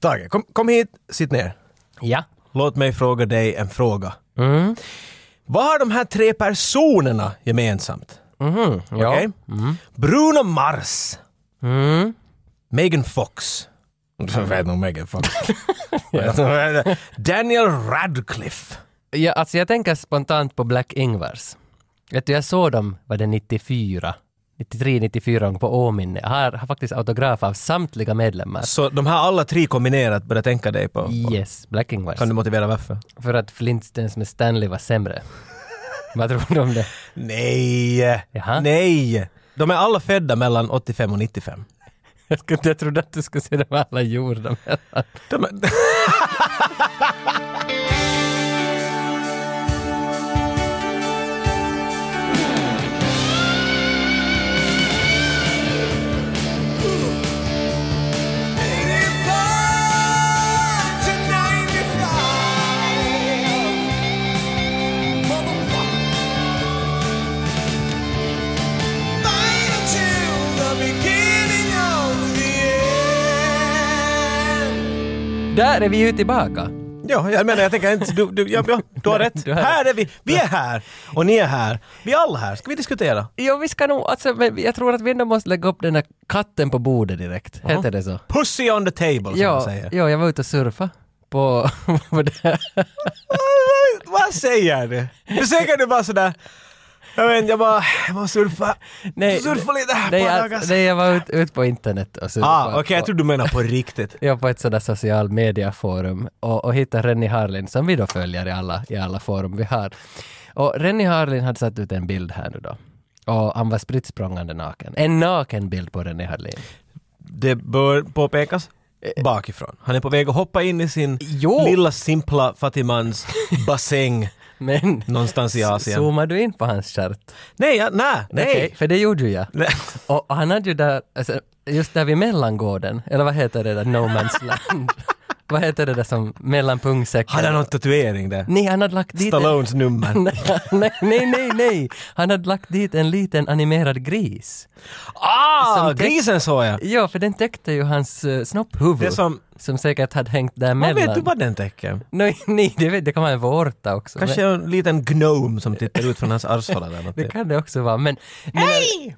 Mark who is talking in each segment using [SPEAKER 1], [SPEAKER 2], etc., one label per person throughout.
[SPEAKER 1] Tage, kom, kom hit, sitt ner.
[SPEAKER 2] Ja.
[SPEAKER 1] Låt mig fråga dig en fråga. Mm, Vad har de här tre personerna gemensamt?
[SPEAKER 2] Ja.
[SPEAKER 1] mhm, Okej? Mm. Bruno Mars. Megan Fox. Jag vet nog Megan Fox. Daniel Radcliffe.
[SPEAKER 2] Ja, alltså jag tänker spontant på Black-Ingvars. Vet du, jag såg dem, var det 94? 93, 94 på Åminne. Jag har, har faktiskt autograf av samtliga medlemmar.
[SPEAKER 1] Så de här alla tre kombinerat börjar tänka dig på. på.
[SPEAKER 2] Yes, Black-Ingvars.
[SPEAKER 1] Kan du motivera varför?
[SPEAKER 2] För att Flintstones med Stanley var sämre. Vad tror du om det?
[SPEAKER 1] Nej!
[SPEAKER 2] Jaha.
[SPEAKER 1] Nej! De är alla födda mellan 85 och 95.
[SPEAKER 2] Jag, skulle, jag trodde att du skulle se dem alla gjorda. men-
[SPEAKER 1] De är...
[SPEAKER 2] Där är vi ju tillbaka.
[SPEAKER 1] Ja, jag menar jag tänker inte... Du, du, ja, ja, du har rätt.
[SPEAKER 2] Du har
[SPEAKER 1] här är vi. Vi är här. Och ni är här. Vi är alla här. Ska vi diskutera?
[SPEAKER 2] Jo, vi ska nog, alltså, men jag tror att vi ändå måste lägga upp den här katten på bordet direkt. Heter det så?
[SPEAKER 1] Pussy on the table, som man
[SPEAKER 2] Ja,
[SPEAKER 1] säger.
[SPEAKER 2] ja, jag var ute och surfa på, på det här.
[SPEAKER 1] Vad säger du? Nu säger du bara sådär... Jag vet inte, jag bara... Jag måste surfa. surfa lite här
[SPEAKER 2] nej,
[SPEAKER 1] på
[SPEAKER 2] jag,
[SPEAKER 1] dagar.
[SPEAKER 2] nej, jag var ute ut på internet och surfade.
[SPEAKER 1] Ah, Okej, jag
[SPEAKER 2] på-
[SPEAKER 1] tror du menar på riktigt.
[SPEAKER 2] jag på ett sådant social media-forum och, och hittade Rennie Harlin som vi då följer i alla, i alla forum vi har. Och Rennie Harlin hade satt ut en bild här nu då. Och han var spritt språngande naken. En naken bild på Rennie Harlin.
[SPEAKER 1] Det bör påpekas bakifrån. Han är på väg att hoppa in i sin
[SPEAKER 2] Jo.
[SPEAKER 1] lilla simpla fattigmans bassäng
[SPEAKER 2] Men
[SPEAKER 1] någonstans i Asien.
[SPEAKER 2] zoomar du in på hans stjärt?
[SPEAKER 1] Nej, ja, nej, nej.
[SPEAKER 2] Okej, för det gjorde ju jag.
[SPEAKER 1] Nej.
[SPEAKER 2] Och och han hade ju där, alltså, just där vid mellangården, eller vad heter det där, No Man's Land? vad heter det där som mellan pungsäcken?
[SPEAKER 1] Hade han någon tatuering där?
[SPEAKER 2] Nej, han hade lagt dit... en-
[SPEAKER 1] Stallones nummer.
[SPEAKER 2] nej, nej, nej, nej. Han hade lagt dit en liten animerad gris.
[SPEAKER 1] Ah,
[SPEAKER 2] Som teck-
[SPEAKER 1] grisen såg jag!
[SPEAKER 2] Ja, för den täckte ju hans uh, snopphuvud.
[SPEAKER 1] Det är som-
[SPEAKER 2] säkert hade hängt där
[SPEAKER 1] Vad
[SPEAKER 2] mellan.
[SPEAKER 1] vet du vad den täcker?
[SPEAKER 2] Nej, nej det, vet, det kan vara en vårta också.
[SPEAKER 1] Kanske
[SPEAKER 2] men,
[SPEAKER 1] en liten gnome som tittar ut från hans arshåla eller något.
[SPEAKER 2] det kan det också vara. Men, men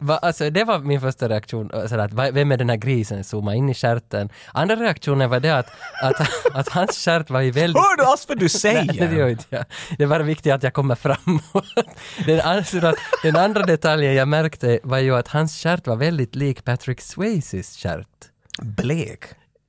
[SPEAKER 2] va, alltså, det var min första reaktion, eh, sådär, att, va- vem är den här grisen? Zooma in i stjärten. Andra reaktionen var det att, att, att hans stjärt var ju väldigt...
[SPEAKER 1] Hör du alls vad du
[SPEAKER 2] Nej,
[SPEAKER 1] säger?
[SPEAKER 2] det gör inte jag. Det var viktigt att jag kommer framåt. Den, alltså, att den andra detaljen jag märkte var ju att hans stjärt var väldigt lik Patrick Swayzes stjärt.
[SPEAKER 1] Blek.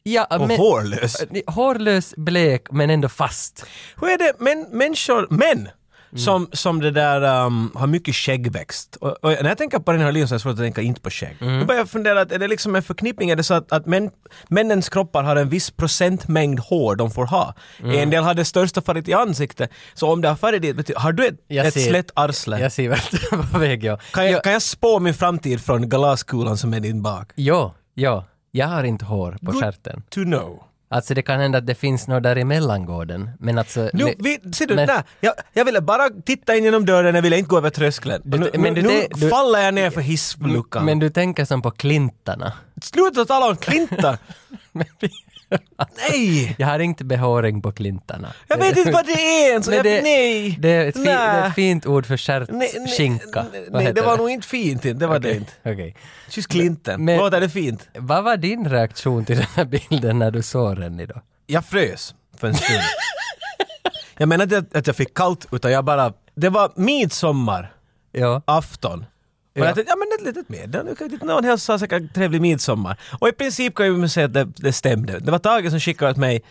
[SPEAKER 2] Ja,
[SPEAKER 1] Och
[SPEAKER 2] men,
[SPEAKER 1] hårlös.
[SPEAKER 2] Hårlös, blek, men ändå fast.
[SPEAKER 1] Hur är det män, människor, män, som, som det där ehm, har mycket skäggväxt. Och, och när jag tänker på den här linjen så är det svårt att tänka inte på skägg. Då börjar jag fundera, att är det liksom en förknippning? Är det så att, att män, männens kroppar har en viss procentmängd hår de får ha? En del har det största fallit i ansiktet. Så om det har fallit dit, bety- har du ett,
[SPEAKER 2] Jag
[SPEAKER 1] ett
[SPEAKER 2] ser-
[SPEAKER 1] slätt arsle?
[SPEAKER 2] Jag ser vart du är på väg, ja.
[SPEAKER 1] Kan
[SPEAKER 2] Ja,
[SPEAKER 1] jag, kan jag spå min framtid från glaskulan som är din bak?
[SPEAKER 2] ja, ja. Jag har inte hår på stjärten.
[SPEAKER 1] To know.
[SPEAKER 2] Alltså det kan hända att det finns något där i mellangården, men alltså...
[SPEAKER 1] Nu,
[SPEAKER 2] le-
[SPEAKER 1] vi, ser du,
[SPEAKER 2] men-
[SPEAKER 1] nej, jag, jag ville bara titta in genom dörren, jag ville inte gå över tröskeln. Och nu
[SPEAKER 2] men
[SPEAKER 1] nu,
[SPEAKER 2] du-
[SPEAKER 1] nu
[SPEAKER 2] det- du-
[SPEAKER 1] faller jag ner för hissluckan.
[SPEAKER 2] Men du tänker som på klintarna.
[SPEAKER 1] Sluta tala om klintar! nej!
[SPEAKER 2] Jag har inte behåring på klintarna.
[SPEAKER 1] Jag vet inte vad det är ens!
[SPEAKER 2] Men
[SPEAKER 1] Jag,
[SPEAKER 2] det-
[SPEAKER 1] nej!
[SPEAKER 2] Det är ett, fi- det är
[SPEAKER 1] Nej.
[SPEAKER 2] ett fint ord för
[SPEAKER 1] Nej, nej,
[SPEAKER 2] stjärtskinka.
[SPEAKER 1] nej,
[SPEAKER 2] Vad
[SPEAKER 1] Nej, det
[SPEAKER 2] heter
[SPEAKER 1] var nog inte fint inte, det var det inte.
[SPEAKER 2] Okej.
[SPEAKER 1] Kyss klinten,
[SPEAKER 2] Men-
[SPEAKER 1] låter det fint?
[SPEAKER 2] Vad var din reaktion till den här bilden när du såg den idag?
[SPEAKER 1] Jag frös för en stund. jag menar inte att- att jag fick kallt, utan jag bara... Det var midsommar.
[SPEAKER 2] Ja.
[SPEAKER 1] afton. Och
[SPEAKER 2] Ja.
[SPEAKER 1] jag tänkte, ja men ett litet meddelande, nu kan vi- någon hälsar säkert trevlig midsommar. Och i princip kan jag ju säga att det, det stämde. Det var Tage som skickade åt mig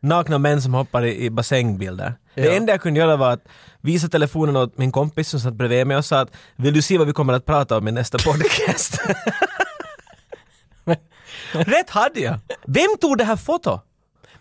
[SPEAKER 1] nakna män som hoppar i, i bassängbilder. Det enda jag kunde göra var att visa telefonen åt min kompis som satt bredvid mig och sa att vill du se vad vi kommer att prata om i nästa podcast? Rätt hade jag! Vem tog det här fotot?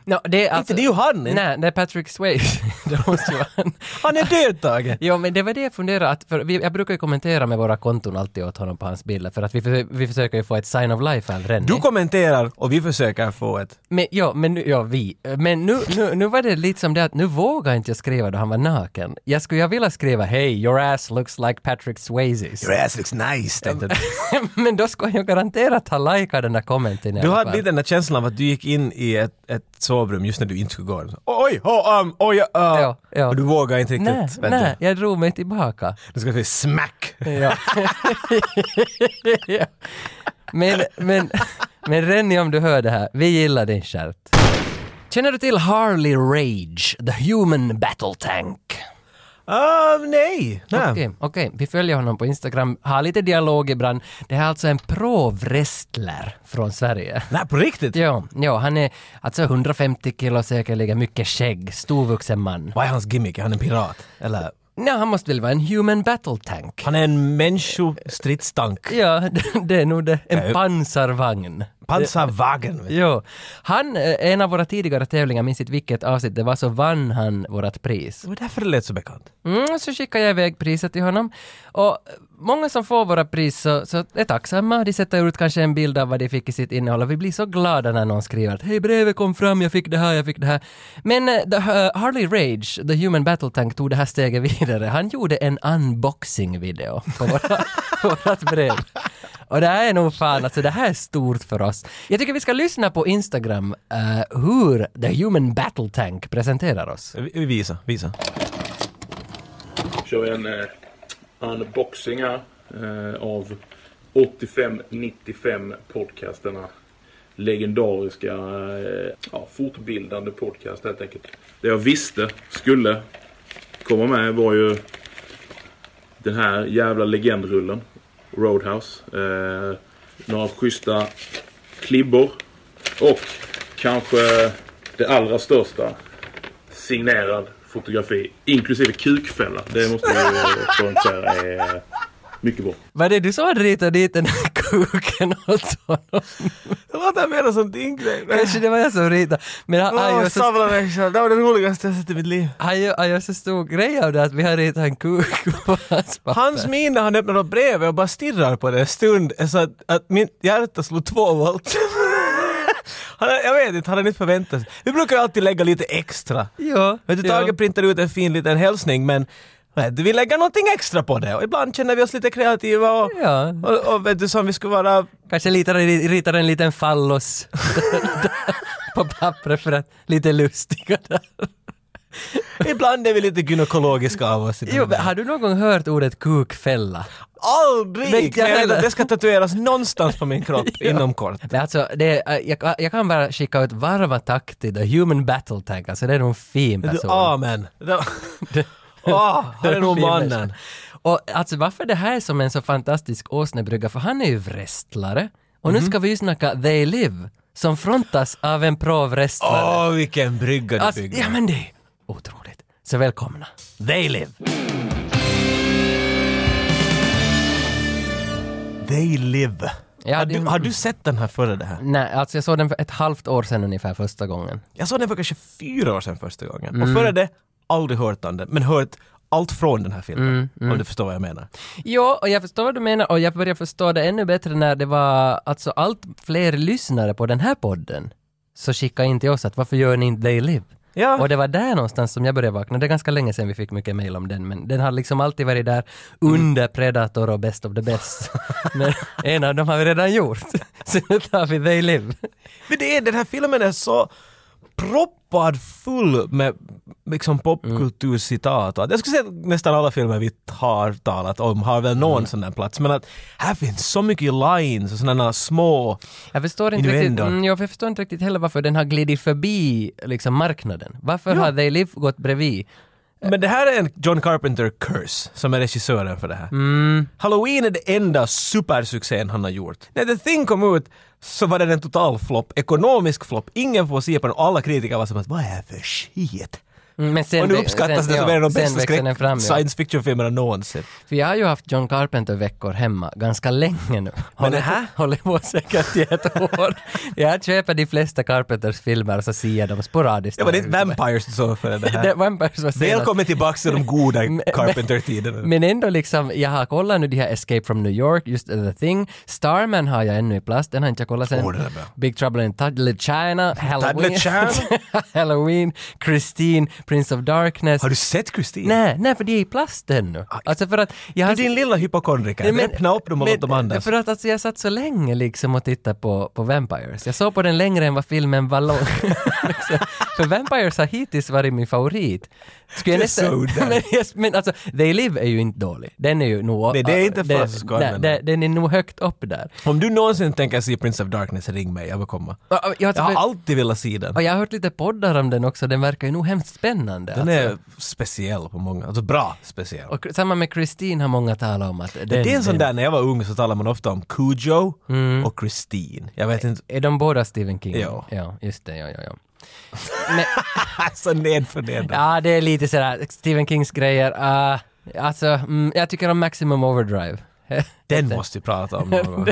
[SPEAKER 2] No, det är
[SPEAKER 1] Inte
[SPEAKER 2] alltså,
[SPEAKER 1] det är ju han! inte.
[SPEAKER 2] Nej, det är Patrick Swayze. det måste ju vara han.
[SPEAKER 1] Han är död Tage!
[SPEAKER 2] Ja, men det var det jag funderade att, för vi, jag brukar ju kommentera med våra konton alltid åt honom på hans bilder, för att vi, försö- vi försöker ju få ett sign of life av Rennie.
[SPEAKER 1] Du kommenterar och vi försöker få ett...
[SPEAKER 2] Men, ja, men nu, ja, vi. Men nu, nu, nu var det lite som det att nu vågar inte jag skriva då han var naken. Jag skulle ju vilja skriva “Hey, your ass looks like Patrick Swayze's”.
[SPEAKER 1] Your ass looks nice! tänkte du.
[SPEAKER 2] men då skulle han ju garanterat ha likat den där kommenten i
[SPEAKER 1] Du
[SPEAKER 2] alla
[SPEAKER 1] hade
[SPEAKER 2] fall.
[SPEAKER 1] lite den där känslan av att du gick in i ett, ett sovrum just när du inte skulle gå. Så, Oj, oh, um, oj, uh,
[SPEAKER 2] Ja, ja.
[SPEAKER 1] Och du vågar inte riktigt.
[SPEAKER 2] Nej,
[SPEAKER 1] vet
[SPEAKER 2] nej, jag drog mig tillbaka.
[SPEAKER 1] Du. du ska säga smack!
[SPEAKER 2] Ja. ja. Men, men, men Rennie om du hör det här, vi gillar din stjärt. Känner du till Harley Rage, the human battle tank?
[SPEAKER 1] Ah, nej! nej.
[SPEAKER 2] Okej, okej. vi följer honom på Instagram, har lite dialog ibland. Det här är alltså en pro-wrestler från Sverige.
[SPEAKER 1] Nej, på riktigt?
[SPEAKER 2] Ja, ja, han är alltså 150 kilo säkerligen, mycket skägg, storvuxen man.
[SPEAKER 1] Vad är hans gimmick? Är han en pirat? Eller?
[SPEAKER 2] Nej, han måste väl vara en human battle tank?
[SPEAKER 1] Han är en människostridstank.
[SPEAKER 2] Ja, det- det är nog det. En pansarvagn.
[SPEAKER 1] Pansarvagn. vet
[SPEAKER 2] Jo. Han, eh, en av våra tidigare tävlingar, minns inte vilket avsnitt det var, så vann han vårt pris.
[SPEAKER 1] Det var därför det lät så bekant.
[SPEAKER 2] Mm, så skickade jag iväg priset till honom. Och många som får våra pris så, så är tacksamma. De sätter ut kanske en bild av vad de fick i sitt innehåll och vi blir så glada när någon skriver att hej brevet kom fram, jag fick det här, jag fick det här. Men eh, the, eh, Harley Rage, The Human Battle Tank, tog det här steget vidare. Han gjorde en unboxing-video på våra- på vårt brev. Och det här är nog fan, alltså det här är stort för oss. Jag tycker vi ska lyssna på Instagram eh, hur The Human Battle Tank presenterar oss.
[SPEAKER 1] Vi- vi Visa, visa.
[SPEAKER 3] kör en eh, unboxing här, eh, av 85-95 podcasterna. Legendariska, eh, ja, fortbildande podcast helt enkelt. Det jag visste skulle komma med var ju den här jävla legendrullen. Roadhouse. Eh, några schyssta klibbor. Och kanske det allra största signerad fotografi, inklusive kukfälla. Det måste jag ju poängtera är mycket bra.
[SPEAKER 2] Var det du som hade ritat dit den där kuken åt honom?
[SPEAKER 1] Det låter mer som Dingle.
[SPEAKER 2] Kanske det var jag som ritade. Men han, han, gör så,
[SPEAKER 1] människor. Det var den roligaste jag sett i mitt liv.
[SPEAKER 2] han, gör, han gör så stor grej av det att vi har ritat en kuk på hans papper.
[SPEAKER 1] Hans min när han öppnar upp brevet och bara stirrar på det en stund är så att, att mitt hjärta slog två volt. Han, har- jag vet inte, han hade inte förväntat sig. Vi brukar alltid lägga lite extra.
[SPEAKER 2] Ja,
[SPEAKER 1] Vet du,
[SPEAKER 2] ja.
[SPEAKER 1] Tage printar ut en fin liten hälsning men nej, vi lägger någonting extra på det och ibland känner vi oss lite kreativa och,
[SPEAKER 2] Ja.
[SPEAKER 1] och, och vet du, som vi skulle vara
[SPEAKER 2] Kanske ritar, ritar en liten fallos på pappret för att lite lustiga där.
[SPEAKER 1] Ibland är vi lite gynekologiska av oss.
[SPEAKER 2] Jo, men har du någon gång hört ordet kukfälla?
[SPEAKER 1] Aldrig!
[SPEAKER 2] Men
[SPEAKER 1] Men
[SPEAKER 2] jag
[SPEAKER 1] jag vet
[SPEAKER 2] menar-
[SPEAKER 1] att det ska tatueras någonstans på min kropp inom kort.
[SPEAKER 2] Men alltså, det är, jag, jag kan bara skicka ut varma tack till The Human Battle Tank, alltså det är nog en fin
[SPEAKER 1] Du,
[SPEAKER 2] person.
[SPEAKER 1] amen! Det- Åh, han är nog
[SPEAKER 2] Fin
[SPEAKER 1] mannen.
[SPEAKER 2] människa. Och alltså varför det här är som en så fantastisk åsnebrygga, för han är ju wrestlare. Och nu ska vi ju snacka They Live, som frontas av en pro-wrestlare.
[SPEAKER 1] Åh, vilken brygga du
[SPEAKER 2] alltså,
[SPEAKER 1] byggde.
[SPEAKER 2] ja men det är otroligt. Så välkomna. They Live.
[SPEAKER 1] They live.
[SPEAKER 2] Ja,
[SPEAKER 1] har,
[SPEAKER 2] det-
[SPEAKER 1] du, har du sett den här före det här?
[SPEAKER 2] Nej, alltså jag såg den för ett halvt år sedan ungefär första gången.
[SPEAKER 1] Jag såg den för kanske fyra år sedan första gången.
[SPEAKER 2] Mm.
[SPEAKER 1] Och före det, aldrig hört om den, men hört allt från den här filmen.
[SPEAKER 2] Mm,
[SPEAKER 1] Om du förstår vad jag menar.
[SPEAKER 2] Ja, och jag förstår vad du menar och jag börjar förstå det ännu bättre när det var alltså allt fler lyssnare på den här podden. Så skicka in till oss att varför gör ni inte They Live?
[SPEAKER 1] Ja.
[SPEAKER 2] Och det var där någonstans som jag började vakna. Det är ganska länge sedan vi fick mycket mail om den, men den har liksom alltid varit där under Predator och Best of the Best. men en av dem har vi redan gjort. Så nu tar vi They Live.
[SPEAKER 1] Men det är, den här filmen är så proppad full med liksom popkulturcitat. och att- Jag skulle säga att nästan alla filmer vi har talat om har väl någon sån där plats. Men att här finns så mycket lines och sådana små...
[SPEAKER 2] Jag förstår inte riktigt,
[SPEAKER 1] Innuendo.
[SPEAKER 2] mm, jag förstår inte riktigt heller varför den har glidit förbi liksom, marknaden. Varför har They Live gått bredvid?
[SPEAKER 1] Men det här är en John Carpenter curse som är regissören för det här. Halloween är det enda supersuccén han har gjort. När The Thing kom ut så var den en total flopp, ekonomisk flopp. Ingen får se på den och alla kritiker var som att vad är det här för shit?
[SPEAKER 2] Mm, Men sen,
[SPEAKER 1] Och nu uppskattas
[SPEAKER 2] sen-
[SPEAKER 1] det som en av de
[SPEAKER 2] sen
[SPEAKER 1] bästa
[SPEAKER 2] växer den
[SPEAKER 1] skräck
[SPEAKER 2] fram, ja.
[SPEAKER 1] science fiction-filmerna någonsin.
[SPEAKER 2] För jag har ju haft John Carpenter-veckor hemma ganska länge nu.
[SPEAKER 1] det
[SPEAKER 2] Håller,
[SPEAKER 1] här?
[SPEAKER 2] håller på säkert i ett år. jag köper de flesta Carpenters filmer och så ser jag dem sporadiskt.
[SPEAKER 1] Det var inte Vampires som såg för det
[SPEAKER 2] Det
[SPEAKER 1] här.
[SPEAKER 2] var en person som säger att-
[SPEAKER 1] Välkommen tillbaka till de goda
[SPEAKER 2] Men-
[SPEAKER 1] Carpenter-tiderna.
[SPEAKER 2] Men ändå liksom, jag har kollat nu de här Escape from New York, just uh, The Thing. Starman har jag ännu i plast, den har inte jag kollat sen.
[SPEAKER 1] Åh, den är bra.
[SPEAKER 2] Big Trouble in Little China, Halloween,
[SPEAKER 1] China?
[SPEAKER 2] Halloween, Christine, Prince of Darkness.
[SPEAKER 1] Har du sett Kristin?
[SPEAKER 2] Nej, nej, för de är i plast ännu. Alltså för att jag
[SPEAKER 1] Du
[SPEAKER 2] har...
[SPEAKER 1] din lilla hypokondriker,
[SPEAKER 2] Men-
[SPEAKER 1] öppna upp dem och
[SPEAKER 2] men-
[SPEAKER 1] låt dem andas.
[SPEAKER 2] För att alltså, jag satt så länge liksom och tittade på, på Vampires. Jag såg på den längre än vad filmen var lång. liksom. För Vampires har hittills varit min favorit. Skulle jag
[SPEAKER 1] Det är så udda.
[SPEAKER 2] men, jag- men alltså, They Live är ju inte dålig. Den är ju nog...
[SPEAKER 1] Nej, det är inte
[SPEAKER 2] den-
[SPEAKER 1] flaskor,
[SPEAKER 2] nej,
[SPEAKER 1] men-
[SPEAKER 2] den- Den är nog högt upp där.
[SPEAKER 1] Om du någonsin tänker se Prince of Darkness, ring mig, jag vill komma.
[SPEAKER 2] Och, och, jag,
[SPEAKER 1] Jag har alltid velat se den.
[SPEAKER 2] och jag har hört lite poddar om den också, den verkar ju nog hemskt spännande.
[SPEAKER 1] Den är speciell på många, alltså bra speciell.
[SPEAKER 2] alltså. Och samma med Christine har många talat om att den... Mm.
[SPEAKER 1] det är en sån
[SPEAKER 2] den-
[SPEAKER 1] där, när jag var ung så talade man ofta om Cujo och Christine. Jag vet inte,
[SPEAKER 2] Är de båda Stephen King?
[SPEAKER 1] Ja.
[SPEAKER 2] ja just det, ja, ja, ja. Men,
[SPEAKER 1] alltså nedförnedrande.
[SPEAKER 2] Ja, det är lite sådär Stephen Kings grejer. Ah, alltså, mm, jag tycker om Maximum Overdrive.
[SPEAKER 1] Den måste vi prata om någon gång.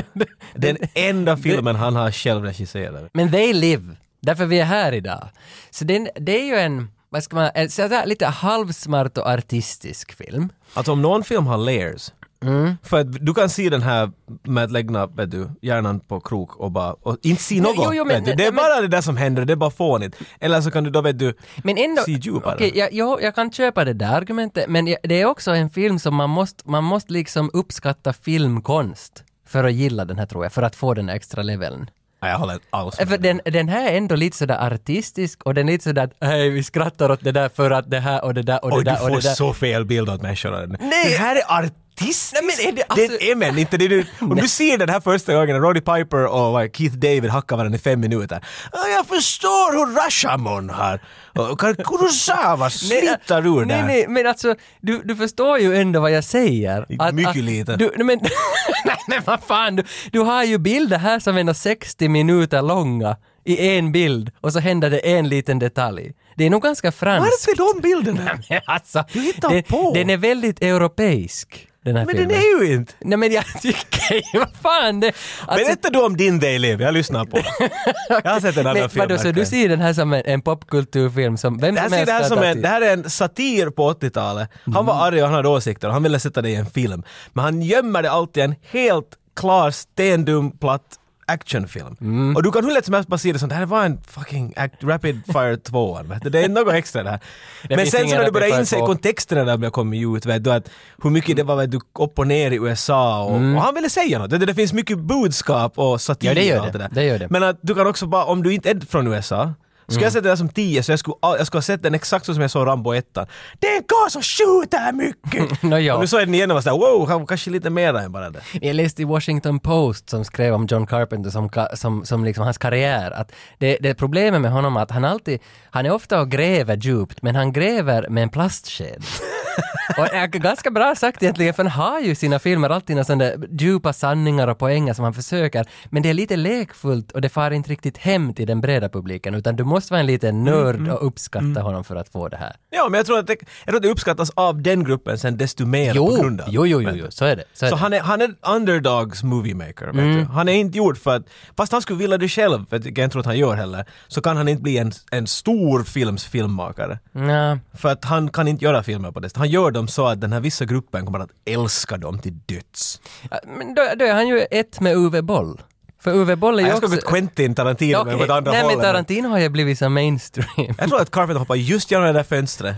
[SPEAKER 1] Den enda filmen han har själv regisserat.
[SPEAKER 2] Men they live, därför vi är här idag. Så det, är en- det är ju en, vad ska man, en sådär lite halvsmart och artistisk film.
[SPEAKER 1] Alltså om någon film har layers,
[SPEAKER 2] Mm.
[SPEAKER 1] för att du kan se den här med att lägga vet du, hjärnan på krok och bara, och inte se något.
[SPEAKER 2] jo, jo, men-
[SPEAKER 1] vet du. Det är
[SPEAKER 2] nej, men-
[SPEAKER 1] bara det där som händer, det är bara fånigt. Eller så kan du då vet du,
[SPEAKER 2] Men ändå,
[SPEAKER 1] se djupare.
[SPEAKER 2] okej, jag, jag, jag kan köpa det där argumentet, men jag- det är också en film som man måste, man måste liksom uppskatta filmkonst för att gilla den här tror jag, för att få den här extra leveln.
[SPEAKER 1] Nej, jag håller inte alls
[SPEAKER 2] Ja, För den, den här är ändå lite sådär artistisk och den är lite sådär att hej vi skrattar åt det där för att det här och det där och det
[SPEAKER 1] Oj, du
[SPEAKER 2] där och
[SPEAKER 1] får
[SPEAKER 2] det där.
[SPEAKER 1] så fel bild åt människorna.
[SPEAKER 2] Nej.
[SPEAKER 1] Det här är artistiskt!
[SPEAKER 2] Nej, men är det- alltså-
[SPEAKER 1] Den är men inte det du... Om du ser den här första gången, Roddy Piper och vad, Keith David hackar varandra i fem minuter. "Ja, Jag förstår hur Rashomon har... Och Kurosawa sliter ur
[SPEAKER 2] äh, nej,
[SPEAKER 1] där.
[SPEAKER 2] nej, men alltså du, du förstår ju ändå vad jag säger.
[SPEAKER 1] Mycket lite.
[SPEAKER 2] Du, nej, men, nej men vad fan, du, du har ju bilder här som är nå 60 minuter långa i en bild och så händer det en liten detalj. Det är nog ganska franskt.
[SPEAKER 1] Varför de bilderna?
[SPEAKER 2] Alltså,
[SPEAKER 1] Du hittar
[SPEAKER 2] den,
[SPEAKER 1] på.
[SPEAKER 2] den är väldigt europeisk den här
[SPEAKER 1] Men
[SPEAKER 2] filmen.
[SPEAKER 1] den är ju inte...
[SPEAKER 2] Nej men jag tycker ju, vad fan det... alltså-
[SPEAKER 1] Berätta då om din Day Live, jag lyssnar på. Jag har sett en annan
[SPEAKER 2] Men
[SPEAKER 1] film.
[SPEAKER 2] vadå, så du
[SPEAKER 1] verkligen.
[SPEAKER 2] ser den här som en, en popkulturfilm som vem
[SPEAKER 1] Det här, ser
[SPEAKER 2] som helst
[SPEAKER 1] det, här
[SPEAKER 2] kan
[SPEAKER 1] som
[SPEAKER 2] ta Mm.
[SPEAKER 1] en,
[SPEAKER 2] till?
[SPEAKER 1] det här är en satir på 80-talet. Han var arg och han hade åsikter och han ville sätta det i en film. Men han gömmer det alltid i en helt klar, stendum, platt actionfilm.
[SPEAKER 2] Mm.
[SPEAKER 1] Och du kan hur lätt som helst bara se det som det här var en fucking act, Rapid Fire 2. vet du. Det är något extra det här. Men
[SPEAKER 2] finns
[SPEAKER 1] sen
[SPEAKER 2] ingen
[SPEAKER 1] så när du
[SPEAKER 2] Rapid
[SPEAKER 1] börjar
[SPEAKER 2] Fire
[SPEAKER 1] inse
[SPEAKER 2] 2.
[SPEAKER 1] kontexterna där jag kom ut, vet du, att hur mycket det var vet du, upp och ner i USA och, och han ville säga något. Det, det finns mycket budskap och satir
[SPEAKER 2] Mm. Ja, det gör
[SPEAKER 1] och allt det
[SPEAKER 2] det.
[SPEAKER 1] där.
[SPEAKER 2] Det gör det.
[SPEAKER 1] Men att du kan också bara, om du inte är från USA, skulle
[SPEAKER 2] Mm.
[SPEAKER 1] jag sett den här som 10 så jag skulle, jag skulle ha sett den exakt så som jag såg Rambo 1. Det är en karl som skjuter mycket!
[SPEAKER 2] Nå, ja.
[SPEAKER 1] Och nu såg jag den igen och var såhär wow, han var kanske lite mer än bara det.
[SPEAKER 2] Jag läste i Washington Post som skrev om John Carpenter som, ka- som, som liksom hans karriär att det, det problemet med honom är att han alltid, han är ofta och gräver djupt men han gräver med en plastsked. och det är ganska bra sagt egentligen för han har ju i sina filmer alltid några sådana där djupa sanningar och poänger som han försöker men det är lite lekfullt och det far inte riktigt hem till den breda publiken utan du måste vara en liten
[SPEAKER 1] Mm,
[SPEAKER 2] nörd och uppskatta honom för att få det här.
[SPEAKER 1] Ja, men jag tror, att det, jag tror att det uppskattas av den gruppen sen desto mer på
[SPEAKER 2] Jo,
[SPEAKER 1] grund av.
[SPEAKER 2] jo, jo, jo, jo, så är det. Så är
[SPEAKER 1] Så
[SPEAKER 2] det.
[SPEAKER 1] han är, han är underdogs movie maker. Vet
[SPEAKER 2] Mm.
[SPEAKER 1] du? Han är inte gjord för att, fast han skulle vilja det själv, vilket jag inte tror att han gör heller, så kan han inte bli en, en stor films filmmakare.
[SPEAKER 2] Nja.
[SPEAKER 1] För att han kan inte göra filmer på det sättet. Han gör dem så att den här vissa gruppen kommer att älska dem till döds.
[SPEAKER 2] Ja, Men då, då är han ju ett med Uwe Boll. För Uwe Boll är ju
[SPEAKER 1] Jag
[SPEAKER 2] också...
[SPEAKER 1] skulle gått Quentin Tarantino
[SPEAKER 2] Okej,
[SPEAKER 1] men på ett andra
[SPEAKER 2] Nej men
[SPEAKER 1] hållet.
[SPEAKER 2] Tarantino har ju blivit så mainstream.
[SPEAKER 1] Jag tror att Carpenter hoppar just genom det där fönstret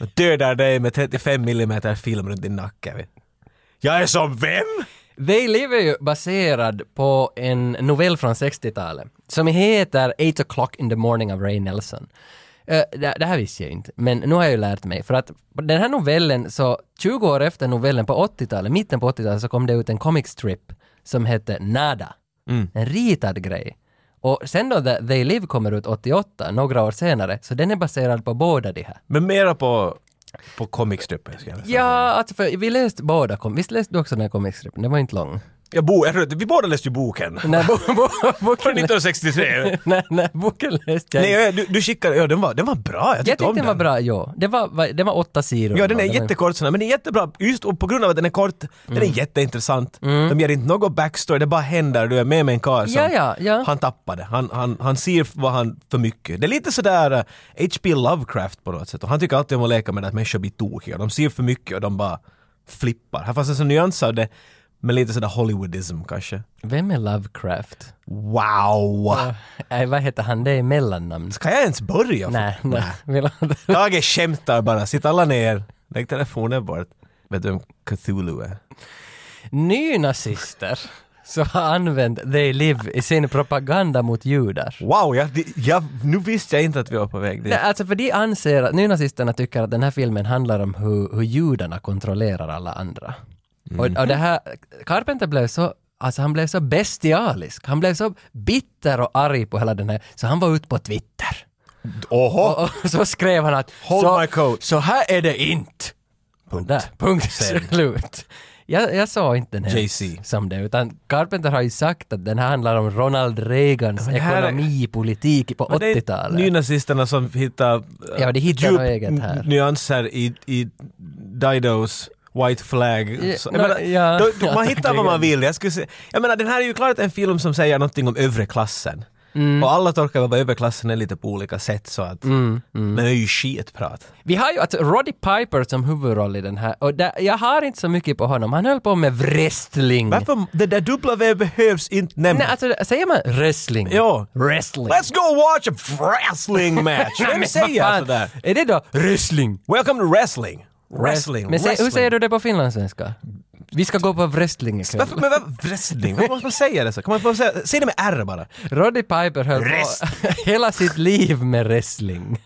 [SPEAKER 1] och dödar dig med 35 mm film runt din nacke. vet du. Jag är som vem?
[SPEAKER 2] They Live är ju baserad på en novell från 60-talet som heter Eight O'Clock in the Morning av Ray Nelson. Eh, det, det här visste jag inte, men nu har jag ju lärt mig. För att den här novellen, så 20 år efter novellen på 80-talet, mitten på 80-talet, så kom det ut en comic strip som hette Nada. En ritad grej. Och sen då The- They Live kommer ut 88, några år senare, så den är baserad på båda de här.
[SPEAKER 1] Men mera på, på comic strippen.
[SPEAKER 2] Ja, alltså för vi läste båda, kom, visst läste du också den här comic stripen? Den var inte lång.
[SPEAKER 1] Jag bo, jag, tror- vi båda läste ju boken.
[SPEAKER 2] Nej, bo, bo,
[SPEAKER 1] Från
[SPEAKER 2] boken,
[SPEAKER 1] 1963.
[SPEAKER 2] nej, nej, boken läste jag
[SPEAKER 1] Nej,
[SPEAKER 2] inte.
[SPEAKER 1] jag- du, du skickade, ja den var, den var bra. Jag tyckte,
[SPEAKER 2] Jag tyckte
[SPEAKER 1] om
[SPEAKER 2] den var bra, ja. Det var, va- det var åtta sidor.
[SPEAKER 1] Ja, den är
[SPEAKER 2] Det var-
[SPEAKER 1] jättekort, sån här, men den är jättebra just och på grund av att den är kort. Den
[SPEAKER 2] Mm.
[SPEAKER 1] är jätteintressant. De ger inte något backstory, det bara händer. Du är med med en karl som
[SPEAKER 2] Ja, ja, ja.
[SPEAKER 1] han tappade. Han, han, han ser vad han för mycket. Det är lite sådär eh, H.P. Lovecraft på något sätt. Och han tycker alltid om att leka med det att människor blir tokiga. De ser för mycket och de bara flippar. Här fanns en sån nyans av det, men lite sådär Hollywoodism kanske.
[SPEAKER 2] Vem är Lovecraft?
[SPEAKER 1] Wow!
[SPEAKER 2] Nej, vad heter han? Det är mellannamn.
[SPEAKER 1] Kan jag ens börja?
[SPEAKER 2] Nej, nej. Vill han inte-
[SPEAKER 1] Tage skämtar bara. Sitt alla ner. Lägg telefonen bort. Vet du vem Cthulhu är?
[SPEAKER 2] Nynazister som har använt They Live i sin propaganda mot judar.
[SPEAKER 1] Wow, jag, det- jag, nu visste jag inte att vi var på väg dit.
[SPEAKER 2] Nej, alltså för de anser att nynazisterna tycker att den här filmen handlar om hur, hur judarna kontrollerar alla andra.
[SPEAKER 1] Mm.
[SPEAKER 2] Och, och det här, Carpenter blev så, alltså han blev så bestialisk, han blev så bitter och arg på hela den här, så han var ute på Twitter.
[SPEAKER 1] Oho!
[SPEAKER 2] Och, och så skrev han att
[SPEAKER 1] Hold
[SPEAKER 2] så,
[SPEAKER 1] my coat.
[SPEAKER 2] så här är det inte.
[SPEAKER 1] Punkt.
[SPEAKER 2] Där, punkt
[SPEAKER 1] Sen.
[SPEAKER 2] slut. Jag, jag sa inte den här
[SPEAKER 1] JC.
[SPEAKER 2] som det, utan Carpenter har ju sagt att den här handlar om Ronald Reagans
[SPEAKER 1] men det här är-
[SPEAKER 2] ekonomipolitik på
[SPEAKER 1] Men det är
[SPEAKER 2] 80-talet.
[SPEAKER 1] Nynazisterna som hittar eh,
[SPEAKER 2] Ja, de hittar något eget här.
[SPEAKER 1] n- nyanser i, i Didos White Flag.
[SPEAKER 2] Ja,
[SPEAKER 1] Så,
[SPEAKER 2] nå,
[SPEAKER 1] jag menar,
[SPEAKER 2] ja,
[SPEAKER 1] då, då,
[SPEAKER 2] ja,
[SPEAKER 1] man hittar vad
[SPEAKER 2] verkligen.
[SPEAKER 1] man vill. Jag, skulle säga, jag menar, den här är ju klart en film som säger någonting om övre klassen.
[SPEAKER 2] Mm.
[SPEAKER 1] Och alla tolkar vad överklassen är lite på olika sätt så att...
[SPEAKER 2] mm.
[SPEAKER 1] Men det är ju skitprat.
[SPEAKER 2] Vi har ju alltså Roddy Piper som huvudroll i den här, och där, jag har inte så mycket på honom, han höll på med wrestling.
[SPEAKER 1] Varför? Det där W behövs inte
[SPEAKER 2] Nej,
[SPEAKER 1] nämnas.
[SPEAKER 2] alltså säger man wrestling?
[SPEAKER 1] Ja.
[SPEAKER 2] Wrestling.
[SPEAKER 1] Let's go watch a wrestling match!
[SPEAKER 2] Nej, men
[SPEAKER 1] Vem
[SPEAKER 2] vad
[SPEAKER 1] säger
[SPEAKER 2] fan?
[SPEAKER 1] sådär?
[SPEAKER 2] Är det då wrestling?
[SPEAKER 1] uh, Welcome to wrestling! Wrestling,
[SPEAKER 2] Men säg,
[SPEAKER 1] wrestling.
[SPEAKER 2] hur säger du det på finlandssvenska? Vi ska gå på wrestling ikväll.
[SPEAKER 1] Varför, men vad, wrestling? Varför måste man säga det så? Kan man bara säga, säg det med R bara.
[SPEAKER 2] Roddy Piper höll
[SPEAKER 1] Rest.
[SPEAKER 2] på hela sitt liv med wrestling.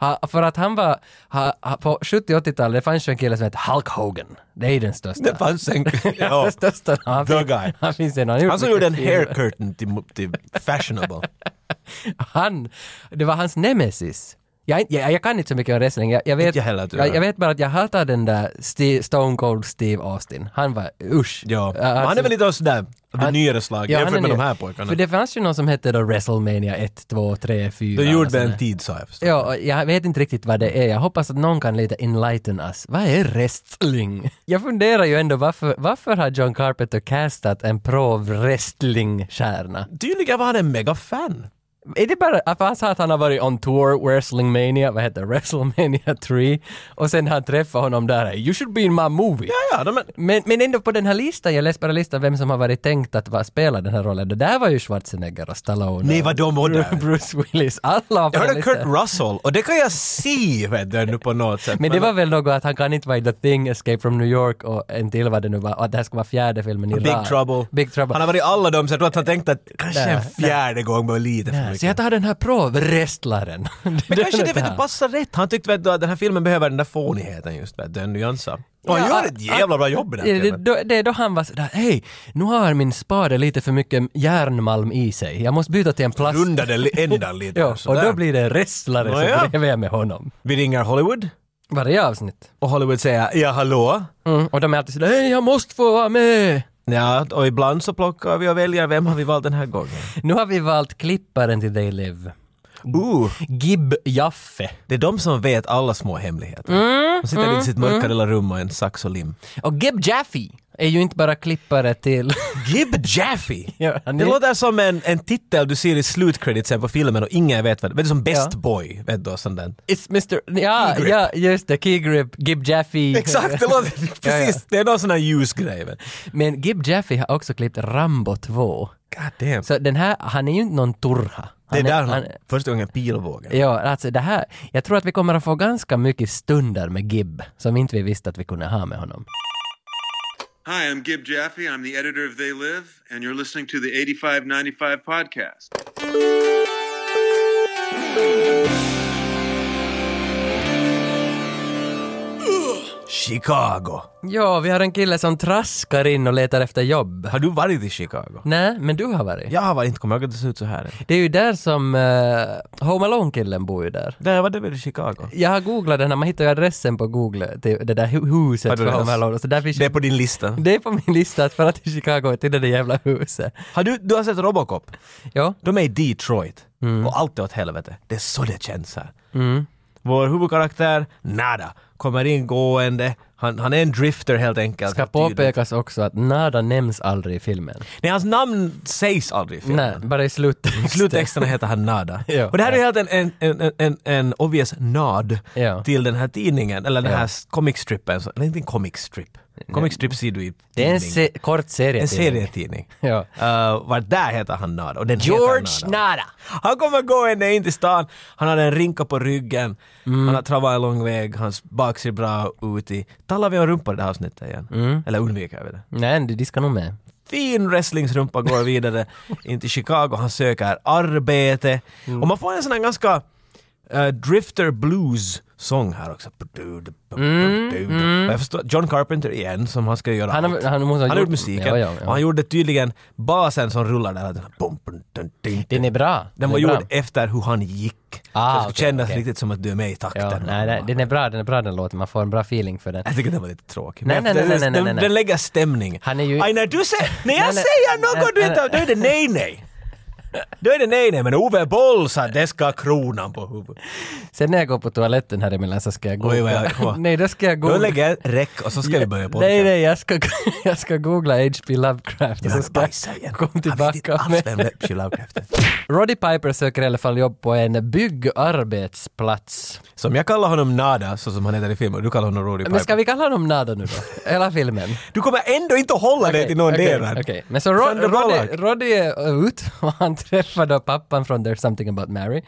[SPEAKER 2] Ha, för att han var, ha, ha, på 70 80-talet, det fanns ju en kille som hette Hulk Hogan. Det är ju den största.
[SPEAKER 1] Det fanns en... Ja.
[SPEAKER 2] den största. Han,
[SPEAKER 1] The
[SPEAKER 2] fin-
[SPEAKER 1] guy.
[SPEAKER 2] han finns en, han,
[SPEAKER 1] Han som gjorde en
[SPEAKER 2] mycket
[SPEAKER 1] hair
[SPEAKER 2] filmer.
[SPEAKER 1] curtain till, till fashionable.
[SPEAKER 2] Han, det var hans nemesis. Jag, är- jag, jag kan inte så mycket om wrestling. Jag, jag, vet,
[SPEAKER 1] Inte jag heller, tror
[SPEAKER 2] jag,
[SPEAKER 1] jag.
[SPEAKER 2] jag vet bara att jag hatar den där Steve, Stone Cold Steve Austin. Han var usch.
[SPEAKER 1] Ja.
[SPEAKER 2] Äh,
[SPEAKER 1] Men han
[SPEAKER 2] alltså-
[SPEAKER 1] är väl lite av sådär, av det nyare slaget
[SPEAKER 2] Ja, han
[SPEAKER 1] jämfört
[SPEAKER 2] är
[SPEAKER 1] med de
[SPEAKER 2] ny.
[SPEAKER 1] här pojkarna.
[SPEAKER 2] För det fanns ju någon som hette då WrestleMania 1, 2, 3, 4.
[SPEAKER 1] Då
[SPEAKER 2] och
[SPEAKER 1] gjorde det
[SPEAKER 2] sådär.
[SPEAKER 1] en tid sa jag förstås.
[SPEAKER 2] Ja, och jag vet inte riktigt vad det är. Jag hoppas att någon kan lite enlighten us. Vad är wrestling? Jag funderar ju ändå varför, varför har John Carpenter castat en pro-wrestling-stjärna?
[SPEAKER 1] Tydligen var han en megafan.
[SPEAKER 2] Är det bara att han sa att han har varit on tour, wrestlingmania, vad heter det, wrestlemania 3 och sen han träffar honom där, you should be in my movie.
[SPEAKER 1] Ja, ja, de, men,
[SPEAKER 2] Men, men ändå på den här listan, jag läste bara listan vem som har varit tänkt att vara, spela den här rollen. Det där var ju Schwarzenegger och Stallone.
[SPEAKER 1] nej
[SPEAKER 2] och
[SPEAKER 1] vad de var där.
[SPEAKER 2] Bruce Willis, alla har på
[SPEAKER 1] Jag
[SPEAKER 2] den
[SPEAKER 1] hörde
[SPEAKER 2] listan.
[SPEAKER 1] Kurt Russell och det kan jag se vet du, nu på något sätt.
[SPEAKER 2] Men det var väl något att han kan inte vara i The Thing, Escape from New York och en till vad det nu var, och att det här ska vara fjärde filmen i
[SPEAKER 1] Big
[SPEAKER 2] rad.
[SPEAKER 1] Trouble.
[SPEAKER 2] Big Trouble.
[SPEAKER 1] Han har varit i alla dem så jag tror att han tänkte att kanske
[SPEAKER 2] Nej,
[SPEAKER 1] en fjärde gång var lite för
[SPEAKER 2] Så
[SPEAKER 1] mycket.
[SPEAKER 2] jag tar den här pro-wrestlaren.
[SPEAKER 1] Men kanske det vet du,
[SPEAKER 2] här.
[SPEAKER 1] passar rätt. Han tyckte vet du, att den här filmen behöver den där fånigheten just, vet du, den nyansen. Och han
[SPEAKER 2] Ja,
[SPEAKER 1] gör ett
[SPEAKER 2] ah,
[SPEAKER 1] jävla bra jobb i den här
[SPEAKER 2] Ja, det,
[SPEAKER 1] filmen.
[SPEAKER 2] då, det är då han var sådär, hej, nu har min spade lite för mycket järnmalm i sig. Jag måste byta till en plast.
[SPEAKER 1] Rundade li- ändan lite.
[SPEAKER 2] ja, och
[SPEAKER 1] sådär.
[SPEAKER 2] då blir det en wrestlare
[SPEAKER 1] Nåja.
[SPEAKER 2] som bredvid med honom.
[SPEAKER 1] Vi ringer Hollywood
[SPEAKER 2] Varje avsnitt.
[SPEAKER 1] och Hollywood säger ja hallå.
[SPEAKER 2] Mm. Och de är alltid sådär, hej, jag måste få vara med.
[SPEAKER 1] Ja, och ibland så plockar vi och väljer vem har vi valt den här gången.
[SPEAKER 2] Nu har vi valt klipparen till They Live.
[SPEAKER 1] Ooh,
[SPEAKER 2] Gib Jaffe.
[SPEAKER 1] det är de som vet alla små hemligheter.
[SPEAKER 2] Mm,
[SPEAKER 1] de sitter i sitt mörka lilla rum och en sax och lim.
[SPEAKER 2] Och Gib Jaffe är ju inte bara klippare till...
[SPEAKER 1] Gib Jaffe!
[SPEAKER 2] Ja, han
[SPEAKER 1] Det
[SPEAKER 2] är-
[SPEAKER 1] låter som en, en titel du ser i slutcreditsen på filmen och ingen vet vad det är. Som Best
[SPEAKER 2] Ja.
[SPEAKER 1] Boy, vet du, och sånt där.
[SPEAKER 2] It's Mr... Ja,
[SPEAKER 1] Key grip.
[SPEAKER 2] ja, just det. Key Grip, Gib Jaffe.
[SPEAKER 1] Exakt, det låter precis.
[SPEAKER 2] Ja, ja.
[SPEAKER 1] Det är någon sån här ljusgrej. men-
[SPEAKER 2] Men Gib Jaffe har också klippt Rambo 2.
[SPEAKER 1] God damn.
[SPEAKER 2] Så den här, han är ju inte någon turha.
[SPEAKER 1] det är
[SPEAKER 2] Han
[SPEAKER 1] där han,
[SPEAKER 2] han,
[SPEAKER 1] första gången pilbågen.
[SPEAKER 2] Ja, alltså det här, jag tror att vi kommer att få ganska mycket stunder med Gib som inte vi visste att vi kunde ha med honom.
[SPEAKER 4] Hi, I'm Gib Jaffe. I'm the editor of They Live, and you're listening to the 8595 podcast.
[SPEAKER 1] Chicago.
[SPEAKER 2] Ja, vi har en kille som traskar in och letar efter jobb.
[SPEAKER 1] Har du varit i Chicago?
[SPEAKER 2] Nej, men du har varit.
[SPEAKER 1] Jag har varit, inte kommer ihåg att det ser ut så här. än.
[SPEAKER 2] Det är ju där som eh, Home Alone-killen bor ju där.
[SPEAKER 1] Där var det väl i Chicago?
[SPEAKER 2] Jag har googlat den här, man hittar ju adressen på Google, till det där hu-
[SPEAKER 1] Har
[SPEAKER 2] huset
[SPEAKER 1] du
[SPEAKER 2] för
[SPEAKER 1] det?
[SPEAKER 2] Home Alone. Så där finns
[SPEAKER 1] Det
[SPEAKER 2] ju
[SPEAKER 1] är på din lista.
[SPEAKER 2] Det är på min lista att fara till Chicago till det där jävla huset.
[SPEAKER 1] Har du, du har sett Robocop?
[SPEAKER 2] Ja.
[SPEAKER 1] De är i Detroit.
[SPEAKER 2] Mm.
[SPEAKER 1] Och allt är åt helvete. Det är så det känns här. Vår huvudkaraktär, Nada, kommer in gående. Han, han är en drifter helt enkelt.
[SPEAKER 2] Ska påpekas också att Nada nämns aldrig i filmen.
[SPEAKER 1] Nej, hans namn sägs aldrig i filmen.
[SPEAKER 2] Nej, bara i sluttexten.
[SPEAKER 1] I sluttexterna heter han Nada.
[SPEAKER 2] Ja.
[SPEAKER 1] och det här är helt en, en, en, en, en obvious nod
[SPEAKER 2] Ja.
[SPEAKER 1] till den här tidningen, eller den
[SPEAKER 2] Ja.
[SPEAKER 1] här comic strippen. Så- Eller inte en comic strip. Comic strip ser du i
[SPEAKER 2] Det är en
[SPEAKER 1] tidning.
[SPEAKER 2] se- kort serietidning.
[SPEAKER 1] en serietidning.
[SPEAKER 2] Ja.
[SPEAKER 1] Uh, var där heter han Nada. Och den heter
[SPEAKER 2] George
[SPEAKER 1] Nada.
[SPEAKER 2] Nada.
[SPEAKER 1] Han kommer gående in till stan, han har en rinka på ryggen,
[SPEAKER 2] Mm.
[SPEAKER 1] han har travat en lång väg, hans bak ser bra ut i... Talar vi om rumpa i det här avsnittet igen?
[SPEAKER 2] Mm.
[SPEAKER 1] Eller undviker vi det?
[SPEAKER 2] Nej, du diskar nog med.
[SPEAKER 1] fin wrestlingsrumpa går vidare in till Chicago. Han söker arbete.
[SPEAKER 2] Mm.
[SPEAKER 1] Och man får en sån här ganska eh, Drifter Blues-sång här också. Och Jag förstår, John Carpenter igen, som han ska göra
[SPEAKER 2] Mm, Han har-
[SPEAKER 1] allt.
[SPEAKER 2] han måste ha
[SPEAKER 1] han har gjort
[SPEAKER 2] gjort-
[SPEAKER 1] musiken.
[SPEAKER 2] ja, ja, ja.
[SPEAKER 1] Och han gjorde tydligen basen som rullar där. Den, här bum, bum, dun, dun,
[SPEAKER 2] Den är bra.
[SPEAKER 1] den var
[SPEAKER 2] är bra.
[SPEAKER 1] gjord efter hur han gick.
[SPEAKER 2] Ah,
[SPEAKER 1] så det skulle
[SPEAKER 2] okej,
[SPEAKER 1] kännas
[SPEAKER 2] okej.
[SPEAKER 1] riktigt som att du är med i takten.
[SPEAKER 2] Ja, nej, nej, den är bra, den är bra den låten. Man får en bra feeling för den.
[SPEAKER 1] Jag tycker den var lite tråkig.
[SPEAKER 2] Nej,
[SPEAKER 1] Men
[SPEAKER 2] nej, nej,
[SPEAKER 1] den-
[SPEAKER 2] nej, nej,
[SPEAKER 1] den-
[SPEAKER 2] nej, nej.
[SPEAKER 1] Den lägger stämning.
[SPEAKER 2] Han är ju-
[SPEAKER 1] Aj, när du säger... När jag
[SPEAKER 2] Nej, nej,
[SPEAKER 1] säger
[SPEAKER 2] nej,
[SPEAKER 1] något du
[SPEAKER 2] nej,
[SPEAKER 1] inte...
[SPEAKER 2] nej.
[SPEAKER 1] Då är det nej, nej. Då är det nej, nej. Men Ove Boll sa det ska ha kronan på huvudet.
[SPEAKER 2] Sen när jag går på toaletten här emellan så ska jag
[SPEAKER 1] Oj, vad
[SPEAKER 2] googla.
[SPEAKER 1] jag- vad-
[SPEAKER 2] nej, då ska jag
[SPEAKER 1] Då
[SPEAKER 2] googla.
[SPEAKER 1] lägger jag räck och så ska vi börja på
[SPEAKER 2] Nej, nej, jag ska, jag ska googla H.P. Lovecraft och så
[SPEAKER 1] Jag
[SPEAKER 2] ska
[SPEAKER 1] bajsar igen.
[SPEAKER 2] jag komma
[SPEAKER 1] Han vet inte
[SPEAKER 2] tillbaka
[SPEAKER 1] alls
[SPEAKER 2] med...
[SPEAKER 1] vem Lepsy Lovecraft är.
[SPEAKER 2] Roddy Piper söker i alla fall jobb på en byggarbetsplats.
[SPEAKER 1] Som jag kallar honom Nada, så som han heter i filmen, och du kallar honom Roddy
[SPEAKER 2] Men ska
[SPEAKER 1] Piper.
[SPEAKER 2] vi kalla honom Nada nu då? Hela filmen?
[SPEAKER 1] Du kommer ändå inte att hålla dig till någon
[SPEAKER 2] okej,
[SPEAKER 1] del. här.
[SPEAKER 2] okej. Men så
[SPEAKER 1] Sandra
[SPEAKER 2] Rod-
[SPEAKER 1] Bullock.
[SPEAKER 2] Roddy, Roddy är ut och han träffar då pappan från There's Something About Mary.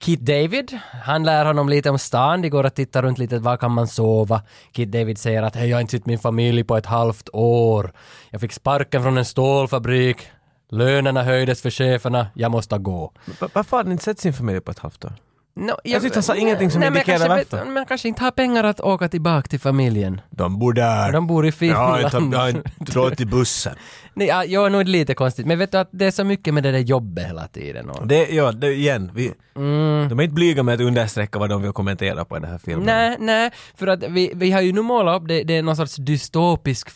[SPEAKER 2] Keith David, han lär honom lite om stan, de går och tittar runt lite, var kan man sova? Keith David säger att hej, jag har inte sett min familj på ett halvt år. Jag fick sparken från en stålfabrik. Lönerna höjdes för cheferna, jag måste gå.
[SPEAKER 1] Va- Varför har ni inte sett sin familj på ett halvt år?
[SPEAKER 2] No, jag,
[SPEAKER 1] tyckte han sa ingenting som
[SPEAKER 2] men jag
[SPEAKER 1] indikerar
[SPEAKER 2] kanske vet-
[SPEAKER 1] varför.
[SPEAKER 2] Men jag kanske inte har pengar att åka tillbaka till familjen.
[SPEAKER 1] De bor där.
[SPEAKER 2] De bor i
[SPEAKER 1] Jag har inte-
[SPEAKER 2] Finland.
[SPEAKER 1] jag har inte råd till bussen.
[SPEAKER 2] Nej, ja, jag är nog lite konstigt, men vet du att det är så mycket med det där jobbet hela tiden. Och...
[SPEAKER 1] Det, ja, det, igen. Vi, De är inte blyga med att understräcka vad de vill kommentera på den här filmen.
[SPEAKER 2] Mm. Nej, nej, för att vi, vi har ju nu målat upp det, det är någon sorts dystopisk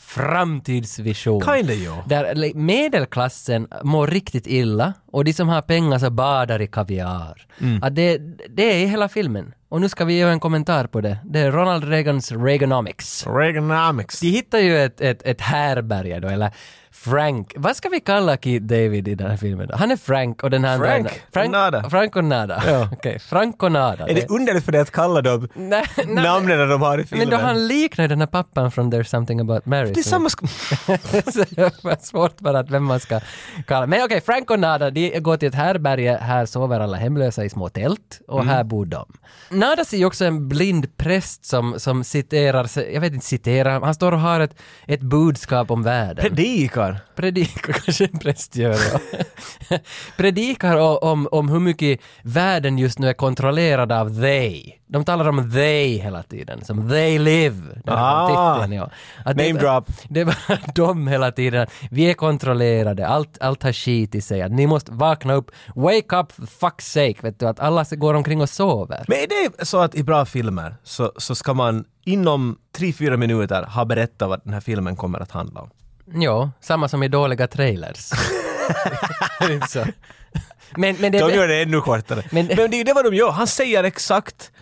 [SPEAKER 2] framtidsvision.
[SPEAKER 1] Kinda ja.
[SPEAKER 2] Där like, medelklassen mår riktigt illa och de som har pengar så badar i kaviar.
[SPEAKER 1] Mm.
[SPEAKER 2] Att det, det är hela filmen. Och nu ska vi göra en kommentar på det. Det är Ronald Reagans Reaganomics.
[SPEAKER 1] Reaganomics.
[SPEAKER 2] De hittar ju ett, ett, ett härberge då, eller Frank. Vad ska vi kalla Keith David i den här filmen då? Han är Frank och den här
[SPEAKER 1] Frank
[SPEAKER 2] andra... Frank
[SPEAKER 1] och Nada.
[SPEAKER 2] Frank och Nada. Okej, Frank och Nada.
[SPEAKER 1] Är det underligt för dig att kalla dem
[SPEAKER 2] Nej, nej, men-
[SPEAKER 1] namnen de har i filmen?
[SPEAKER 2] men då han liknar den här pappan från There's something about Mary.
[SPEAKER 1] det är
[SPEAKER 2] så-
[SPEAKER 1] samma sk-
[SPEAKER 2] så det var svårt bara att vem man ska kalla. Men okej, Frank och Nada, de går till ett härberge, här sover alla hemlösa i små tält och här bor de. Nada ser ju också en blind präst som, som citerar, sig- jag vet inte citerar, han står och har ett, ett budskap om världen
[SPEAKER 1] Predikar.
[SPEAKER 2] predikar, kanske en präst gör då. predikar o- om, om hur mycket världen just nu är kontrollerad av they. De talar om they hela tiden, som they live. Den här
[SPEAKER 1] Ah.
[SPEAKER 2] titeln, ja. Att
[SPEAKER 1] Name
[SPEAKER 2] det,
[SPEAKER 1] drop.
[SPEAKER 2] Det var de hela tiden. Vi är kontrollerade, allt, allt har skit i sig. Att ni måste vakna upp, wake up for fuck's sake, vet du, att alla går omkring och sover.
[SPEAKER 1] Men är det så att i bra filmer så, så ska man inom 3-4 minuter ha berättat vad den här filmen kommer att handla om?
[SPEAKER 2] Ja, samma som i dåliga trailers. Är det inte så? Men, men det
[SPEAKER 1] De gör det ännu kortare. Men,
[SPEAKER 2] Men- Mm.
[SPEAKER 1] det är ju det vad de gör. Han säger exakt.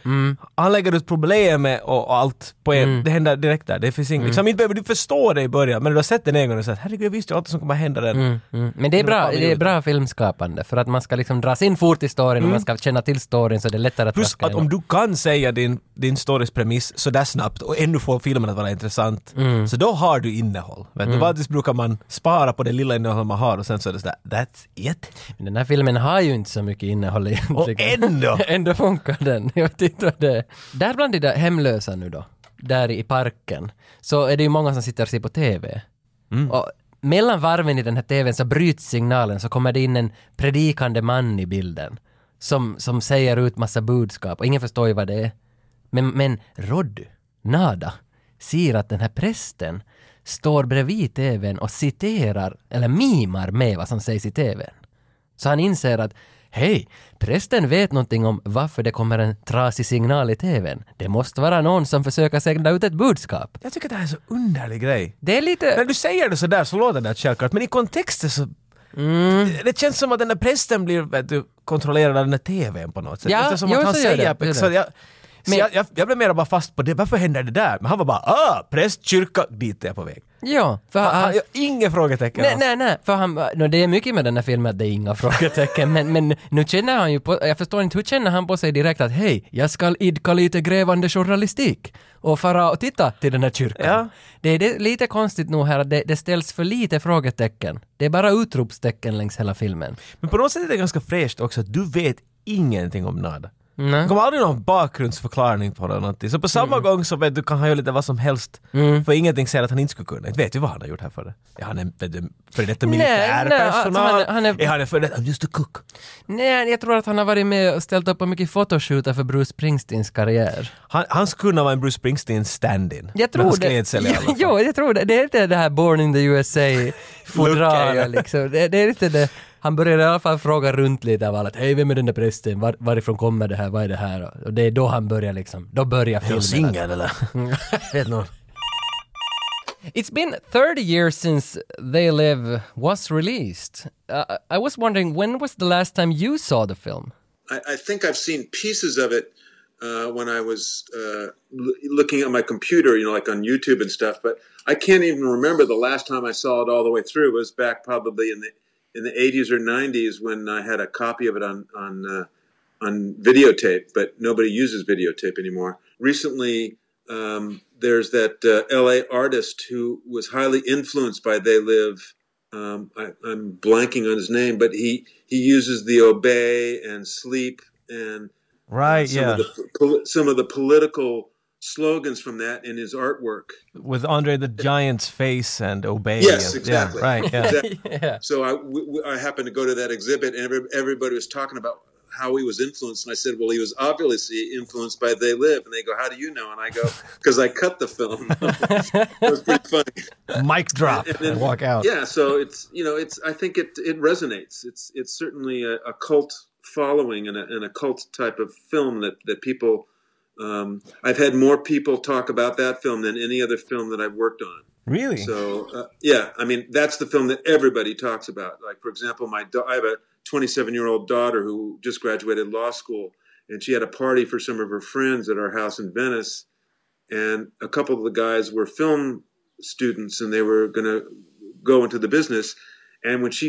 [SPEAKER 1] Han lägger ut problemet och, och allt på en. Det händer direkt där. Det finns
[SPEAKER 2] Mm.
[SPEAKER 1] inget. Liksom, inte behöver du förstå det i början, men du har sett den en gång och sagt herregud, jag visste ju allt som kommer att hända där.
[SPEAKER 2] Mm. Men det är, bra,
[SPEAKER 1] fan
[SPEAKER 2] det är
[SPEAKER 1] gjorde.
[SPEAKER 2] bra filmskapande för att man ska liksom dras in fort i storyn och man ska känna till storyn så det är lättare att
[SPEAKER 1] Mm. Plus
[SPEAKER 2] traska
[SPEAKER 1] att om
[SPEAKER 2] igenom.
[SPEAKER 1] du kan säga din, din stories premiss sådär snabbt och ännu få filmen att vara intressant,
[SPEAKER 2] Mm.
[SPEAKER 1] så då har du innehåll. Vet du, vanligtvis brukar man spara på det lilla innehåll man har och sen så är det sådär, that's it.
[SPEAKER 2] Men Den här filmen har ju inte så mycket innehåll egentligen.
[SPEAKER 1] Och ändå!
[SPEAKER 2] ändå funkar den. Jag vet inte vad det är. Där bland de där hemlösa nu då, där i parken, så är det ju många som sitter och ser på TV.
[SPEAKER 1] Mm.
[SPEAKER 2] Och mellan varven i den här TVn så bryts signalen så kommer det in en predikande man i bilden. Som, som säger ut massa budskap och ingen förstår ju vad det är. Men, men Rod, Nada, ser att den här prästen står bredvid tvn och citerar, eller mimar med vad som sägs i tvn. Så han inser att hej, prästen vet någonting om varför det kommer en trasig signal i tvn. Det måste vara någon som försöker sända ut ett budskap.
[SPEAKER 1] Jag tycker det här är så underlig grej.
[SPEAKER 2] Det är lite...
[SPEAKER 1] När du säger det sådär så låter det självklart, men i kontexten så...
[SPEAKER 2] Mm.
[SPEAKER 1] Det känns som att den där prästen blir vet du, kontrollerad av den där TVn på något sätt.
[SPEAKER 2] Ja,
[SPEAKER 1] det är som
[SPEAKER 2] jo,
[SPEAKER 1] att han
[SPEAKER 2] så gör
[SPEAKER 1] säger...
[SPEAKER 2] det, gör
[SPEAKER 1] Så
[SPEAKER 2] det.
[SPEAKER 1] jag, så
[SPEAKER 2] Men-
[SPEAKER 1] jag, jag, jag blev mera bara fast på det, varför händer det där? Men han var bara ah, präst, kyrka, dit är jag på väg.
[SPEAKER 2] Ja, för
[SPEAKER 1] Han,
[SPEAKER 2] han,
[SPEAKER 1] jag, inga frågetecken
[SPEAKER 2] Nej,
[SPEAKER 1] alls.
[SPEAKER 2] nej, nej. För han, no, det är mycket med den här filmen att det är inga frågetecken, men, men nu känner han ju på, jag förstår inte, hur känner han på sig direkt att hej, jag ska idka lite grävande journalistik och fara och titta till den här kyrkan.
[SPEAKER 1] Ja.
[SPEAKER 2] Det är det, lite konstigt nog här att det, det ställs för lite frågetecken. Det är bara utropstecken längs hela filmen.
[SPEAKER 1] Men på något sätt är det ganska fräscht också att du vet ingenting om nada.
[SPEAKER 2] Nej. Mm.
[SPEAKER 1] Det kommer aldrig någon bakgrundsförklaring på det eller någonting. Så på samma gång så vet du, kan han göra lite vad som helst. För ingenting säger att han inte skulle kunna. Inte vet vi vad han har gjort här för det. Är han en vet du, före detta
[SPEAKER 2] Nej, nej,
[SPEAKER 1] militärpersonal?
[SPEAKER 2] alltså han är- han är-
[SPEAKER 1] är han en före detta... I'm just a cook.
[SPEAKER 2] Nej, jag tror att han har varit med och ställt upp på mycket fotoshootar för Bruce Springsteens karriär.
[SPEAKER 1] Han, han skulle kunna vara en Bruce Springsteen stand-in.
[SPEAKER 2] Jag
[SPEAKER 1] med
[SPEAKER 2] tror
[SPEAKER 1] hans
[SPEAKER 2] det.
[SPEAKER 1] klädsel i alla fall.
[SPEAKER 2] Jo, jag tror det. Det är inte det här Born in the
[SPEAKER 1] Lucka, ja.
[SPEAKER 2] USA-fodralet liksom. Det, det är inte det. Han började i alla fall fråga runt lite av alla. Hej, vem är den där prästen? Var, varifrån kommer det här? Vad är det här? Och det är då han börjar liksom. Då börjar
[SPEAKER 1] Är han
[SPEAKER 2] filmen. Mm,
[SPEAKER 1] singel eller? vet någon?
[SPEAKER 2] It's been 30 years since They Live was released. Uh, I was wondering, when was the last time you saw the film?
[SPEAKER 4] I, I think I've seen pieces of it uh, when I was uh, l- looking at my computer, you know, like on YouTube and stuff. But I can't even remember the last time I saw it all the way through. It was back probably in the in the 80s or 90s when I had a copy of it on on uh, on videotape. But nobody uses videotape anymore. Recently, um, there's that uh, L.A. artist who was highly influenced by They Live um, I, I'm blanking on his name, but he he uses the obey and sleep and
[SPEAKER 1] Right,
[SPEAKER 4] some
[SPEAKER 1] yeah.
[SPEAKER 4] of the pol- some of the political slogans from that in his artwork.
[SPEAKER 1] With Andre the Giant's face and Obey.
[SPEAKER 4] Yes,
[SPEAKER 1] and-
[SPEAKER 4] exactly.
[SPEAKER 1] Yeah, right, yeah.
[SPEAKER 4] Exactly. So I, w- w- I happened to go to that exhibit, and every, everybody was talking about how he was influenced. And I said, "Well, he was obviously influenced by They Live." And they go, "How do you know?" And I go, "Because I cut the film." it was pretty funny.
[SPEAKER 1] Mic drop
[SPEAKER 4] And then-
[SPEAKER 1] and walk out.
[SPEAKER 4] Yeah, so it's you know it's I think it it resonates. It's it's certainly a, a cult following and a, and a cult type of film that that people. Um, I've had more people talk about that film than any other film that I've worked on.
[SPEAKER 1] Really?
[SPEAKER 4] So uh, yeah, I mean that's the film that everybody talks about. Like for example, my da- I have a 27 year old daughter who just graduated law school, and she had a party for some of her friends at our house in Venice, and a couple of the guys were film students, and they were going to go into the business. And when she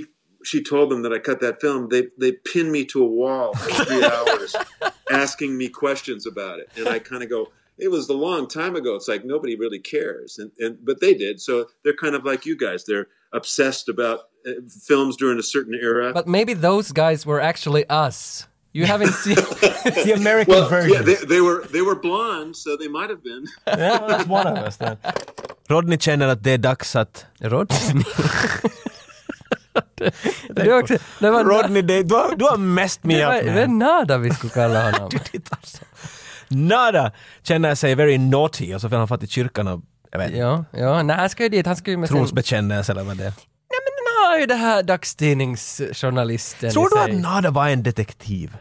[SPEAKER 4] she told them that I cut that film, they they pinned me to a wall for three hours, asking me questions about it, and I kind of go. It was a long time ago. It's like nobody really cares, and, and but they did. So they're kind of like you guys. They're obsessed about uh, films during a certain era.
[SPEAKER 2] But maybe those guys were actually us. You haven't seen...
[SPEAKER 1] The American
[SPEAKER 4] well,
[SPEAKER 1] version.
[SPEAKER 4] yeah, they, they were they were blonde, so they might have been.
[SPEAKER 1] Rodney känner att det är dags att...
[SPEAKER 2] Rodney. det, det, var också, det var...
[SPEAKER 1] Rodney, det, du, har, du har messed me
[SPEAKER 2] Det
[SPEAKER 1] up
[SPEAKER 2] var, det var
[SPEAKER 1] man.
[SPEAKER 2] Nada vi skulle kalla honom.
[SPEAKER 1] Titta alltså. Nada känner sig very naughty och så vill han fatta i kyrkan och jag vet,
[SPEAKER 2] ja, ja, nej han ska ju dit, han ska ju med sin...
[SPEAKER 1] trosbekännelse eller vad det är.
[SPEAKER 2] Nej men han har ju det här dagstidningsjournalisten
[SPEAKER 1] Tror
[SPEAKER 2] i
[SPEAKER 1] du
[SPEAKER 2] sig.
[SPEAKER 1] att Nada var en detektiv?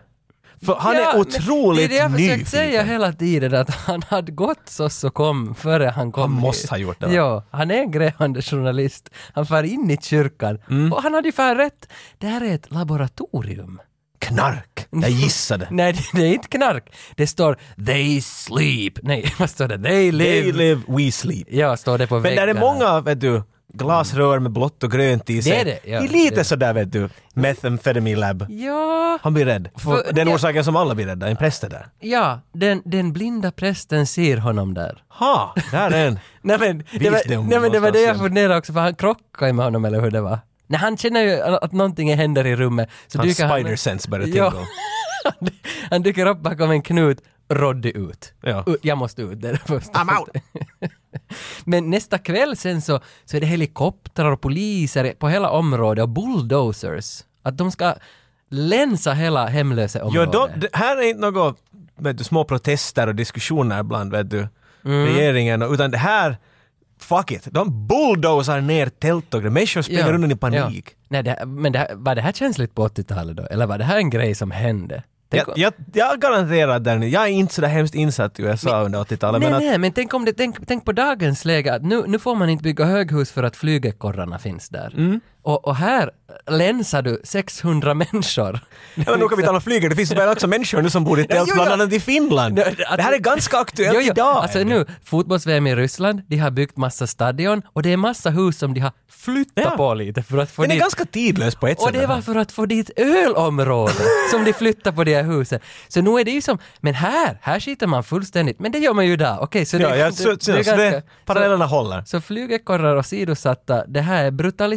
[SPEAKER 1] För han
[SPEAKER 2] Ja,
[SPEAKER 1] är
[SPEAKER 2] men
[SPEAKER 1] otroligt
[SPEAKER 2] Det är det jag
[SPEAKER 1] nyfiken.
[SPEAKER 2] försökt säga hela tiden, att han hade gått så så kom före han kom
[SPEAKER 1] Han
[SPEAKER 2] hit.
[SPEAKER 1] måste ha gjort det, va?
[SPEAKER 2] Ja, han är en grävande journalist. Han far in i kyrkan.
[SPEAKER 1] Mm.
[SPEAKER 2] Och han hade ju fan rätt. Det här är ett laboratorium.
[SPEAKER 1] Knark! Jag gissade.
[SPEAKER 2] Nej, det- det är inte knark. Det står “They sleep”. Nej, vad står det? “They live”.
[SPEAKER 1] They live, we sleep.
[SPEAKER 2] Ja, står det på
[SPEAKER 1] Men där
[SPEAKER 2] väggarna.
[SPEAKER 1] är många, vet du, glasrör med blått och grönt i sig.
[SPEAKER 2] är det, ja,
[SPEAKER 1] I lite
[SPEAKER 2] det är-
[SPEAKER 1] sådär, vet du, methamphetamine lab.
[SPEAKER 2] Ja,
[SPEAKER 1] Han blir rädd.
[SPEAKER 2] För-
[SPEAKER 1] För den
[SPEAKER 2] ja.
[SPEAKER 1] orsaken som alla blir rädda, en präst är där.
[SPEAKER 2] ja den, den blinda prästen ser honom där.
[SPEAKER 1] Ha, där är en.
[SPEAKER 2] Nej men, det var,
[SPEAKER 1] Visdom
[SPEAKER 2] nej, men det, var det jag
[SPEAKER 1] någonstans
[SPEAKER 2] funderade också, för han krockade ju med honom eller hur det var. Nej, han känner ju att någonting händer i rummet. Så
[SPEAKER 1] Hans
[SPEAKER 2] dyker han-
[SPEAKER 1] spider sense börjar
[SPEAKER 2] Ja.
[SPEAKER 1] tingle.
[SPEAKER 2] han, han dyker upp bakom en knut, Roddy ut.
[SPEAKER 1] Ja.
[SPEAKER 2] U- Jag måste ut, det är det första.
[SPEAKER 1] I'm out.
[SPEAKER 2] Men nästa kväll sen så, så är det helikoptrar och poliser på hela området och bulldozers. Att de ska länsa hela hemlösa
[SPEAKER 1] Ja,
[SPEAKER 2] området.
[SPEAKER 1] då, det här är inte något vet du, små protester och diskussioner ibland, vet du.
[SPEAKER 2] Mm.
[SPEAKER 1] regeringen. Utan det här, fuck it, de bulldozar ner tält och grejer. Människor springer undan i panik.
[SPEAKER 2] Ja. Nej, det, här- men det, här- var det här känsligt på 80-talet då? Eller var det här en grej som hände? Tänk
[SPEAKER 1] Jag,
[SPEAKER 2] om-
[SPEAKER 1] jag, jag garanterar Danny, jag är inte så där hemskt insatt i USA under 80-talet
[SPEAKER 2] nej,
[SPEAKER 1] men att
[SPEAKER 2] nej, men tänk, om det, tänk, tänk på dagens läge att nu, nu får man inte bygga höghus för att flygekorrarna finns där.
[SPEAKER 1] Mm.
[SPEAKER 2] Och, och här länsar du 600 människor.
[SPEAKER 1] Ja, men nu kan vi tala om flyget, det finns väl också människor nu som bor i tält,
[SPEAKER 2] jo,
[SPEAKER 1] bland
[SPEAKER 2] jo.
[SPEAKER 1] annat i Finland.
[SPEAKER 2] Nej,
[SPEAKER 1] Det här är ganska aktuellt
[SPEAKER 2] Jo, jo,
[SPEAKER 1] idag.
[SPEAKER 2] Alltså nu, fotbolls-VM i Ryssland, de har byggt massa stadion och det är massa hus som de har flyttat
[SPEAKER 1] Ja.
[SPEAKER 2] på lite för att få
[SPEAKER 1] Den är
[SPEAKER 2] dit
[SPEAKER 1] ganska tidlös på ett sätt.
[SPEAKER 2] Och det var för att få dit ölområde som de flyttar på de här husen. Så nu är det ju som, men här, här skiter man fullständigt, men det gör man ju där. Okej, så det,
[SPEAKER 1] Ja, ja, så, så, så, det, parallellerna håller.
[SPEAKER 2] Så, så flygekorrar och sidosatta, det här är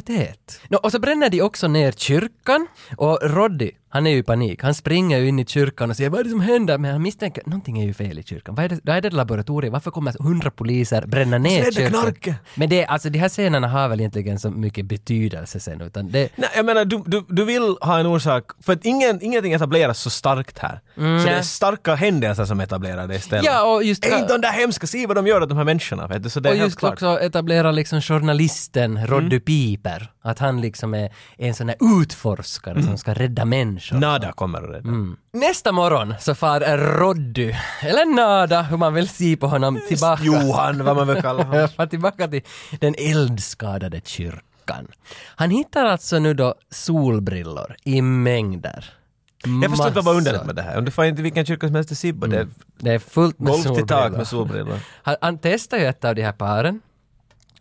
[SPEAKER 2] brutalitet. Nå, och så bränner de också ner kyrkan och Roddy, han är ju i panik. Han springer ju in i kyrkan och säger vad är det som händer? Men han misstänker, någonting är ju fel i kyrkan. Vad är det, vad är det laboratorium? Varför kommer hundra poliser bränna ner
[SPEAKER 1] är det
[SPEAKER 2] kyrkan?
[SPEAKER 1] knarket.
[SPEAKER 2] Men det, alltså de här scenerna har väl egentligen så mycket betydelse sen utan det,
[SPEAKER 1] Nej, jag menar, du, du, du vill ha en orsak, för att ingen, ingenting etableras så starkt här. så det är
[SPEAKER 2] Mm. nej.
[SPEAKER 1] starka händelser som etablerar det istället.
[SPEAKER 2] Ja, och just-
[SPEAKER 1] Inte de där hemska, se vad de gör åt de här människorna. Vet du? Så det är
[SPEAKER 2] och
[SPEAKER 1] helt
[SPEAKER 2] just
[SPEAKER 1] klart.
[SPEAKER 2] också etablera liksom journalisten Roddy Piper. Att han liksom är en sån här utforskare som ska rädda människor.
[SPEAKER 1] Nada kommer det. Mm.
[SPEAKER 2] Nästa morgon så far Roddy, eller Nada, hur man vill se på honom, tillbaka.
[SPEAKER 1] Johan, vad man vill kalla honom.
[SPEAKER 2] far tillbaka till den eldskadade kyrkan. Han hittar alltså nu då solbrillor i mängder.
[SPEAKER 1] Jag förstår inte vad var
[SPEAKER 2] Massor.
[SPEAKER 1] underligt med det här. Om du får inte vilken kyrka som helst i Sibbo,
[SPEAKER 2] Det är fullt
[SPEAKER 1] det
[SPEAKER 2] med
[SPEAKER 1] är golv till tak
[SPEAKER 2] solbrillor.
[SPEAKER 1] med solbrillor.
[SPEAKER 2] Han, han testar ju ett av de här paren.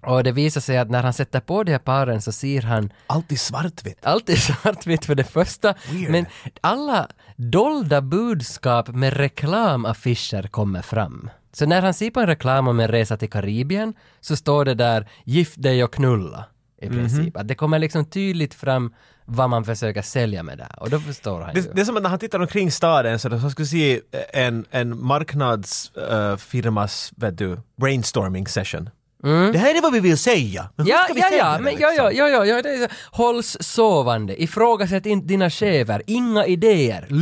[SPEAKER 2] Och det visar sig att när han sätter på de här paren så ser han
[SPEAKER 1] Allt i svartvitt.
[SPEAKER 2] allt är svartvitt för det första,
[SPEAKER 1] Weird.
[SPEAKER 2] men alla dolda budskap med reklamaffischer kommer fram. Så när han ser på en reklam om en resa till Karibien så står det där “gift dig och knulla” i
[SPEAKER 1] Mhm.
[SPEAKER 2] princip. Att det kommer liksom tydligt fram vad man försöker sälja med det här. Och då förstår han ju.
[SPEAKER 1] Det, det är som att när han tittar omkring staden så han skulle se eh, en, en marknadsfirmas, vet du, brainstorming session. Det här är vad vi vill säga. Men hur
[SPEAKER 2] Mm. Ja,
[SPEAKER 1] ska vi
[SPEAKER 2] ja,
[SPEAKER 1] säga
[SPEAKER 2] ja,
[SPEAKER 1] det,
[SPEAKER 2] men ja,
[SPEAKER 1] liksom?
[SPEAKER 2] ja, ja, ja, ja, det är så. Hålls sovande, ifrågasätt inte dina chefer, inga idéer,
[SPEAKER 1] Oh,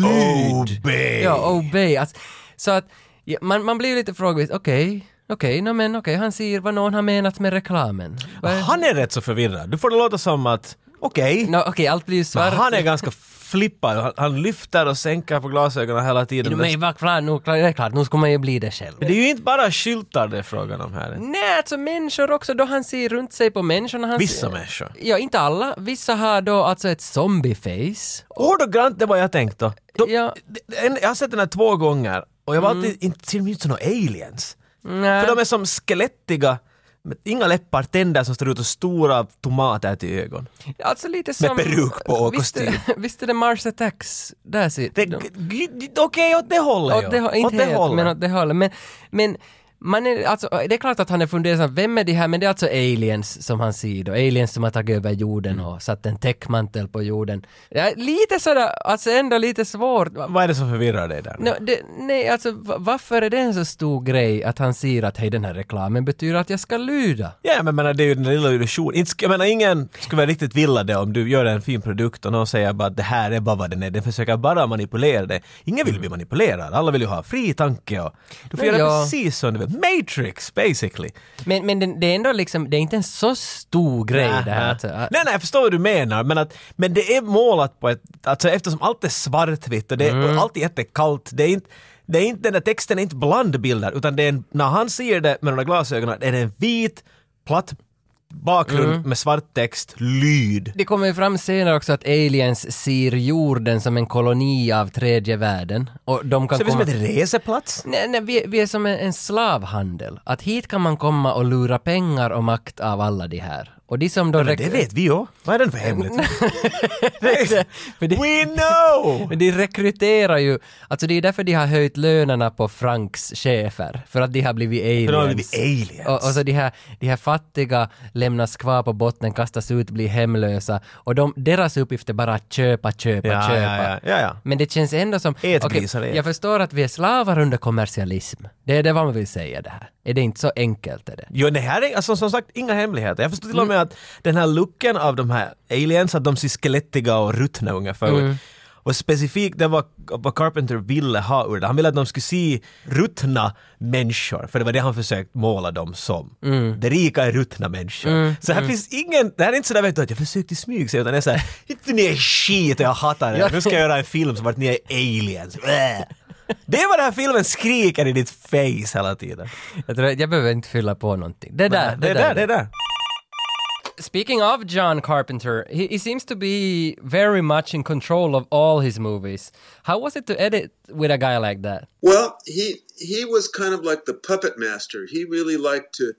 [SPEAKER 2] lyd.
[SPEAKER 1] Obey.
[SPEAKER 2] Ja, obey. Alltså, så att ja, man, man blir lite frågvis, okej, okej, nå men okej, han ser vad någon har menat med reklamen. Vad är-
[SPEAKER 1] Han är rätt så förvirrad. Du får det låta som att, okej,
[SPEAKER 2] Nå, okej, allt blir ju
[SPEAKER 1] men
[SPEAKER 2] svart.
[SPEAKER 1] han är ganska flippad. Han, han lyfter och sänker på glasögonen hela tiden.
[SPEAKER 2] Jo,
[SPEAKER 1] Men
[SPEAKER 2] Men vad klart, nu, klart, det är klart, nu ska man ju bli det själv.
[SPEAKER 1] det är ju inte bara skyltar det är frågan om här.
[SPEAKER 2] Nej, alltså människor också, då han ser runt sig på människorna. Han
[SPEAKER 1] Vissa
[SPEAKER 2] ser,
[SPEAKER 1] människor.
[SPEAKER 2] Ja, inte alla. Vissa har då alltså ett zombie-face.
[SPEAKER 1] Ordagrant det var jag tänkt då. De,
[SPEAKER 2] Ja. Mm.
[SPEAKER 1] de- de- en- Jag har sett den här två gånger och jag var alltid, inte, ser de ut som några aliens?
[SPEAKER 2] Nej.
[SPEAKER 1] För de är som skelettiga, med inga läppar, tänder som står ut och stora tomater till ögon.
[SPEAKER 2] Alltså lite som...
[SPEAKER 1] peruk på och
[SPEAKER 2] Visst är-
[SPEAKER 1] kostym.
[SPEAKER 2] Visst är det Mars Attacks? Där ser
[SPEAKER 1] Det-
[SPEAKER 2] de.
[SPEAKER 1] g- g- Okej, åt det hållet
[SPEAKER 2] Åt det, hå- inte helt, men åt det hållet. Men, men man är, alltså, det är klart att han är fundersam, vem är de här? Men det är alltså aliens som han ser då, aliens som har tagit över jorden och satt en täckmantel på jorden. Ja, lite sådär, alltså ändå lite svårt. Va-
[SPEAKER 1] Vad är det som förvirrar dig där?
[SPEAKER 2] Nå, det, nej, alltså va- varför är det en så stor grej att han ser att hej den här reklamen betyder att jag ska lyda?
[SPEAKER 1] Ja, men jag menar, det är ju den lilla illusionen. Inte sk- Jag menar, ingen skulle väl riktigt vilja det om du gör en fin produkt och någon säger bara att det här är bara vad den är, den försöker bara manipulera dig. Ingen vill bli manipulerad, alla vill ju ha fri tanke och du får göra
[SPEAKER 2] Nej, ja.
[SPEAKER 1] precis som du vill. Matrix, basically.
[SPEAKER 2] Men, men det, det är ändå liksom, det är inte en så stor grej det här. Alltså,
[SPEAKER 1] Nej, nej, jag förstår vad du menar, men, att, men det är målat på ett... Alltså eftersom allt är svartvitt och, det,
[SPEAKER 2] Mm.
[SPEAKER 1] och allt är jättekallt, det är inte... Det är inte, den där texten är inte blandbilder, utan det är en, när han ser det med de där glasögonen är det en vit, platt bakgrund
[SPEAKER 2] Mm.
[SPEAKER 1] med svart text, lyd.
[SPEAKER 2] Det kommer ju fram senare också att aliens ser jorden som en koloni av tredje världen. Och de kan
[SPEAKER 1] Så det är som
[SPEAKER 2] komma...
[SPEAKER 1] ett reseplats.
[SPEAKER 2] Nej, nej, vi, vi är som en, en slavhandel. Att hit kan man komma och lura pengar och makt av alla de här. Och de som då...
[SPEAKER 1] Men det vet vi ju. Vad är den för hemligt?
[SPEAKER 2] för det-
[SPEAKER 1] We know!
[SPEAKER 2] Men de rekryterar ju, alltså det är därför de har höjt lönerna på Franks chefer, för att de har blivit aliens.
[SPEAKER 1] För de har blivit aliens.
[SPEAKER 2] Och, och så de här, de här fattiga lämnas kvar på botten, kastas ut, blir hemlösa. Och de, deras uppgift är bara att köpa, köpa,
[SPEAKER 1] Ja,
[SPEAKER 2] köpa.
[SPEAKER 1] ja, ja, ja, ja.
[SPEAKER 2] Men det känns ändå som...
[SPEAKER 1] Ät
[SPEAKER 2] okej,
[SPEAKER 1] grisar, ät.
[SPEAKER 2] jag förstår att vi är slavar under kommersialism. Det är det vad man vill säga det här. Är det inte så enkelt? Är det?
[SPEAKER 1] Jo, det här är alltså, som sagt inga hemligheter. Jag förstår till Mm. och med att den här looken av de här aliens, att de ser skelettiga och ruttna ungefär ut. Och specifikt det var vad Carpenter ville ha ur det. Han ville att de skulle se ruttna människor, för det var det han försökte måla dem som. De rika är ruttna människor. så här finns ingen, det här är inte sådär vet du, att jag försökte i smyg sig, utan det är såhär, inte ni är skit och jag hatar det. Nu ska jag göra en film som vart ni är aliens. Äh. Det är vad den här filmen skriker i ditt face hela tiden.
[SPEAKER 2] Jag, tror, jag behöver inte fylla på någonting. Det där,
[SPEAKER 1] det är där, det är där.
[SPEAKER 2] Speaking of John Carpenter, he, he seems to be very much in control of all his movies. How was it to edit with a guy like that?
[SPEAKER 4] Well, he he was kind of like the puppet master. He really liked to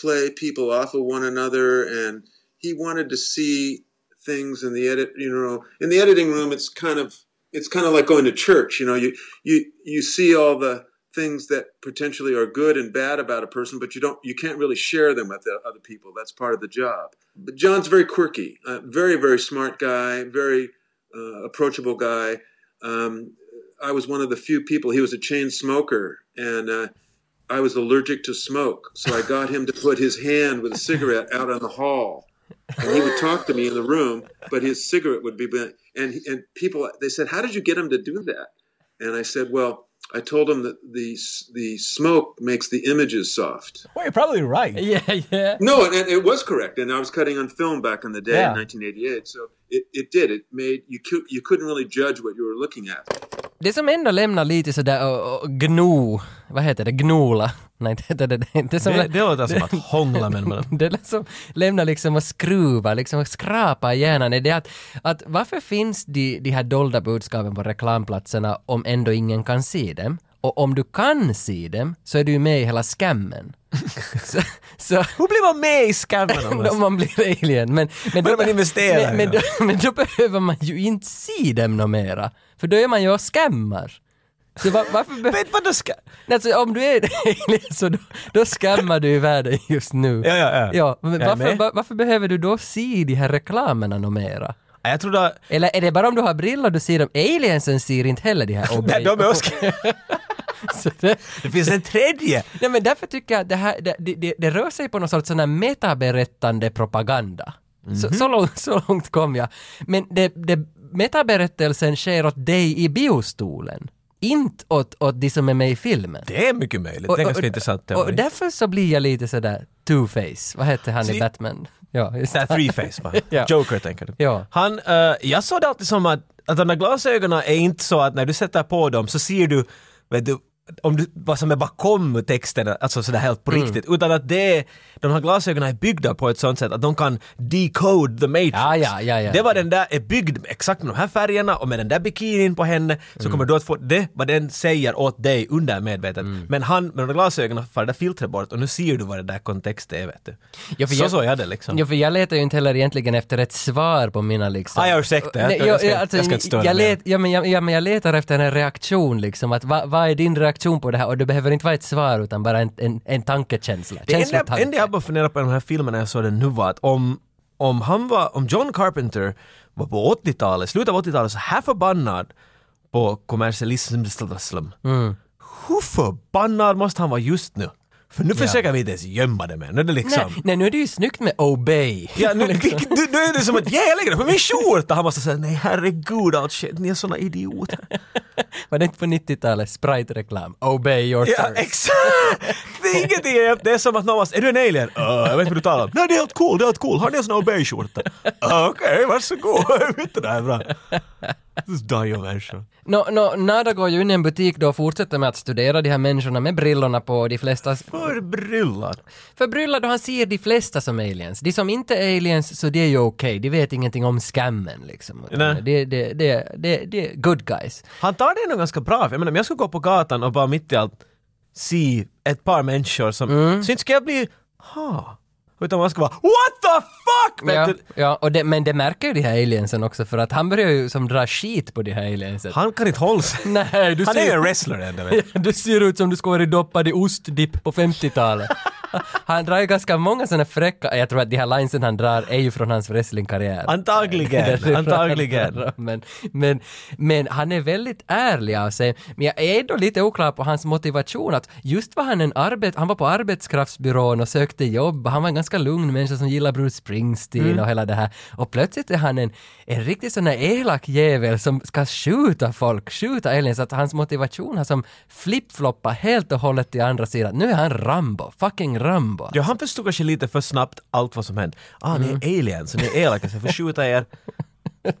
[SPEAKER 4] play people off of one another, and he wanted to see things in the edit. You know, in the editing room, it's kind of it's kind of like going to church. You know, you you you see all the things that potentially are good and bad about a person, but you don't you can't really share them with the other people. That's part of the job. But John's very quirky, uh, very very smart guy, very uh, approachable guy. Um, I was one of the few people. He was a chain smoker, and uh, I was allergic to smoke, so I got him to put his hand with a cigarette out on the hall. And he would talk to me in the room, but his cigarette would be. And and people they said, "How did you get him to do that?" And I said, "Well, I told him that the the smoke makes the images soft."
[SPEAKER 1] Well, you're probably right.
[SPEAKER 2] Yeah, yeah.
[SPEAKER 4] No, and, and it was correct. And I was cutting on film back in the day
[SPEAKER 1] Yeah.
[SPEAKER 4] in 1988, so it, it did. It made you cou- you couldn't really judge what you were looking at.
[SPEAKER 2] Det som ändå lämnar lite sådär och, och gno, vad heter det, gnola? Nej, det heter det, det, inte. det, som,
[SPEAKER 1] Det, det låter som att hångla med någon.
[SPEAKER 2] Det liksom lämnar liksom och skruvar, liksom och skrapar i hjärnan. Är det att, att varför finns de, de här dolda budskapen på reklamplatserna om ändå ingen kan se dem? Och om du kan se dem så är du ju med i hela scammen. så, så
[SPEAKER 1] Hur blir man med i scammen om
[SPEAKER 2] om man blir alien. Men, men,
[SPEAKER 1] Börjar man investera
[SPEAKER 2] men, men,
[SPEAKER 1] i
[SPEAKER 2] då, men då behöver man ju inte se dem nå mera. För då är man ju och scammar. Så va- varför behöver
[SPEAKER 1] Men vadå ska...
[SPEAKER 2] Alltså om du är en alien så då, då skammar du i världen just nu.
[SPEAKER 1] Ja, ja, ja.
[SPEAKER 2] ja men
[SPEAKER 1] Jag är
[SPEAKER 2] varför,
[SPEAKER 1] med.
[SPEAKER 2] va- varför behöver du då se de här reklamerna nå mera?
[SPEAKER 1] Ja, Jag trodde...
[SPEAKER 2] Eller är det bara om du har brillor du ser dem? Aliensen ser inte heller de här
[SPEAKER 1] Nej, de är också...
[SPEAKER 2] Så det-
[SPEAKER 1] Det finns en tredje!
[SPEAKER 2] Nej men därför tycker jag att det här, det, det- det, det rör sig på någon sorts sån här metaberättande propaganda.
[SPEAKER 1] Mhm.
[SPEAKER 2] Så, så, långt, så långt kom jag. Men det, det, metaberättelsen sker åt dig i biostolen. Inte åt, åt de som är med i filmen.
[SPEAKER 1] Det är mycket möjligt. Det är ganska intressant
[SPEAKER 2] och, och
[SPEAKER 1] teori.
[SPEAKER 2] därför så blir jag lite sådär two-face. Vad hette han
[SPEAKER 1] Så-
[SPEAKER 2] i Batman? Ja, just
[SPEAKER 1] Såhär three-face man.
[SPEAKER 2] Ja.
[SPEAKER 1] Joker tänker du.
[SPEAKER 2] Ja.
[SPEAKER 1] Han, eh, jag såg det alltid som att, att de där glasögonen är inte så att när du sätter på dem så ser du, vet du, om du, vad som är bakom texten, alltså sådär helt på
[SPEAKER 2] Mm.
[SPEAKER 1] riktigt. Utan att det är, de här glasögonen är byggda på ett sånt sätt att de kan decode the matrix.
[SPEAKER 2] Ja, ja, ja, ja.
[SPEAKER 1] Det var den där, är byggd med exakt med de här färgerna och med den där bikinin på henne så
[SPEAKER 2] Mm.
[SPEAKER 1] kommer du att få det, vad den säger åt dig under medvetet.
[SPEAKER 2] Mm.
[SPEAKER 1] Men han, med de där glasögonen, far det där filtret bort och nu ser du vad det där kontext är vet du.
[SPEAKER 2] Ja, för
[SPEAKER 1] så
[SPEAKER 2] jag-
[SPEAKER 1] såg jag det liksom.
[SPEAKER 2] Ja, för jag letar ju inte heller egentligen efter ett svar på mina liksom...
[SPEAKER 1] Ah, ja, ursäkta. Jag-
[SPEAKER 2] Nej, alltså,
[SPEAKER 1] jag ska- jag ska inte störa
[SPEAKER 2] jag
[SPEAKER 1] mer.
[SPEAKER 2] let, ja, men jag, ja, men jag letar efter en reaktion liksom, att va- vad är din reaktion på det här? Och det behöver inte vara ett svar utan bara en, en, en tankekänsla.
[SPEAKER 1] Det
[SPEAKER 2] Känsla
[SPEAKER 1] enda,
[SPEAKER 2] och tanke.
[SPEAKER 1] enda jag bara funderar på i de här filmerna jag såg den nu var att om, om han var, om John Carpenter var på 80-talet, slutet av 80-talet så här förbannad på kommersialism,
[SPEAKER 2] Mm.
[SPEAKER 1] hur förbannad måste han vara just nu? För nu försöker vi inte ens gömma det mer, nu är det liksom
[SPEAKER 2] nej, nej, nu är det ju snyggt med obey.
[SPEAKER 1] Ja, nu, vilket- nu, nu är det som att yeah, jag lägger det på min skjorta! Han måste säga nej herregud, allt shit, ni är såna idioter.
[SPEAKER 2] Var det inte på 90-talet? Sprite-reklam. Obey your
[SPEAKER 1] Ja,
[SPEAKER 2] thirst.
[SPEAKER 1] exakt! Det är ingenting, det är som att någon måste, är du en alien? "Uh, jag vet inte vad du talar om. Nej, det är helt cool, det är helt cool. Har ni en sån här obey-skjorta? "Uh, Okej, varsågod. Jag vet inte, det här är bra. Dying människor.
[SPEAKER 2] Nå, nå, Nada går ju in i en butik då och fortsätter med att studera de här människorna med brillorna på, de flesta...
[SPEAKER 1] Förbryllad.
[SPEAKER 2] Förbryllad och han ser de flesta som aliens. De som inte är aliens, så det är ju okej. De vet ingenting om skammen liksom.
[SPEAKER 1] Nej.
[SPEAKER 2] Det, det, det, det, det är good guys.
[SPEAKER 1] Han tar det nog ganska bra. Jag menar, om jag skulle gå på gatan och bara mitt i allt se ett par människor som... Så inte ska jag bli... Ha. Utan man ska vara What the fuck! Vet
[SPEAKER 2] Ja,
[SPEAKER 1] du?
[SPEAKER 2] ja och det, men det märker ju de här aliensen också för att han börjar ju som dra skit på de här aliensen.
[SPEAKER 1] Han kan inte hålla sig.
[SPEAKER 2] Nej, du
[SPEAKER 1] Han är ju en
[SPEAKER 2] ser,
[SPEAKER 1] wrestler ändå. vet du.
[SPEAKER 2] du ser ut som du ska vara doppad i ostdipp på 50-talet. Han drar ju ganska många sådana fräcka, jag tror att de här linesen han drar är ju från hans wrestlingkarriär.
[SPEAKER 1] Antagligen, antagligen.
[SPEAKER 2] Men, men, men han är väldigt ärlig av sig. Men jag är ändå lite oklar på hans motivation att just var han en arbet, han var på arbetskraftsbyrån och sökte jobb, han var en ganska lugn människa som gillar Bruce Springsteen
[SPEAKER 1] Mm.
[SPEAKER 2] och hela det här. Och plötsligt är han en, en riktigt sån här elak jävel som ska skjuta folk, skjuta aliens. Att hans motivation har som flip-floppat helt och hållet till andra sidan. Nu är han Rambo, fucking Rambo.
[SPEAKER 1] Ja, han förstod kanske lite för snabbt allt vad som hände. Ah, ni är aliens, ni är elaka, så jag får skjuta er.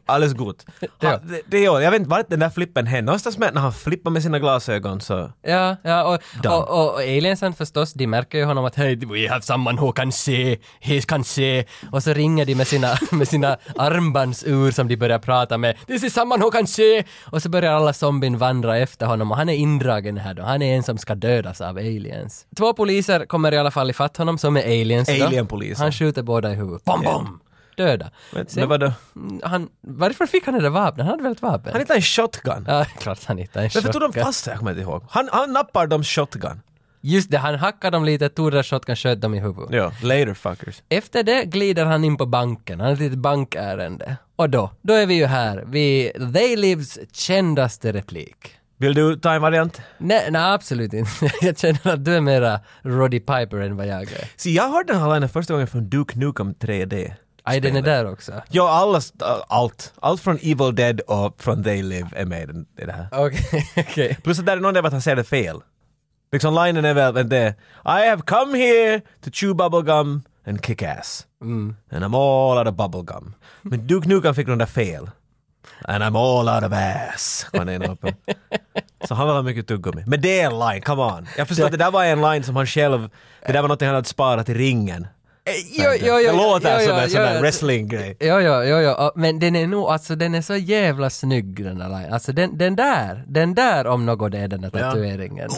[SPEAKER 1] Alldeles gott.
[SPEAKER 2] Ja.
[SPEAKER 1] Ha, det, det, gör- jag vet inte vart den där flippen hände. Någonstans med, när han flippar med sina glasögon så...
[SPEAKER 2] Ja, ja och,
[SPEAKER 1] Done.
[SPEAKER 2] och, och, och aliensen förstås, de märker ju honom att hej, we have someone who can see, he can see. Och så ringer de med sina, med sina armbandsur som de börjar prata med. This is someone who can see! Och så börjar alla zombien vandra efter honom och han är indragen här då. Han är en som ska dödas av aliens. Två poliser kommer i alla fall ifatt honom som är aliens då.
[SPEAKER 1] Alienpoliser.
[SPEAKER 2] Han skjuter båda i huvudet. Bom, bom! Döda.
[SPEAKER 1] Men,
[SPEAKER 2] Sen-
[SPEAKER 1] men
[SPEAKER 2] Mm,
[SPEAKER 1] vadå?
[SPEAKER 2] han, varför fick han det där vapnet? Han hade väl ett vapen?
[SPEAKER 1] Han hittade en shotgun.
[SPEAKER 2] Ja, klart han hittade en
[SPEAKER 1] Varför tog de
[SPEAKER 2] shotgun.
[SPEAKER 1] fast det? Jag kommer inte ihåg. Han, han nappar dem shotgun.
[SPEAKER 2] Just det, han hackade dem lite, tog deras shotgun, sköt dem i huvudet.
[SPEAKER 1] Ja, later fuckers.
[SPEAKER 2] Efter det glider han in på banken, han har ett litet bankärende. Och då, då är vi ju här vid They Lives kändaste replik.
[SPEAKER 1] Vill du ta en variant?
[SPEAKER 2] Nej, nej absolut inte. Jag känner att du är mera Roddy Piper än vad jag är.
[SPEAKER 1] Se, jag hörde den här linen första gången från Duke Nukem 3D.
[SPEAKER 2] Aj, den är där också.
[SPEAKER 1] Ja, alla, äh, allt. Allt från Evil Dead och från They Live är med i den- i det här.
[SPEAKER 2] Okej, okej.
[SPEAKER 1] Plus att där är någon där att han säger det fel. Liksom linen är väl det I have come here to chew bubblegum and kick ass. And I'm all out of bubblegum. Men Duke Nukem fick den där fel. And I'm all out of ass. var den ena uppe. Så han vill ha mycket tuggummi. Men det är en line, come on. Jag förstår att det där var en line som han själv, det där var något han hade sparat i ringen.
[SPEAKER 2] Jo, jo, jo.
[SPEAKER 1] det låter
[SPEAKER 2] jo,
[SPEAKER 1] som
[SPEAKER 2] jo,
[SPEAKER 1] en sån
[SPEAKER 2] jo,
[SPEAKER 1] där
[SPEAKER 2] jo.
[SPEAKER 1] wrestling-grej.
[SPEAKER 2] Jo, jo, jo, jo, men den är nog, alltså den är så jävla snygg den där line. Alltså den, den där, den där om något det är den där tatueringen.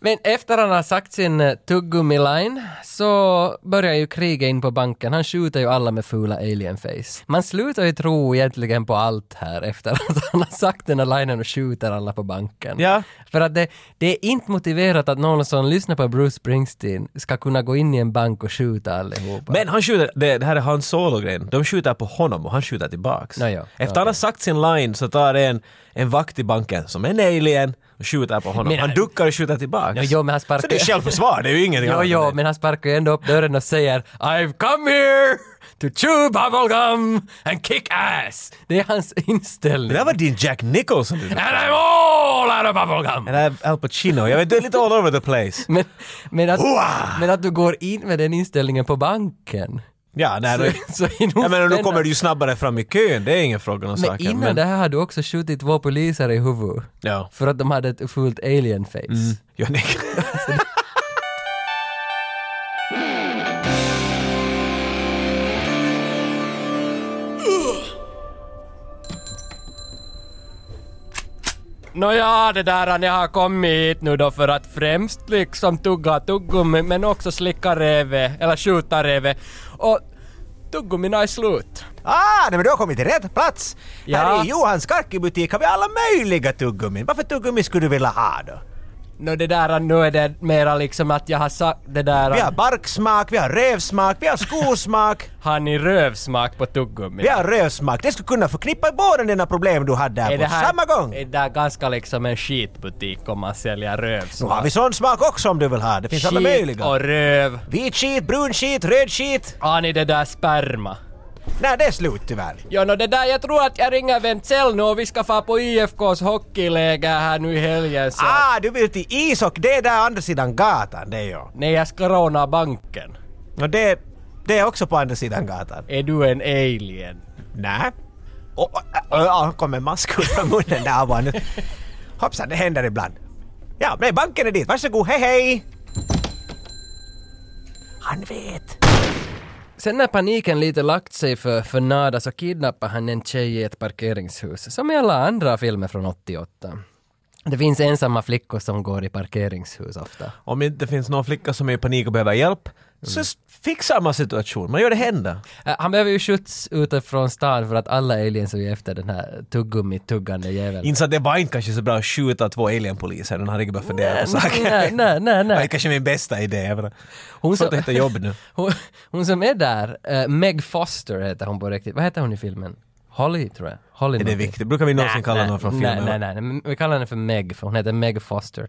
[SPEAKER 2] Men efter han har sagt sin eh, tuggummi-line så börjar ju kriget in på banken. Han skjuter ju alla med fula alien-face. Man slutar ju tro egentligen på allt här efter att han har sagt den här linen och skjuter alla på banken.
[SPEAKER 1] Ja.
[SPEAKER 2] För att det, det är inte motiverat att någon som lyssnar på Bruce Springsteen ska kunna gå in i en bank och skjuta allihopa.
[SPEAKER 1] Men han skjuter, det, det här är hans solo-grejen, de skjuter på honom och han skjuter tillbaks.
[SPEAKER 2] Ja, ja.
[SPEAKER 1] Efter han har sagt sin line så tar en, en vakt i banken som är en alien och skjuter på honom.
[SPEAKER 2] Men-
[SPEAKER 1] han duckar och skjuter tillbaks.
[SPEAKER 2] Ja, jo, men han sparkar-
[SPEAKER 1] Så det är självförsvar, det är ju ingenting
[SPEAKER 2] Jo,
[SPEAKER 1] annat än
[SPEAKER 2] jo,
[SPEAKER 1] det.
[SPEAKER 2] men han sparkar ju ändå upp dörren och säger I've come here to chew bubblegum and kick ass. Det är hans inställning.
[SPEAKER 1] Det där var din Jack Nicholson. du.
[SPEAKER 2] And I'm all out of bubblegum.
[SPEAKER 1] Det där är Al Pacino, jag vet, du är lite all over the place.
[SPEAKER 2] Men, men, att,
[SPEAKER 1] Hua!
[SPEAKER 2] men att du går in med den inställningen på banken.
[SPEAKER 1] Ja, nej, då,
[SPEAKER 2] Så är nog
[SPEAKER 1] jag menar, nu kommer
[SPEAKER 2] spännande.
[SPEAKER 1] du ju snabbare fram i kön, det är ingen fråga om
[SPEAKER 2] Men
[SPEAKER 1] saken.
[SPEAKER 2] innan det här har du också skjutit två poliser i huvudet.
[SPEAKER 1] Ja.
[SPEAKER 2] För att de hade ett fullt alien face.
[SPEAKER 1] Ja, nej.
[SPEAKER 2] Nåja, det där han jag har kommit hit nu då för att främst liksom tugga tuggummi men också slicka reve, eller skjuta reve. Och tuggummina är slut.
[SPEAKER 1] Ah, nej, men du har kommit till rätt plats!
[SPEAKER 2] Ja.
[SPEAKER 1] Här i Johans karkibutik har vi alla möjliga tuggummin. Varför tuggummi skulle du vilja ha då?
[SPEAKER 2] Nå det där nu är det mera liksom att jag har sagt det där
[SPEAKER 1] Vi har barksmak, vi har rövsmak, vi har skosmak,
[SPEAKER 2] har ni rövsmak på tuggummi?
[SPEAKER 1] vi har rövsmak. Det skulle kunna förknippa båda dina problem du hade här
[SPEAKER 2] Är
[SPEAKER 1] på
[SPEAKER 2] det här,
[SPEAKER 1] samma gång.
[SPEAKER 2] Är det här ganska liksom en skitbutik om man säljer
[SPEAKER 1] Nu
[SPEAKER 2] rövsmak?
[SPEAKER 1] har vi sån smak också om du vill ha. Det finns alla
[SPEAKER 2] Skit
[SPEAKER 1] möjliga.
[SPEAKER 2] och röv.
[SPEAKER 1] Vit skit, brun skit, röd skit.
[SPEAKER 2] Har ni det där sperma?
[SPEAKER 1] Nej, det är slut tyvärr.
[SPEAKER 2] Ja, no, det där, jag tror att jag ringer Wentzell nu och vi ska få på IFKs hockeyläger här nu i helgen så... att-
[SPEAKER 1] Ah, du vill till is och det är där andra sidan gatan, det är jag.
[SPEAKER 2] Nej, jag ska råna banken.
[SPEAKER 1] Och det, det är också på andra sidan gatan.
[SPEAKER 2] Är du en alien?
[SPEAKER 1] Nej. Och och- och- och kom en mask ut från munnen där bara nu. Hoppsan, det händer ibland. Ja, nej, banken är dit. Varsågod, hej hej! Han vet.
[SPEAKER 2] Sen när paniken lite lagt sig för, för Nada så kidnappar han en tjej i ett parkeringshus, som i alla andra filmer från 88. Det finns ensamma flickor som går i parkeringshus ofta.
[SPEAKER 1] Om inte det finns någon flicka som är i panik och behöver hjälp, så s- fixar man situationen. Man gör det hända.
[SPEAKER 2] Eh, Han behöver ju skjuts utifrån stan för att alla aliens är ju efter den här tuggummi-tuggande jäveln.
[SPEAKER 1] Inser att det var inte kanske så bra att skjuta två alienpoliser. Den hade inte börjat fundera på saken.
[SPEAKER 2] Nej, nej, nej,
[SPEAKER 1] Det
[SPEAKER 2] nej.
[SPEAKER 1] var kanske min bästa idé. jag menar.
[SPEAKER 2] Hon
[SPEAKER 1] Svårt
[SPEAKER 2] sa-
[SPEAKER 1] att hitta jobb nu.
[SPEAKER 2] Hon, hon som är där, eh, Meg Foster heter hon på riktigt. Vad heter hon i filmen? Holly tror jag. Holly
[SPEAKER 1] Är det
[SPEAKER 2] någonting.
[SPEAKER 1] viktigt? Brukar vi någonsin kalla någon från filmen?
[SPEAKER 2] Nej, nej, nej, nej. Men Vi kallar henne för Meg, för hon heter Meg Foster.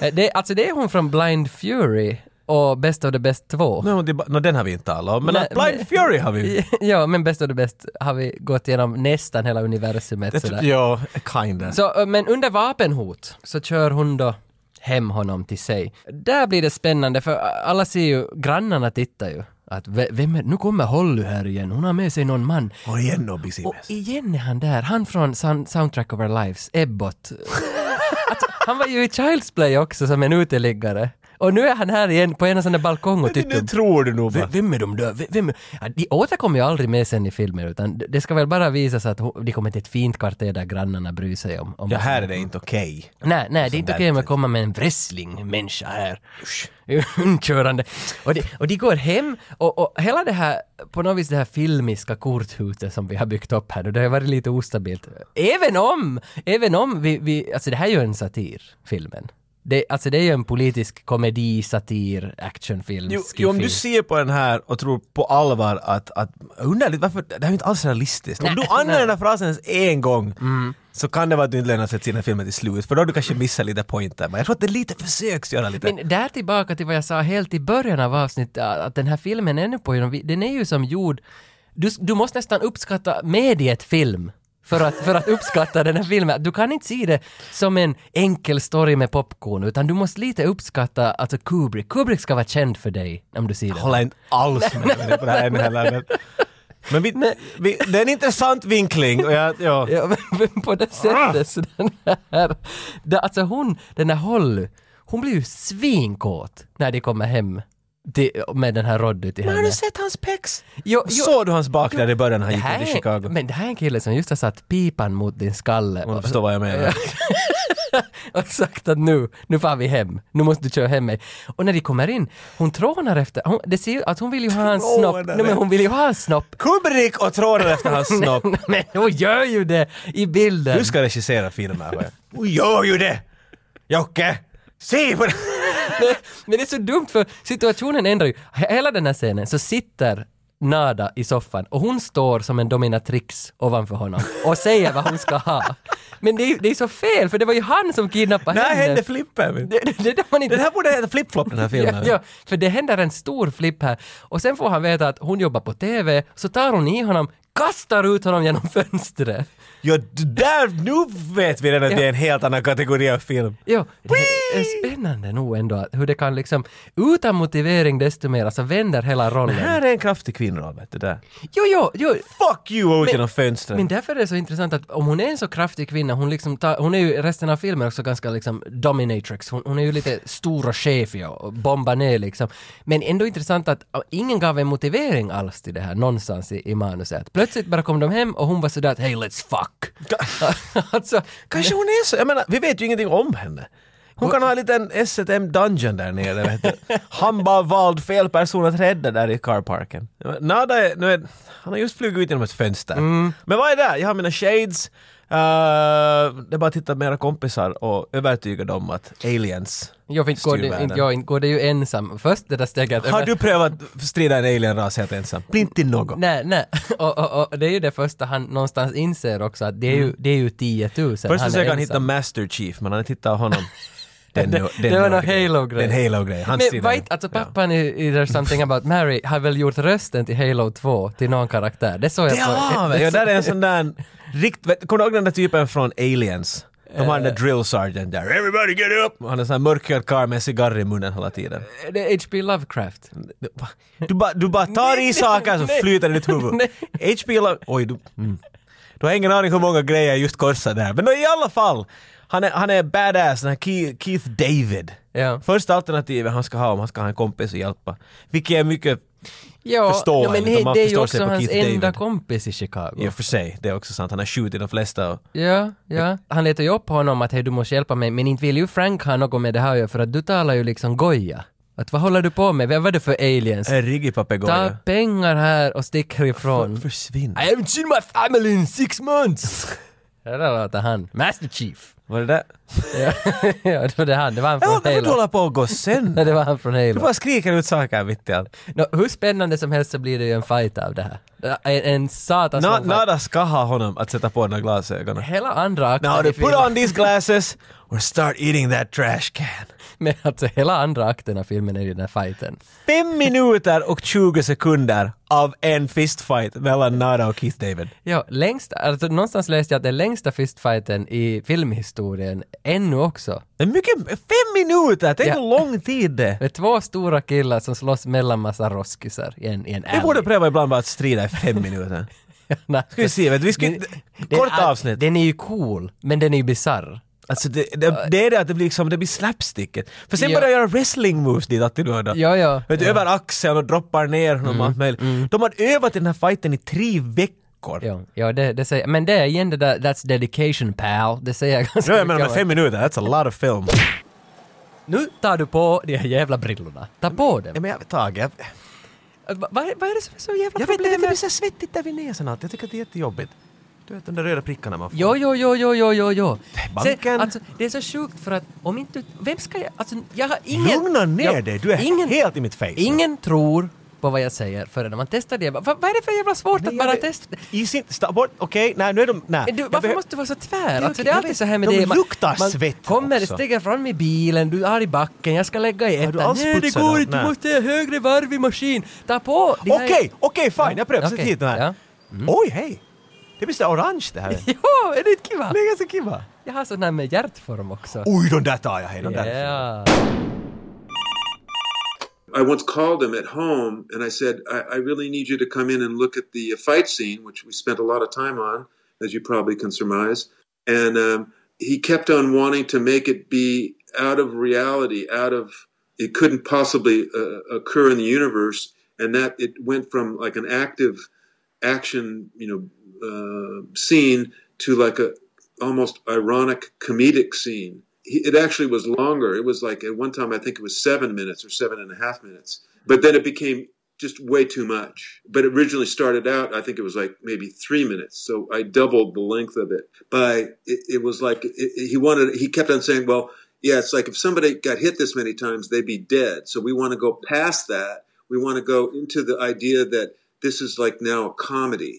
[SPEAKER 2] Eh, det, alltså det är hon från Blind Fury och Best of the Best 2.
[SPEAKER 1] No, det, är bara- nå, den har vi inte talat om, men
[SPEAKER 2] Nej,
[SPEAKER 1] att Blind
[SPEAKER 2] men-
[SPEAKER 1] Fury har vi.
[SPEAKER 2] ja, men Best of the Best har vi gått igenom nästan hela universumet
[SPEAKER 1] Det,
[SPEAKER 2] sådär.
[SPEAKER 1] ja, kinda.
[SPEAKER 2] Så, eh, men under vapenhot så kör hon då hem honom till sig. Där blir det spännande för alla ser ju, grannarna tittar ju. Att "V- vem är, nu kommer Holly här igen, hon har med sig någon man.
[SPEAKER 1] Och igen då,
[SPEAKER 2] Och
[SPEAKER 1] Bizimes.
[SPEAKER 2] igen är han där, han från Sound- Soundtrack of Our Lives, Ebbot. alltså, han var ju i Child's Play också som en uteliggare. Och nu är han här igen på en sån där balkong och tittar.
[SPEAKER 1] Nu tror du nog
[SPEAKER 2] V-
[SPEAKER 1] bara.
[SPEAKER 2] Vem är de där? V- Vem är... Ja, de återkommer ju aldrig med sen i filmer utan d- det ska väl bara visas att ho- de kommer till ett fint kvarter där grannarna bryr sig om. om
[SPEAKER 1] Ja, här är det inte okej.
[SPEAKER 2] Nej, nej, det är inte
[SPEAKER 1] där
[SPEAKER 2] okej med att
[SPEAKER 1] typ.
[SPEAKER 2] komma med en wrestling-människa här. Körande. Och de, och de går hem och, och hela det här, på något vis det här filmiska korthuset som vi har byggt upp här nu, det har varit lite ostabilt. Även om, även om vi, vi alltså det här är ju en satir, filmen. Det, alltså det är ju en politisk komedi, satir, actionfilm,
[SPEAKER 1] Jo, jo, om du
[SPEAKER 2] skiffy.
[SPEAKER 1] ser på den här och tror på allvar att, att underligt, varför, det här är ju inte alls realistiskt. Om du använder den här frasen ens en gång så kan det vara att du inte lämnar sett sina filmer till slut, för då har du kanske missat lite pointer. Men jag tror att det är lite försöks göra lite.
[SPEAKER 2] Men där tillbaka till vad jag sa helt i början av avsnittet, att den här filmen är nu på genom, den är ju som gjord, du, du måste nästan uppskatta mediet film. För att, för att uppskatta den här filmen. Du kan inte se det som en enkel story med popcorn, utan du måste lite uppskatta alltså Kubrick. Kubrick ska vara känd för dig om du ser den.
[SPEAKER 1] håller inte alls med dig på det här ännu heller. Men vi, vi, det är en intressant vinkling och jag, ja.
[SPEAKER 2] Ja, men på det sättet så den här, det, alltså hon, den här Holly, hon blir ju svinkåt när de kommer hem till, med den här Roddy till henne.
[SPEAKER 1] Har du sett hans pex?
[SPEAKER 2] Jo, jo.
[SPEAKER 1] Såg du hans bak där i början när han
[SPEAKER 2] Det
[SPEAKER 1] gick
[SPEAKER 2] här
[SPEAKER 1] ut i
[SPEAKER 2] är-
[SPEAKER 1] Chicago?
[SPEAKER 2] Men det här är en kille som just har satt pipan mot din skalle
[SPEAKER 1] Om du
[SPEAKER 2] och,
[SPEAKER 1] förstår vad jag menar.
[SPEAKER 2] och sagt att nu, nu far vi hem, nu måste du köra hem mig. Och när de kommer in, hon trånar efter, hon, det ser ju att hon vill ju ha en snopp,
[SPEAKER 1] Trånar
[SPEAKER 2] nej men hon vill ju ha en snopp.
[SPEAKER 1] Kubrick och trådar efter hans snopp.
[SPEAKER 2] Men hon gör ju det i bilden.
[SPEAKER 1] Du ska regissera filmer. va? Och gör ju det! Jocke! Se på det!
[SPEAKER 2] Men- Men det är så dumt för situationen ändrar ju. Hela den här scenen så sitter Nada i soffan och hon står som en dominatrix ovanför honom och säger vad hon ska ha. Men det är, ju- det är så fel för det var ju han som kidnappade
[SPEAKER 1] När
[SPEAKER 2] henne.
[SPEAKER 1] hände flippen?
[SPEAKER 2] Det, det, det är där man inte...
[SPEAKER 1] Den här borde heta Flip-Flop den här filmen.
[SPEAKER 2] Ja, ja, för det händer en stor flipp här. Och sen får han veta att hon jobbar på TV, så tar hon i honom, kastar ut honom genom fönstret.
[SPEAKER 1] Ja, d- där, nu vet vi redan att
[SPEAKER 2] Ja.
[SPEAKER 1] det är en helt annan kategori av film.
[SPEAKER 2] Ja, det är spännande nog ändå att hur det kan liksom, utan motivering desto mer, alltså vänder hela rollen.
[SPEAKER 1] Här är en kraftig kvinna, vet du där.
[SPEAKER 2] Jo, jo, jo.
[SPEAKER 1] Fuck you och ut genom fönstret.
[SPEAKER 2] Men därför är det så intressant att om hon är en så kraftig kvinna, hon, liksom tar, hon är ju i resten av filmen också ganska liksom dominatrix, hon, hon är ju lite stor och chefig och och bombar ner liksom. Men ändå intressant att äh, ingen gav en motivering alls till det här någonstans i, i manuset. Att Plötsligt bara kom de hem och hon var sådär att hey let's fuck. alltså,
[SPEAKER 1] Kanske hon är så, jag menar, vi vet ju ingenting om henne. Hon kan ha en liten S&M dungeon där nere, vet du. Han bara valde fel person att rädda där i carparken. Nada är, nu är, han har just flugit ut genom ett fönster.
[SPEAKER 2] Mm.
[SPEAKER 1] Men vad är det? Jag har mina shades, eh, det är bara att titta på mina kompisar och övertyga dem att aliens
[SPEAKER 2] jag fick går det,
[SPEAKER 1] världen.
[SPEAKER 2] inte, jag inte- går det ju ensam. Först det där steget.
[SPEAKER 1] Har du prövat strida en alienras helt ensam? Bli inte något.
[SPEAKER 2] Nej, nej. Och, och, och det är ju det första han någonstans inser också att det är ju, det är ju 10 000.
[SPEAKER 1] Först
[SPEAKER 2] är
[SPEAKER 1] försöker Mm. han
[SPEAKER 2] ensam.
[SPEAKER 1] hitta Master Chief, men han tittar honom. Den,
[SPEAKER 2] Det- det var någon Halo-grej.
[SPEAKER 1] Den Halo-grej. Hans
[SPEAKER 2] Men
[SPEAKER 1] sida.
[SPEAKER 2] vad inte- alltså pappan i, i There's Something About Mary har väl gjort rösten till Halo 2 till någon karaktär? Det såg jag
[SPEAKER 1] Det har han väl? Ja, där är en sån där rikt... vet- Kommer du ihåg den där typen från Aliens? De har den
[SPEAKER 2] Eh.
[SPEAKER 1] där drill sergeant där. Everybody get up! Och Han är en sån här mörkhyad karl med en cigarr i munnen hela tiden.
[SPEAKER 2] Det är H.P. Lovecraft.
[SPEAKER 1] Du bara du bara tar i saker så
[SPEAKER 2] nej.
[SPEAKER 1] flyter det i ditt huvud. HP Love... Oj, du... Mm. Du har ingen aning hur många grejer jag just korsade där. Men då i alla fall. Han är, han är badass, den här Keith, Keith David.
[SPEAKER 2] Ja.
[SPEAKER 1] Första alternativet han ska ha om han ska ha en kompis att hjälpa. Vilket är mycket
[SPEAKER 2] Ja,
[SPEAKER 1] Förstår
[SPEAKER 2] ja, men
[SPEAKER 1] han, utan
[SPEAKER 2] he-
[SPEAKER 1] man
[SPEAKER 2] det är ju
[SPEAKER 1] förstår sig
[SPEAKER 2] också
[SPEAKER 1] på
[SPEAKER 2] hans
[SPEAKER 1] Keith David.
[SPEAKER 2] enda kompis i Chicago.
[SPEAKER 1] i och för sig. Det är också sant. Han har skjutit de flesta. Och,
[SPEAKER 2] Ja, ja. Han letar ju upp honom att hej du måste hjälpa mig, men inte vill ju Frank ha något med det här att göra, för att du talar ju liksom goja. Att vad håller du på med? Vad var det för aliens?
[SPEAKER 1] en riggig
[SPEAKER 2] Ta
[SPEAKER 1] papegoja.
[SPEAKER 2] pengar här och stick härifrån.
[SPEAKER 1] Försvinn.
[SPEAKER 2] I haven't seen my family in six months! Det där låter han. Master Chief.
[SPEAKER 1] Var det där?
[SPEAKER 2] Ja, ja det var det han. Det var han
[SPEAKER 1] Ja,
[SPEAKER 2] från
[SPEAKER 1] varför du
[SPEAKER 2] Halo.
[SPEAKER 1] håller på och går sen?
[SPEAKER 2] Ja, det var han från
[SPEAKER 1] Du
[SPEAKER 2] Halo.
[SPEAKER 1] bara skriker ut saker mitt i allt.
[SPEAKER 2] Nå, hur spännande som helst så blir det ju en fight av det här. En, en satans
[SPEAKER 1] Na,
[SPEAKER 2] lång fight.
[SPEAKER 1] nada ska ha honom att sätta på de där glasögonen.
[SPEAKER 2] Hela andra akten
[SPEAKER 1] Now
[SPEAKER 2] i
[SPEAKER 1] to put
[SPEAKER 2] filmen-
[SPEAKER 1] on these glasses or start eating that trash can.
[SPEAKER 2] Men alltså hela andra akten av filmen är ju den här fighten.
[SPEAKER 1] Fem minuter och 20 sekunder av en fistfight mellan Nada och Keith David.
[SPEAKER 2] Ja, längst, alltså någonstans läste jag att den längsta fistfighten i filmhistorien ännu också.
[SPEAKER 1] Det är mycket, fem minuter! Tänk
[SPEAKER 2] Ja.
[SPEAKER 1] hur lång tid det är.
[SPEAKER 2] Det är två stora killar som slåss mellan massa roskisar i en, i en
[SPEAKER 1] Vi
[SPEAKER 2] alley.
[SPEAKER 1] borde pröva ibland bara att strida i fem minuter.
[SPEAKER 2] Nej,
[SPEAKER 1] Ska vi se, vet du, vi ska,
[SPEAKER 2] den- den
[SPEAKER 1] kort
[SPEAKER 2] är-
[SPEAKER 1] avsnitt.
[SPEAKER 2] Den är ju cool, men den är ju bisarr.
[SPEAKER 1] Alltså det, det, det är det att det blir liksom, det blir slapsticket. För sen
[SPEAKER 2] Ja.
[SPEAKER 1] börjar jag göra wrestling moves dit alltid då och då.
[SPEAKER 2] Ja, ja.
[SPEAKER 1] Vet du,
[SPEAKER 2] ja. Mm,
[SPEAKER 1] över axeln och droppar ner honom och allt möjligt. De har övat i den här fighten i tre veckor.
[SPEAKER 2] Ja, ja det, det säger, men det är igen det där, that's dedication pal, det säger jag ganska
[SPEAKER 1] Ja, jag menar
[SPEAKER 2] mycket
[SPEAKER 1] med fem
[SPEAKER 2] om.
[SPEAKER 1] minuter, that's a lot of film.
[SPEAKER 2] Nu tar du på de här jävla brillorna, ta på dem.
[SPEAKER 1] Ja, men jag, Tage, jag,
[SPEAKER 2] Va- Vad är vad är det som är så jävla
[SPEAKER 1] jag vet inte,
[SPEAKER 2] problem
[SPEAKER 1] det blir
[SPEAKER 2] med...
[SPEAKER 1] så svettigt där vid näsan alltid. Jag tycker att det är jättejobbigt. Du vet de där röda prickarna man får.
[SPEAKER 2] Jo, jo, jo, jo, jo, jo, jo.
[SPEAKER 1] Banken.
[SPEAKER 2] Sen, alltså, det är så sjukt för att om inte... Vem ska jag... Alltså, jag har ingen...
[SPEAKER 1] Lugna ner
[SPEAKER 2] jag,
[SPEAKER 1] dig, du är
[SPEAKER 2] ingen,
[SPEAKER 1] helt i mitt face.
[SPEAKER 2] Ingen tror på vad jag säger förrän man testar det. Va, vad är det för jävla svårt
[SPEAKER 1] Nej,
[SPEAKER 2] att
[SPEAKER 1] jag
[SPEAKER 2] bara
[SPEAKER 1] vet-
[SPEAKER 2] testa?
[SPEAKER 1] I sin... Sta bort, okej, nej nu är de... Nej.
[SPEAKER 2] Du,
[SPEAKER 1] Jag
[SPEAKER 2] varför
[SPEAKER 1] behö-
[SPEAKER 2] måste du vara så tvär?
[SPEAKER 1] Det är
[SPEAKER 2] Alltså,
[SPEAKER 1] okej,
[SPEAKER 2] det är
[SPEAKER 1] jag
[SPEAKER 2] alltid
[SPEAKER 1] vet.
[SPEAKER 2] så här med
[SPEAKER 1] De
[SPEAKER 2] det. Man,
[SPEAKER 1] luktar
[SPEAKER 2] man
[SPEAKER 1] svett
[SPEAKER 2] kommer,
[SPEAKER 1] också.
[SPEAKER 2] stiger fram i bilen, du är arg i backen, jag ska lägga i ettan.
[SPEAKER 1] du alls
[SPEAKER 2] Nej, det
[SPEAKER 1] putsat
[SPEAKER 2] går
[SPEAKER 1] dem?
[SPEAKER 2] inte, du
[SPEAKER 1] Nej.
[SPEAKER 2] måste ha högre varv i maskin. Ta på! de här-
[SPEAKER 1] Okej, okej, fine, jag prövar. Sätt
[SPEAKER 2] Okej,
[SPEAKER 1] hit den här.
[SPEAKER 2] ja. Mm.
[SPEAKER 1] Oj, hej! Det blir så där orange det här.
[SPEAKER 2] Jo, är det inte kiva?
[SPEAKER 1] Det är ganska kiva.
[SPEAKER 2] Jag har sån här med hjärtform också.
[SPEAKER 1] Oj, de där tar jag, hej, de Oh, där.
[SPEAKER 2] Ja.
[SPEAKER 4] I once called him at home and I said, I, I really need you to come in and look at the uh, fight scene, which we spent a lot of time on, as you probably can surmise. And um, he kept on wanting to make it be out of reality, out of it couldn't possibly uh, occur in the universe. And that it went from like an active action, you know, uh, scene to like a almost ironic comedic scene. He, it actually was longer. It was like at one time I think it was seven minutes or seven and a half minutes. But then it became just way too much. But it originally started out I think it was like maybe three minutes. So I doubled the length of it. By it, it was like it, it- he wanted. He kept on saying, "Well, yeah, it's like if somebody got hit this many times, they'd be dead. So we want to go past that. We want to go into the idea that this is like now a comedy."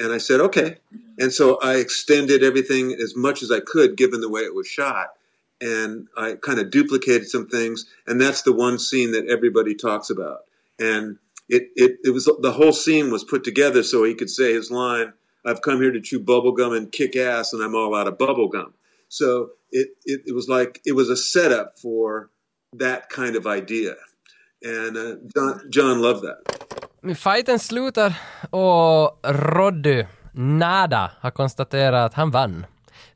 [SPEAKER 4] And I said, okay. And so I extended everything as much as I could, given the way it was shot. And I kind of duplicated some things. And that's the one scene that everybody talks about. And it, it, it was the whole scene was put together so he could say his line, I've come here to chew bubble gum and kick ass, and I'm all out of bubble gum. So it, it, it was like, it was a setup for that kind of idea. And uh, John, John loved that.
[SPEAKER 2] Men Fighten slutar och Roddy Nada har konstaterat att han vann.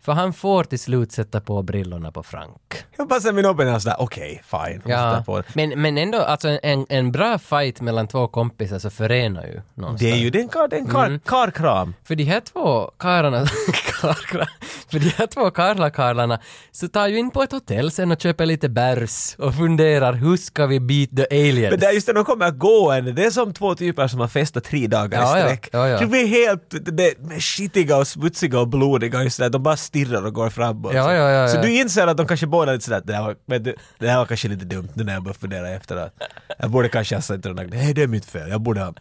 [SPEAKER 2] För han får till slut sätta på brillorna på Frank.
[SPEAKER 1] Jag passar min öppen och sådär, okej, fine. Jag måste ta på det.
[SPEAKER 2] Men, men ändå, alltså en, en bra fight mellan två kompisar så förenar ju någonstans.
[SPEAKER 1] Det är ju, det är en kar- det är en
[SPEAKER 2] Mm.
[SPEAKER 1] kar- karkram.
[SPEAKER 2] För de här två karlarna, karlar, för de här två karlakarlarna så tar ju in på ett hotell sen och köper lite bärs och funderar hur ska vi beat the aliens?
[SPEAKER 1] Men där just när de kommer gående, det är som två typer som har festat tre dagar
[SPEAKER 2] Ja,
[SPEAKER 1] i
[SPEAKER 2] ja.
[SPEAKER 1] sträck.
[SPEAKER 2] Ja, ja.
[SPEAKER 1] De blir helt det, de är skitiga och smutsiga och blodiga och just där. de bara stirrar och går framåt.
[SPEAKER 2] Ja, ja, ja,
[SPEAKER 1] så
[SPEAKER 2] ja.
[SPEAKER 1] du inser att de kanske båda är lite sådär, det här, var, men det, det här var kanske lite dumt nu när jag börjar fundera efteråt. Jag borde kanske ha sagt till den där, nej det är mitt fel, jag borde ha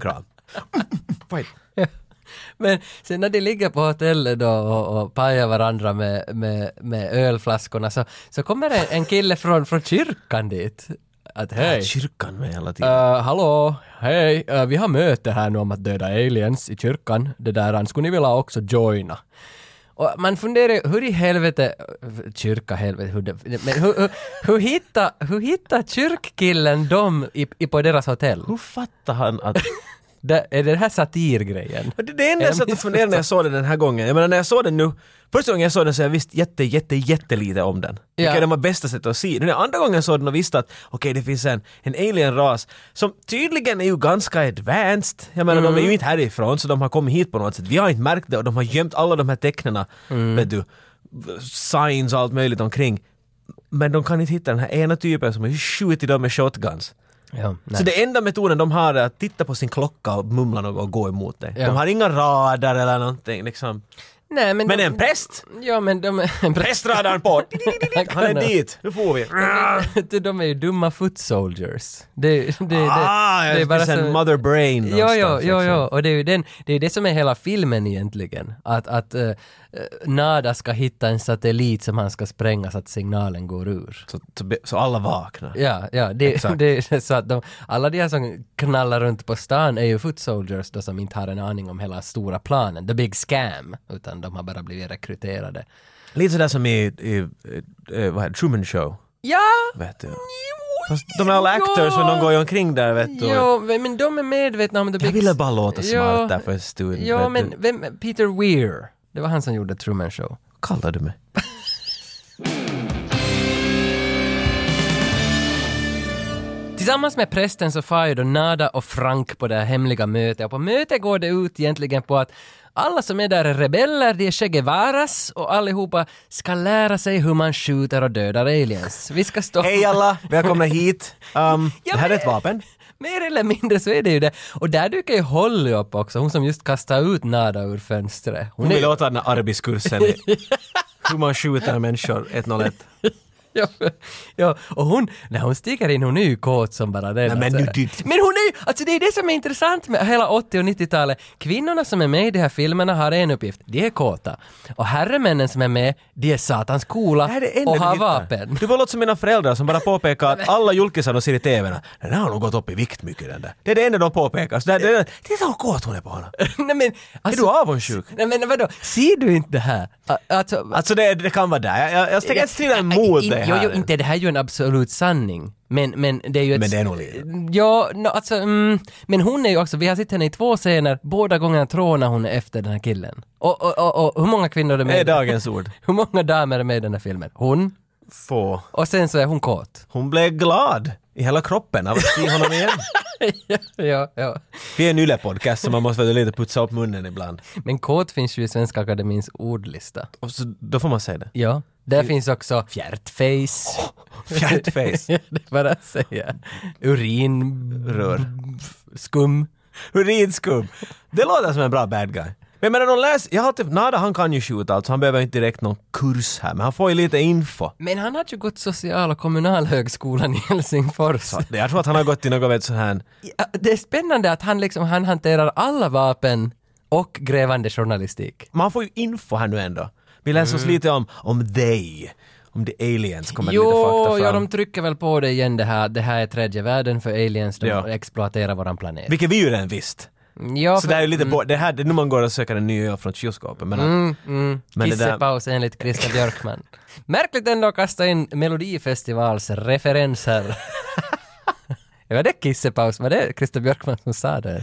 [SPEAKER 1] kram. Fine.
[SPEAKER 2] Men sen när de ligger på hotellet då och, och pajar varandra med, med, med ölflaskorna så, så kommer en, en kille från, från kyrkan dit. Att hej,
[SPEAKER 1] Kyrkan med hela tiden.
[SPEAKER 2] uh, hallå, hej, eh, vi har möte här nu om att döda aliens i kyrkan. Det där, han skulle ni vilja också joina? Och man funderar ju, hur i helvete, kyrka helvete, hur, det- men hur, hur, hur hittar hur hitta kyrkkillen dem i, i, på deras hotell?
[SPEAKER 1] Hur fattar han att
[SPEAKER 2] Det, är det den här satirgrejen?
[SPEAKER 1] Men det, det enda jag satt och funderade när jag såg den den här gången, jag menar när jag såg den nu, första gången jag såg den så jag visste jätte, jätte, jättelite om den. Vilket
[SPEAKER 2] Ja.
[SPEAKER 1] är de bästa sättet att se. Nu när jag andra gången jag såg den och visste att okej det finns en, en alien-ras som tydligen är ju ganska advanced. Jag menar de är ju inte härifrån så de har kommit hit på något sätt. Vi har inte märkt det och de har gömt alla de här tecknena, vet du, signs och allt möjligt omkring. Men de kan inte hitta den här ena typen som har skjutit dem med shotguns.
[SPEAKER 2] Ja, nej.
[SPEAKER 1] Så det enda metoden de har är att titta på sin klocka och mumla något och gå emot dig.
[SPEAKER 2] Ja.
[SPEAKER 1] De har inga radar eller någonting liksom.
[SPEAKER 2] nej, men,
[SPEAKER 1] Men
[SPEAKER 2] de,
[SPEAKER 1] en präst!
[SPEAKER 2] Ja, men de... en präst-
[SPEAKER 1] Prästradarn på! Han är
[SPEAKER 2] kan-
[SPEAKER 1] dit! Nu får vi!
[SPEAKER 2] de är ju dumma foot soldiers. Det, det, det,
[SPEAKER 1] ah,
[SPEAKER 2] det
[SPEAKER 1] det finns en
[SPEAKER 2] så-
[SPEAKER 1] mother brain
[SPEAKER 2] Ja, ja,
[SPEAKER 1] någonstans,
[SPEAKER 2] ja,
[SPEAKER 1] liksom.
[SPEAKER 2] ja. Och det är ju den, det, är det som är hela filmen egentligen. Att, att eh, eh, Nada ska hitta en satellit som han ska spränga så att signalen går ur.
[SPEAKER 1] Så, så, be- så alla vaknar.
[SPEAKER 2] Ja, ja, det,
[SPEAKER 1] Exakt.
[SPEAKER 2] det är så att de, alla de här som knallar runt på stan är ju foot soldiers då som inte har en aning om hela stora planen, the big scam, utan de har bara blivit rekryterade.
[SPEAKER 1] Lite sådär som i, i, eh, vad heter det, Truman Show.
[SPEAKER 2] Ja!
[SPEAKER 1] Vet du. Fast de är alla actors men de går ju omkring där vet du.
[SPEAKER 2] Jo, men de är medvetna om the big...
[SPEAKER 1] Jag ville bara låta
[SPEAKER 2] Ja.
[SPEAKER 1] smart där för en stund. vet
[SPEAKER 2] Ja,
[SPEAKER 1] du.
[SPEAKER 2] men vem, Peter Weir, det var han som gjorde Truman Show.
[SPEAKER 1] Kallar du mig?
[SPEAKER 2] Tillsammans med prästen så far ju då Nada och Frank på det här hemliga mötet och på mötet går det ut egentligen på att alla som är där är rebeller, de är Che Guevaras och allihopa ska lära sig hur man skjuter och dödar aliens. Vi ska stå...
[SPEAKER 1] Hej alla, välkomna hit. Um,
[SPEAKER 2] Ja,
[SPEAKER 1] det här är
[SPEAKER 2] men-
[SPEAKER 1] ett vapen.
[SPEAKER 2] Mer eller mindre så är det ju det. Och där dyker ju Holly upp också, hon som just kastade ut Nada ur fönstret.
[SPEAKER 1] Hon
[SPEAKER 2] är-
[SPEAKER 1] vill åt den här arbetskursen i hur man skjuter människor 101.
[SPEAKER 2] ja, ja, och hon, när hon sticker in, hon är ju kåt som bara den.
[SPEAKER 1] Nej, men
[SPEAKER 2] alltså.
[SPEAKER 1] nu dit.
[SPEAKER 2] men hon är ju, alltså det är det som är intressant med hela 80 och 90-talet. Kvinnorna som är med i de här filmerna har en uppgift, de är kåta. Och herremännen som är med, de är satans coola
[SPEAKER 1] Det här är det enda
[SPEAKER 2] och
[SPEAKER 1] vi
[SPEAKER 2] har
[SPEAKER 1] hittar.
[SPEAKER 2] vapen.
[SPEAKER 1] Du var låt som mina föräldrar som bara påpekar att alla julkisar de ser i TVn, den har nog gått upp i vikt mycket den där. Det är det enda de påpekar. Så det, det, titta vad kåt hon är på honom.
[SPEAKER 2] nej men, alltså,
[SPEAKER 1] Är du avundsjuk?
[SPEAKER 2] Nej men vadå, ser du inte det här? A- Alltså,
[SPEAKER 1] Alltså det, det kan vara där. Jag, jag, jag tänker inte strida emot
[SPEAKER 2] in-
[SPEAKER 1] det
[SPEAKER 2] Jo,
[SPEAKER 1] här.
[SPEAKER 2] jo, inte det här är ju en absolut sanning. Men, men det är ju ett...
[SPEAKER 1] Men det är nog lite.
[SPEAKER 2] Ja, no, alltså, mm, men hon är ju också, vi har sett henne i två scener, båda gångerna trånar hon efter den här killen. Och, och, och, och hur många kvinnor är
[SPEAKER 1] Det är
[SPEAKER 2] med?
[SPEAKER 1] dagens ord.
[SPEAKER 2] hur många damer är med i den här filmen? Hon.
[SPEAKER 1] Få.
[SPEAKER 2] Och sen så är hon kåt.
[SPEAKER 1] Hon blev glad i hela kroppen av att se honom igen.
[SPEAKER 2] ja, ja, ja.
[SPEAKER 1] Vi är en yllepodcast så man måste väl lite putsa upp munnen ibland.
[SPEAKER 2] Men kåt finns ju i Svenska Akademins ordlista.
[SPEAKER 1] Och så, då får man säga det.
[SPEAKER 2] Ja. Där finns också fjärtface.
[SPEAKER 1] Fjärtface.
[SPEAKER 2] det är bara att säga. Urinrör. Skum.
[SPEAKER 1] Urinskum. Det låter som en bra bad guy. Men jag menar, de läser, jag har typ, Nada han kan ju skjuta alltså, han behöver inte direkt någon kurs här, men han får ju lite info.
[SPEAKER 2] Men han hade ju gått social och kommunalhögskolan i Helsingfors.
[SPEAKER 1] Så det- Jag tror att han har gått till något vet, sån här,
[SPEAKER 2] Ja, Det är spännande att han liksom, han hanterar alla vapen och grävande journalistik.
[SPEAKER 1] man får ju info här nu ändå. Vi läser
[SPEAKER 2] Mm.
[SPEAKER 1] oss lite om, om they, om the aliens, kommer lite
[SPEAKER 2] Jo,
[SPEAKER 1] fakta
[SPEAKER 2] ja,
[SPEAKER 1] fram.
[SPEAKER 2] de trycker väl på det igen det här, det här är tredje världen för aliens, de
[SPEAKER 1] Ja.
[SPEAKER 2] exploaterar våran planet.
[SPEAKER 1] Vilket vi ju redan visst.
[SPEAKER 2] Ja,
[SPEAKER 1] Så
[SPEAKER 2] för,
[SPEAKER 1] det här är lite på, det här, det är nu man går och söker en ny öl från kylskåpet. Men att,
[SPEAKER 2] mm, mm,
[SPEAKER 1] Men det där-
[SPEAKER 2] kissepaus enligt Christer Björkman. Märkligt ändå att kasta in Melodifestivals referenser. var det kissepaus? Var det Christer Björkman som sa det?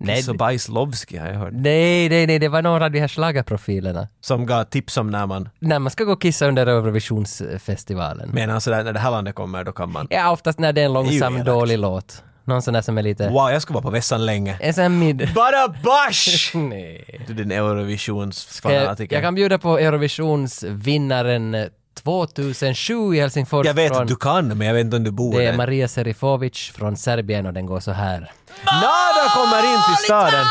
[SPEAKER 2] Nej,
[SPEAKER 1] Kiss och bajs Lovski har jag hört.
[SPEAKER 2] Nej, nej, nej, det var några av de här schlagerprofilerna.
[SPEAKER 1] Som gav tips om när man,
[SPEAKER 2] När man ska gå och kissa under Eurovisionsfestivalen.
[SPEAKER 1] menar sådär, när det här landet kommer då kan man.
[SPEAKER 2] Ja, oftast när det är en
[SPEAKER 1] ju
[SPEAKER 2] långsam,
[SPEAKER 1] elakt.
[SPEAKER 2] dålig låt. Någon sån där som är lite...
[SPEAKER 1] Wow, jag ska vara på vässan länge.
[SPEAKER 2] En sån här mid...
[SPEAKER 1] Bara bash!
[SPEAKER 2] Nej.
[SPEAKER 1] Du din
[SPEAKER 2] Jag,
[SPEAKER 1] Eurovisionsfanatiker.
[SPEAKER 2] jag kan bjuda på Eurovisionsvinnaren 2007 i Helsingfors.
[SPEAKER 1] Jag vet
[SPEAKER 2] från,
[SPEAKER 1] att du kan, men jag vet inte om du bor
[SPEAKER 2] Det är
[SPEAKER 1] där.
[SPEAKER 2] Maria Serifovic från Serbien och den går så här.
[SPEAKER 1] Nada kommer in till staden!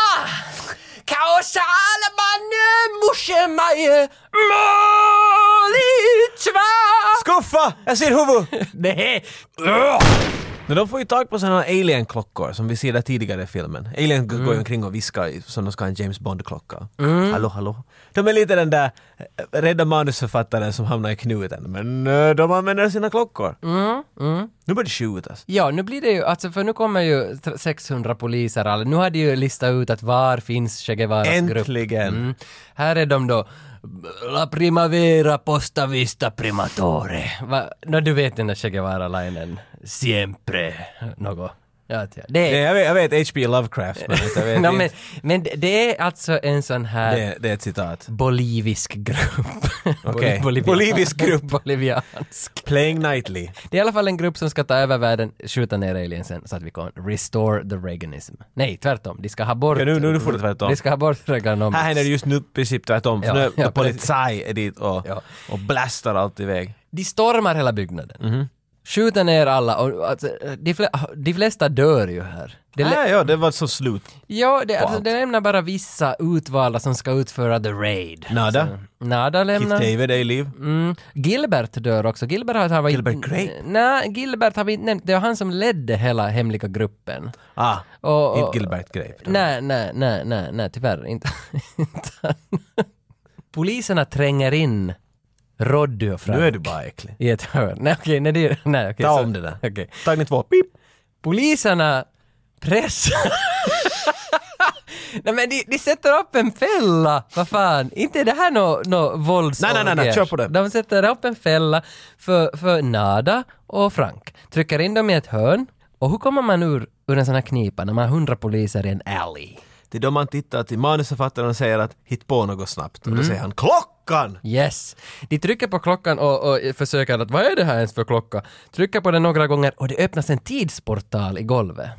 [SPEAKER 2] Kaosa alamane mushemaje molitva
[SPEAKER 1] Skuffa! Jag ser huvud!
[SPEAKER 2] Nej!
[SPEAKER 1] Men de får ju tag på såna här alien-klockor som vi ser där tidigare i filmen. Alien g-
[SPEAKER 2] Mm.
[SPEAKER 1] går ju omkring och viskar i- som de ska ha en James Bond-klocka. Hallå, hallå. De är lite den där eh, rädda manusförfattaren som hamnar i knuten. Men eh, de använder sina klockor.
[SPEAKER 2] Mm,
[SPEAKER 1] Nu börjar det skjutas.
[SPEAKER 2] Ja, nu blir det ju, alltså för nu kommer ju tr- 600 poliser, alla. nu har de ju listat ut att var finns Che Guevaras grupp.
[SPEAKER 1] Äntligen!
[SPEAKER 2] Mm. Här är de då. La primavera posta vista primatore. Va? Nå, du vet den där Che Guevara-linen. Siempre. Något. Ja, att ja. Det
[SPEAKER 1] Nej,
[SPEAKER 2] är,
[SPEAKER 1] jag, vet, jag vet H.P. Lovecraft, men jag vet
[SPEAKER 2] no,
[SPEAKER 1] inte.
[SPEAKER 2] men, men det är alltså en sån här
[SPEAKER 1] Det, det är ett citat.
[SPEAKER 2] bolivisk grupp.
[SPEAKER 1] Okej.
[SPEAKER 2] Bolivian-
[SPEAKER 1] Bolivisk grupp.
[SPEAKER 2] Boliviansk.
[SPEAKER 1] Playing Nightly.
[SPEAKER 2] Det är i alla fall en grupp som ska ta över världen, skjuta ner aliensen så att vi kan restore the Reaganism. Nej, tvärtom. De ska ha bort...
[SPEAKER 1] Ja, nu- nu- nu får det tvärtom.
[SPEAKER 2] De ska ha bort
[SPEAKER 1] Här
[SPEAKER 2] Reaganomics.
[SPEAKER 1] händer det just nu i princip tvärtom, för
[SPEAKER 2] Ja,
[SPEAKER 1] nu
[SPEAKER 2] ja,
[SPEAKER 1] är polizai är dit och,
[SPEAKER 2] Ja.
[SPEAKER 1] och blastar allt iväg.
[SPEAKER 2] De stormar hela byggnaden.
[SPEAKER 1] Mhm.
[SPEAKER 2] Skjuter ner alla och alltså, de, fle- de flesta dör ju här. Det lä-
[SPEAKER 1] Ja, Ah, ja, det var så slut.
[SPEAKER 2] ja, det, alltså,
[SPEAKER 1] allt.
[SPEAKER 2] det lämnar bara vissa utvalda som ska utföra the raid.
[SPEAKER 1] Nada.
[SPEAKER 2] Nada
[SPEAKER 1] Keith
[SPEAKER 2] lämnar.
[SPEAKER 1] David är i liv.
[SPEAKER 2] Mm. Gilbert dör också. Gilbert har, har vi
[SPEAKER 1] Gilbert
[SPEAKER 2] inte-
[SPEAKER 1] Grape?
[SPEAKER 2] Nej, Gilbert har vi inte nämnt. Det var han som ledde hela hemliga gruppen.
[SPEAKER 1] Ah,
[SPEAKER 2] Och, och,
[SPEAKER 1] inte Gilbert Grape. då.
[SPEAKER 2] Nej, nej, nej, nej, nej, tyvärr inte. inte han. Poliserna tränger in Roddy och Frank.
[SPEAKER 1] Nu är du bara äcklig.
[SPEAKER 2] I ett hörn. Nej, okej, nej, det, nej, okej.
[SPEAKER 1] Ta
[SPEAKER 2] så-
[SPEAKER 1] om det där.
[SPEAKER 2] okej.
[SPEAKER 1] Tagning två, pip.
[SPEAKER 2] Poliserna pressar... nej men de, de sätter upp en fälla, vad fan. Inte är det här något no vålds...
[SPEAKER 1] Nej, nej, nej, nej, kör på det.
[SPEAKER 2] De sätter upp en fälla för, för Nada och Frank. Trycker in dem i ett hörn. Och hur kommer man ur, ur en sån här knipa när man har hundra poliser i en alley?
[SPEAKER 1] Det är då man tittar till manusförfattaren och säger att hit på något snabbt.
[SPEAKER 2] Mm.
[SPEAKER 1] Och då säger han klockan!
[SPEAKER 2] Yes! De trycker på klockan och, och försöker att vad är det här ens för klocka? Trycker på den några gånger och det öppnas en tidsportal i golvet.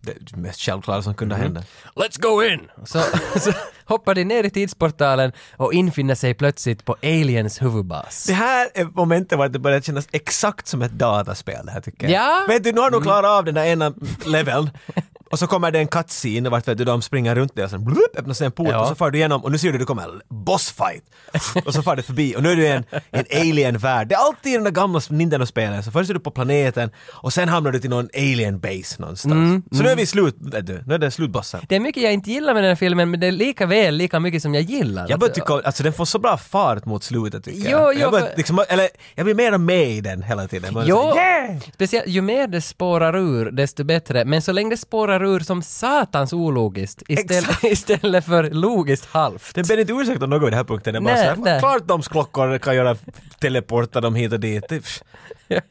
[SPEAKER 1] Det är det mest självklara som
[SPEAKER 2] Mm.
[SPEAKER 1] kunde hända.
[SPEAKER 2] Let's go in! Så, så hoppar de ner i tidsportalen och infinner sig plötsligt på Aliens huvudbas.
[SPEAKER 1] Det här är momentet var det börjar kännas exakt som ett dataspel det här tycker jag.
[SPEAKER 2] Ja.
[SPEAKER 1] Vet du, nu har du klarat av den där ena leveln. Och så kommer det en cutscene vart vet du, de springer runt dig och sen blup, öppnas en port
[SPEAKER 2] Ja.
[SPEAKER 1] och så far du igenom och nu ser du det kommer en bossfight. Och så far du förbi och nu är du i en, en alien-värld. Det är alltid i den där gamla Nintendo-spelen. Så först är du på planeten och sen hamnar du till någon alien-base någonstans.
[SPEAKER 2] Mm,
[SPEAKER 1] så nu är vi i slut, vet du, nu är det slutbossen.
[SPEAKER 2] Det är mycket jag inte gillar med den här filmen men det är lika väl lika mycket som jag gillar.
[SPEAKER 1] Jag börjar
[SPEAKER 2] Alltså,
[SPEAKER 1] tycka, alltså den får så bra fart mot slutet tycker
[SPEAKER 2] Jo,
[SPEAKER 1] jag.
[SPEAKER 2] jo,
[SPEAKER 1] jag, börjar,
[SPEAKER 2] för-
[SPEAKER 1] liksom, eller, jag blir mer och mer i den hela tiden. Man är
[SPEAKER 2] Jo,
[SPEAKER 1] så här, "Yeah!"
[SPEAKER 2] speciellt ju mer det spårar ur desto bättre. Men så länge det spårar ur som satans ologiskt istället,
[SPEAKER 1] Exakt.
[SPEAKER 2] istället för logiskt halvt.
[SPEAKER 1] Den ber inte ursäkt om något vid den här punkten. Det är bara
[SPEAKER 2] Nej,
[SPEAKER 1] såhär,
[SPEAKER 2] nej.
[SPEAKER 1] klart de klockor kan göra teleporta dem hit och dit. Det- pff,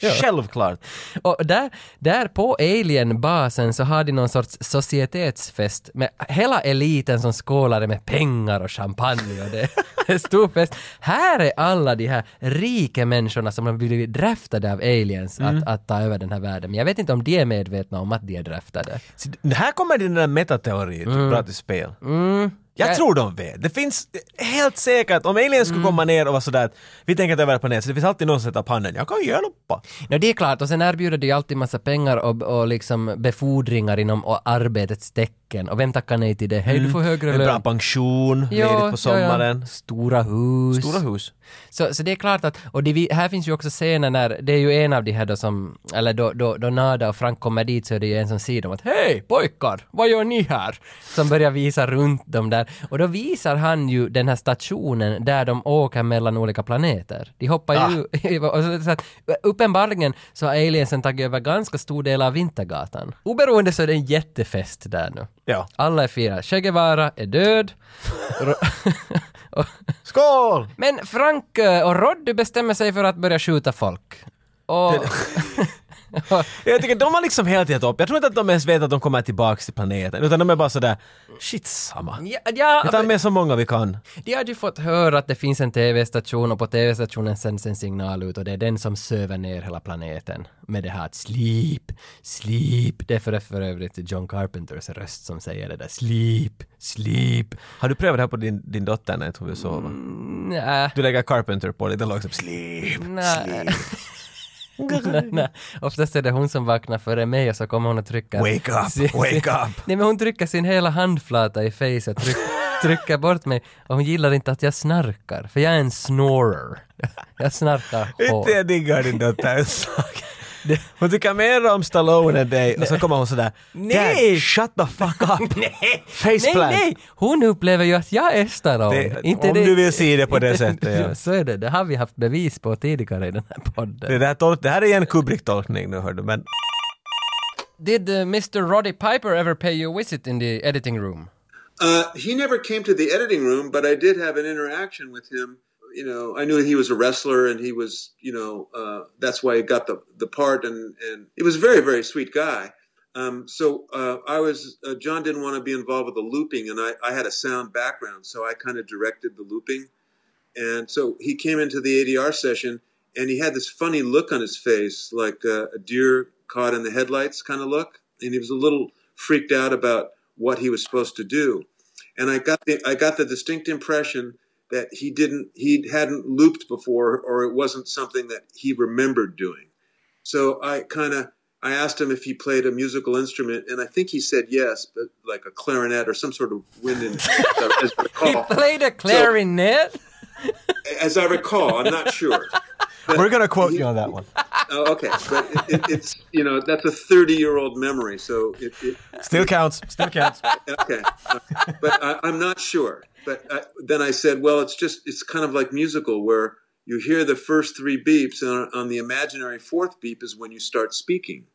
[SPEAKER 1] Självklart.
[SPEAKER 2] Och där, där på Alien-basen så har de någon sorts societetsfest med hela eliten som skålade med pengar och champagne och det det är stor fest. Här är alla de här rika människorna som har blivit draftade av aliens att, att ta över den här världen. Men jag vet inte om de är medvetna om att de är draftade.
[SPEAKER 1] Så det- här kommer din där metateori, du pratar spel. Jag tror de vet. Det finns helt säkert, om aliens skulle komma ner och vara sådär att vi tänker ta över planeten, så det finns alltid någon som sätter upp handen. Jag kan hjälpa.
[SPEAKER 2] No, det är klart, och sen erbjuder de ju alltid massa pengar och, och liksom befordringar inom och arbetets tecken. Och vem tackar nej till det? Hej, du får högre
[SPEAKER 1] En bra
[SPEAKER 2] lön.
[SPEAKER 1] pension, ledigt på sommaren.
[SPEAKER 2] Stora hus.
[SPEAKER 1] Stora hus.
[SPEAKER 2] Så, så det är klart att, och det, vi- här finns ju också scener när, det är ju en av de här då som, eller då, då, då Nada och Frank kommer dit så är det ju en som säger dem att hej pojkar, vad gör ni här? Som börjar visa runt dem där. Och då visar han ju den här stationen där de åker mellan olika planeter. De hoppar ju, och så, så att, uppenbarligen så har aliensen tagit över ganska stor del av Vintergatan. Oberoende så är det en jättefest där nu.
[SPEAKER 1] Ja.
[SPEAKER 2] Alla är fyra. Che Guevara är död. Och-
[SPEAKER 1] Skål!
[SPEAKER 2] men Frank eh, och Roddy bestämmer sig för att börja skjuta folk. Och...
[SPEAKER 1] Jag tycker de har liksom helt gett upp. Jag tror inte att de ens vet att de kommer tillbaks till planeten. Utan de är bara sådär, shit samma.
[SPEAKER 2] ja, ja,
[SPEAKER 1] Vi tar med så många vi kan.
[SPEAKER 2] de hade ju fått höra att det finns en TV-station och på TV-stationen sänds en signal ut och det är den som söver ner hela planeten med det här att sleep, sleep. Det är för, för övrigt John Carpenters röst som säger det där sleep, sleep.
[SPEAKER 1] Har du prövat det här på din, din dotter när jag tror vi sover?
[SPEAKER 2] Mm. Nä.
[SPEAKER 1] Du lägger Carpenter på det, det låter som sleep.
[SPEAKER 2] Nej. Nej, oftast är det hon som vaknar före mig och så kommer hon att trycka...
[SPEAKER 1] Wake up,
[SPEAKER 2] sin- sin-
[SPEAKER 1] wake up.
[SPEAKER 2] Nej men hon trycker sin hela handflata i facet, tryck, trycker bort mig och hon gillar inte att jag snarkar, för jag är en snorer. Jag snarkar
[SPEAKER 1] Inte
[SPEAKER 2] hårt.
[SPEAKER 1] jag diggar din dotter en sak. Hon tycker mer om Stallone än dig och så kommer hon sådär
[SPEAKER 2] Nej.
[SPEAKER 1] Dad, shut the fuck up!
[SPEAKER 2] Nej,
[SPEAKER 1] Faceplant.
[SPEAKER 2] Nej, nej! Hon upplever ju att jag är
[SPEAKER 1] Det-
[SPEAKER 2] Stallone. Inte
[SPEAKER 1] om
[SPEAKER 2] det-
[SPEAKER 1] du vill se det på det sättet, ja.
[SPEAKER 2] Så är det, det har vi haft bevis på tidigare i den här podden.
[SPEAKER 1] Det, där tol- det här är en Kubrick-tolkning nu hör du men
[SPEAKER 2] Did uh, Mr. Roddy Piper ever pay you a visit in the editing room?
[SPEAKER 4] Uh, he never came to the editing room, but I did have an interaction with him. You know, I knew he was a wrestler, and he was, you know, uh, that's why he got the the part, and and he was a very very sweet guy. Um, so uh, I was uh, John didn't want to be involved with the looping, and I, I had a sound background, so I kind of directed the looping. And so he came into the ADR session, and he had this funny look on his face, like uh, a deer caught in the headlights kind of look, and he was a little freaked out about what he was supposed to do. And I got the I got the distinct impression that he didn't he hadn't looped before, or it wasn't something that he remembered doing. So I kind of I asked him if he played a musical instrument, and I think he said yes, but like a clarinet or some sort of wind instrument, as I
[SPEAKER 2] He
[SPEAKER 4] recall.
[SPEAKER 2] played a clarinet?
[SPEAKER 4] As I recall, I'm not sure.
[SPEAKER 1] We're going to quote you on that one.
[SPEAKER 4] Oh, okay, but it, it, it's you know that's a 30 year old memory, so it, it,
[SPEAKER 1] Still counts. Still counts.
[SPEAKER 4] okay, but I, I'm not sure. But I, then I said, well, it's just it's kind of like musical where you hear the first three beeps, and on, on the imaginary fourth beep is when you start speaking.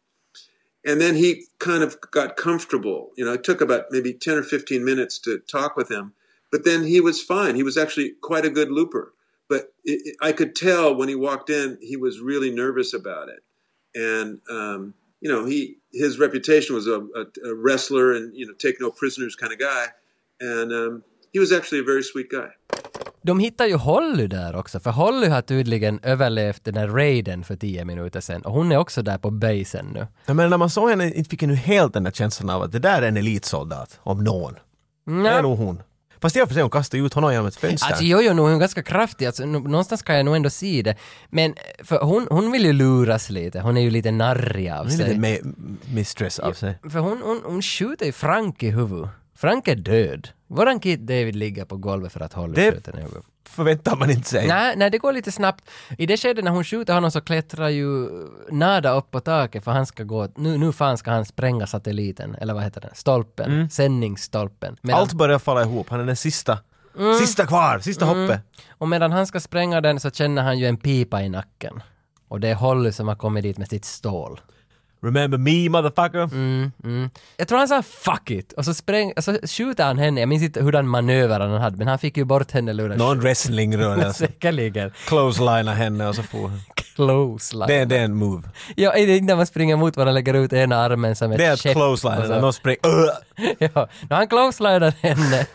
[SPEAKER 4] And then he kind of got comfortable. You know, it took about maybe 10 or 15 minutes to talk with him, but then he was fine. He was actually quite a good looper. But it, it- I could tell when he walked in, he was really nervous about it and um, you know he his reputation was a, a, a wrestler and you know take no prisoners kind of guy, and um, he was actually a very sweet guy.
[SPEAKER 2] De hittar ju Holly där också, för Holly har tydligen överlevt den där raiden för tio minuter sedan och hon är också där på basen nu.
[SPEAKER 1] Jag menar, när man såg henne inte fick jag nu helt den där känslan av att det där är en elitsoldat, om någon.
[SPEAKER 2] Mm,
[SPEAKER 1] Det är nog hon. Fast i och för sig, hon kastade ut honom genom ett fönster.
[SPEAKER 2] Alltså jag gör nog hon är ganska kraftig, alltså, nå- någonstans kan jag nog ändå se det. Men eh, för hon, hon vill ju luras lite, hon är ju lite narrig av
[SPEAKER 1] hon är lite
[SPEAKER 2] sig.
[SPEAKER 1] med, mistress av sig.
[SPEAKER 2] För hon, hon, hon skjuter ju Frank i huvudet. Frank är död. Våran Kid David ligger på golvet för att Holly
[SPEAKER 1] Det-
[SPEAKER 2] skjuter henne i huvudet.
[SPEAKER 1] Förväntar man inte sig.
[SPEAKER 2] Nej, nej, det går lite snabbt. I det skedet när hon skjuter honom så klättrar ju Nada upp på taket för han ska gå, nu, nu fan ska han spränga satelliten, eller vad heter den, stolpen, sändningsstolpen. Medan,
[SPEAKER 1] Mm. Allt börjar falla ihop. Han är den sista.
[SPEAKER 2] Mm.
[SPEAKER 1] Sista kvar, sista hoppet.
[SPEAKER 2] Och medan han ska spränga den så känner han ju en pipa i nacken. Och det är Holly som har kommit dit med sitt stål.
[SPEAKER 1] Remember me motherfucker.
[SPEAKER 2] Mm. Jag tror han sa 'fuck it' och så, spräng, och så skjuter han henne, jag minns inte hurdan manöver han hade men han fick ju bort henne luren.
[SPEAKER 1] Någon wrestlingrörelse.
[SPEAKER 2] Säkerligen.
[SPEAKER 1] Closelinea henne och så får hon.
[SPEAKER 2] Close line.
[SPEAKER 1] Det är, det är en move.
[SPEAKER 2] Ja, är det inte när man springer mot varandra och lägger ut ena armen som ett
[SPEAKER 1] Det är att
[SPEAKER 2] skepp och så-
[SPEAKER 1] closeline. Någon springer... Ugh!
[SPEAKER 2] ja, när han closelinar henne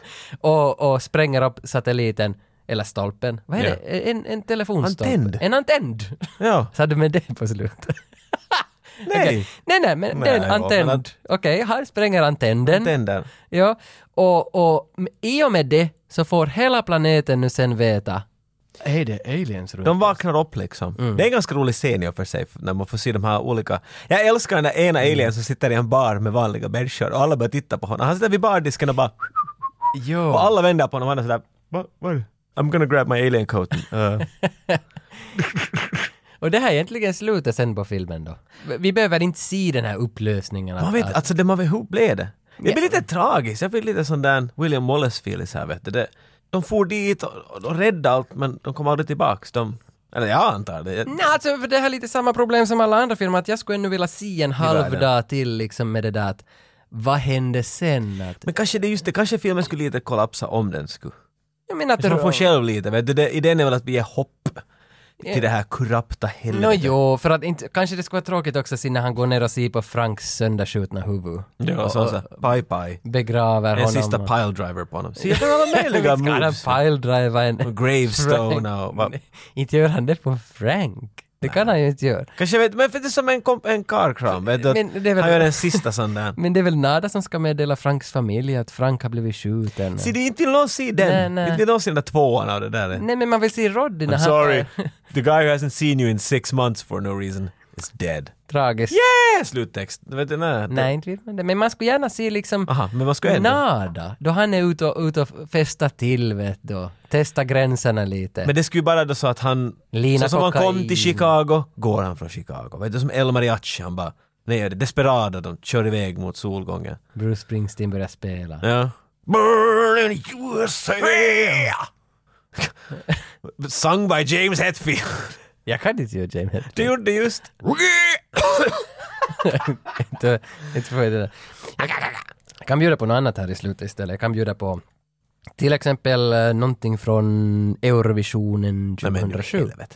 [SPEAKER 2] och, och spränger upp satelliten, eller stolpen. Vad är
[SPEAKER 1] Ja.
[SPEAKER 2] det? En, en telefonstolpe?
[SPEAKER 1] Antenn.
[SPEAKER 2] En antenn!
[SPEAKER 1] Ja.
[SPEAKER 2] Sa du med det på slutet?
[SPEAKER 1] Nej.
[SPEAKER 2] Okej. Nej, nej, men
[SPEAKER 1] Nej,
[SPEAKER 2] den
[SPEAKER 1] men
[SPEAKER 2] antenn.
[SPEAKER 1] att-
[SPEAKER 2] Okej, han spränger antennen.
[SPEAKER 1] Den där.
[SPEAKER 2] Ja, och, och m- i och med det så får hela planeten nu sen veta. Är det aliens runt?
[SPEAKER 1] De vaknar upp liksom. Det är en ganska rolig scen i och för sig, för när man får se de här olika... Jag älskar den där ena alien som sitter i en bar med vanliga människor och alla börjar titta på honom. Han sitter vid bardisken och bara...
[SPEAKER 2] Jo.
[SPEAKER 1] Och alla vänder på honom och han är sådär... "Va- Vad är det? I'm gonna grab my alien coat. Uh,
[SPEAKER 2] Och det här är egentligen slutet sen på filmen då. Vi behöver inte se den här upplösningen. att-
[SPEAKER 1] man vet,
[SPEAKER 2] att-
[SPEAKER 1] alltså det man vet, hur blev det? Det blir lite tragiskt. Jag fick lite sån där William Wallace-feeling här vet du. Det, de for dit och, och, och räddade allt men de kom aldrig tillbaks. De, eller jag antar det. Jag,
[SPEAKER 2] Nej, alltså för det här är lite samma problem som alla andra filmer, att jag skulle ännu vilja se en halv
[SPEAKER 1] världen.
[SPEAKER 2] dag till liksom med det där att vad hände sen? Att,
[SPEAKER 1] men kanske det är just det, kanske filmen skulle lite kollapsa om den skulle.
[SPEAKER 2] jag menar att
[SPEAKER 1] Så man får
[SPEAKER 2] det
[SPEAKER 1] själv lite, vet du. Det, idén är väl att vi ger hopp till det här korrupta helvetet.
[SPEAKER 2] Nå jo, för att inte, kanske det skulle vara tråkigt också att se när han går ner och ser på Franks sönderskjutna huvud.
[SPEAKER 1] Ja, och så, så, bye bye.
[SPEAKER 2] Begraver
[SPEAKER 1] Mm. En
[SPEAKER 2] honom.
[SPEAKER 1] sista
[SPEAKER 2] och-
[SPEAKER 1] piledriver på honom. Så jag alla möjliga
[SPEAKER 2] Ska han ha
[SPEAKER 1] moves.
[SPEAKER 2] piledriva en...
[SPEAKER 1] Gravestone och... va-
[SPEAKER 2] inte gör han det på Frank. Det kan han ju inte göra.
[SPEAKER 1] Kanske vet, men för det är som en, komp- en karkram, vet du. att
[SPEAKER 2] Men det är väl-
[SPEAKER 1] Han gör en sista sån där.
[SPEAKER 2] Men det är väl Nada som ska meddela Franks familj att Frank har blivit skjuten.
[SPEAKER 1] Se, det är inte vill någon se den.
[SPEAKER 2] Nej, nej.
[SPEAKER 1] Inte vill någon se den där tvåan av det där.
[SPEAKER 2] Nej men man vill se Roddy när
[SPEAKER 1] I'm
[SPEAKER 2] han...
[SPEAKER 1] sorry. The guy who hasn't seen you in six months for no reason is dead.
[SPEAKER 2] Tragiskt.
[SPEAKER 1] Yeah! Sluttext. Vet du, nej.
[SPEAKER 2] Nej, inte vet man det. Men man skulle gärna se liksom
[SPEAKER 1] Aha, men vad ska jag ändå?
[SPEAKER 2] Nada, då han är ute och, ute och festar till vet du. Testa gränserna lite.
[SPEAKER 1] Men det skulle ju bara då så att han...
[SPEAKER 2] Lina
[SPEAKER 1] så som han kom
[SPEAKER 2] kokain.
[SPEAKER 1] till Chicago, går han från Chicago. Vet du, som El Mariachi, han bara... Nej, det är desperada, de kör iväg mot solgången.
[SPEAKER 2] Bruce Springsteen börjar spela.
[SPEAKER 1] Ja. Burn in USA! Sung by James Hetfield.
[SPEAKER 2] Jag kan inte göra James
[SPEAKER 1] Det gjorde just...
[SPEAKER 2] inte, inte för det där. Jag kan bjuda på något annat här i slutet istället. Jag kan bjuda på till exempel eh, någonting från Eurovisionen
[SPEAKER 1] Nej men nu
[SPEAKER 2] 2007.
[SPEAKER 1] helvete.
[SPEAKER 2] Hur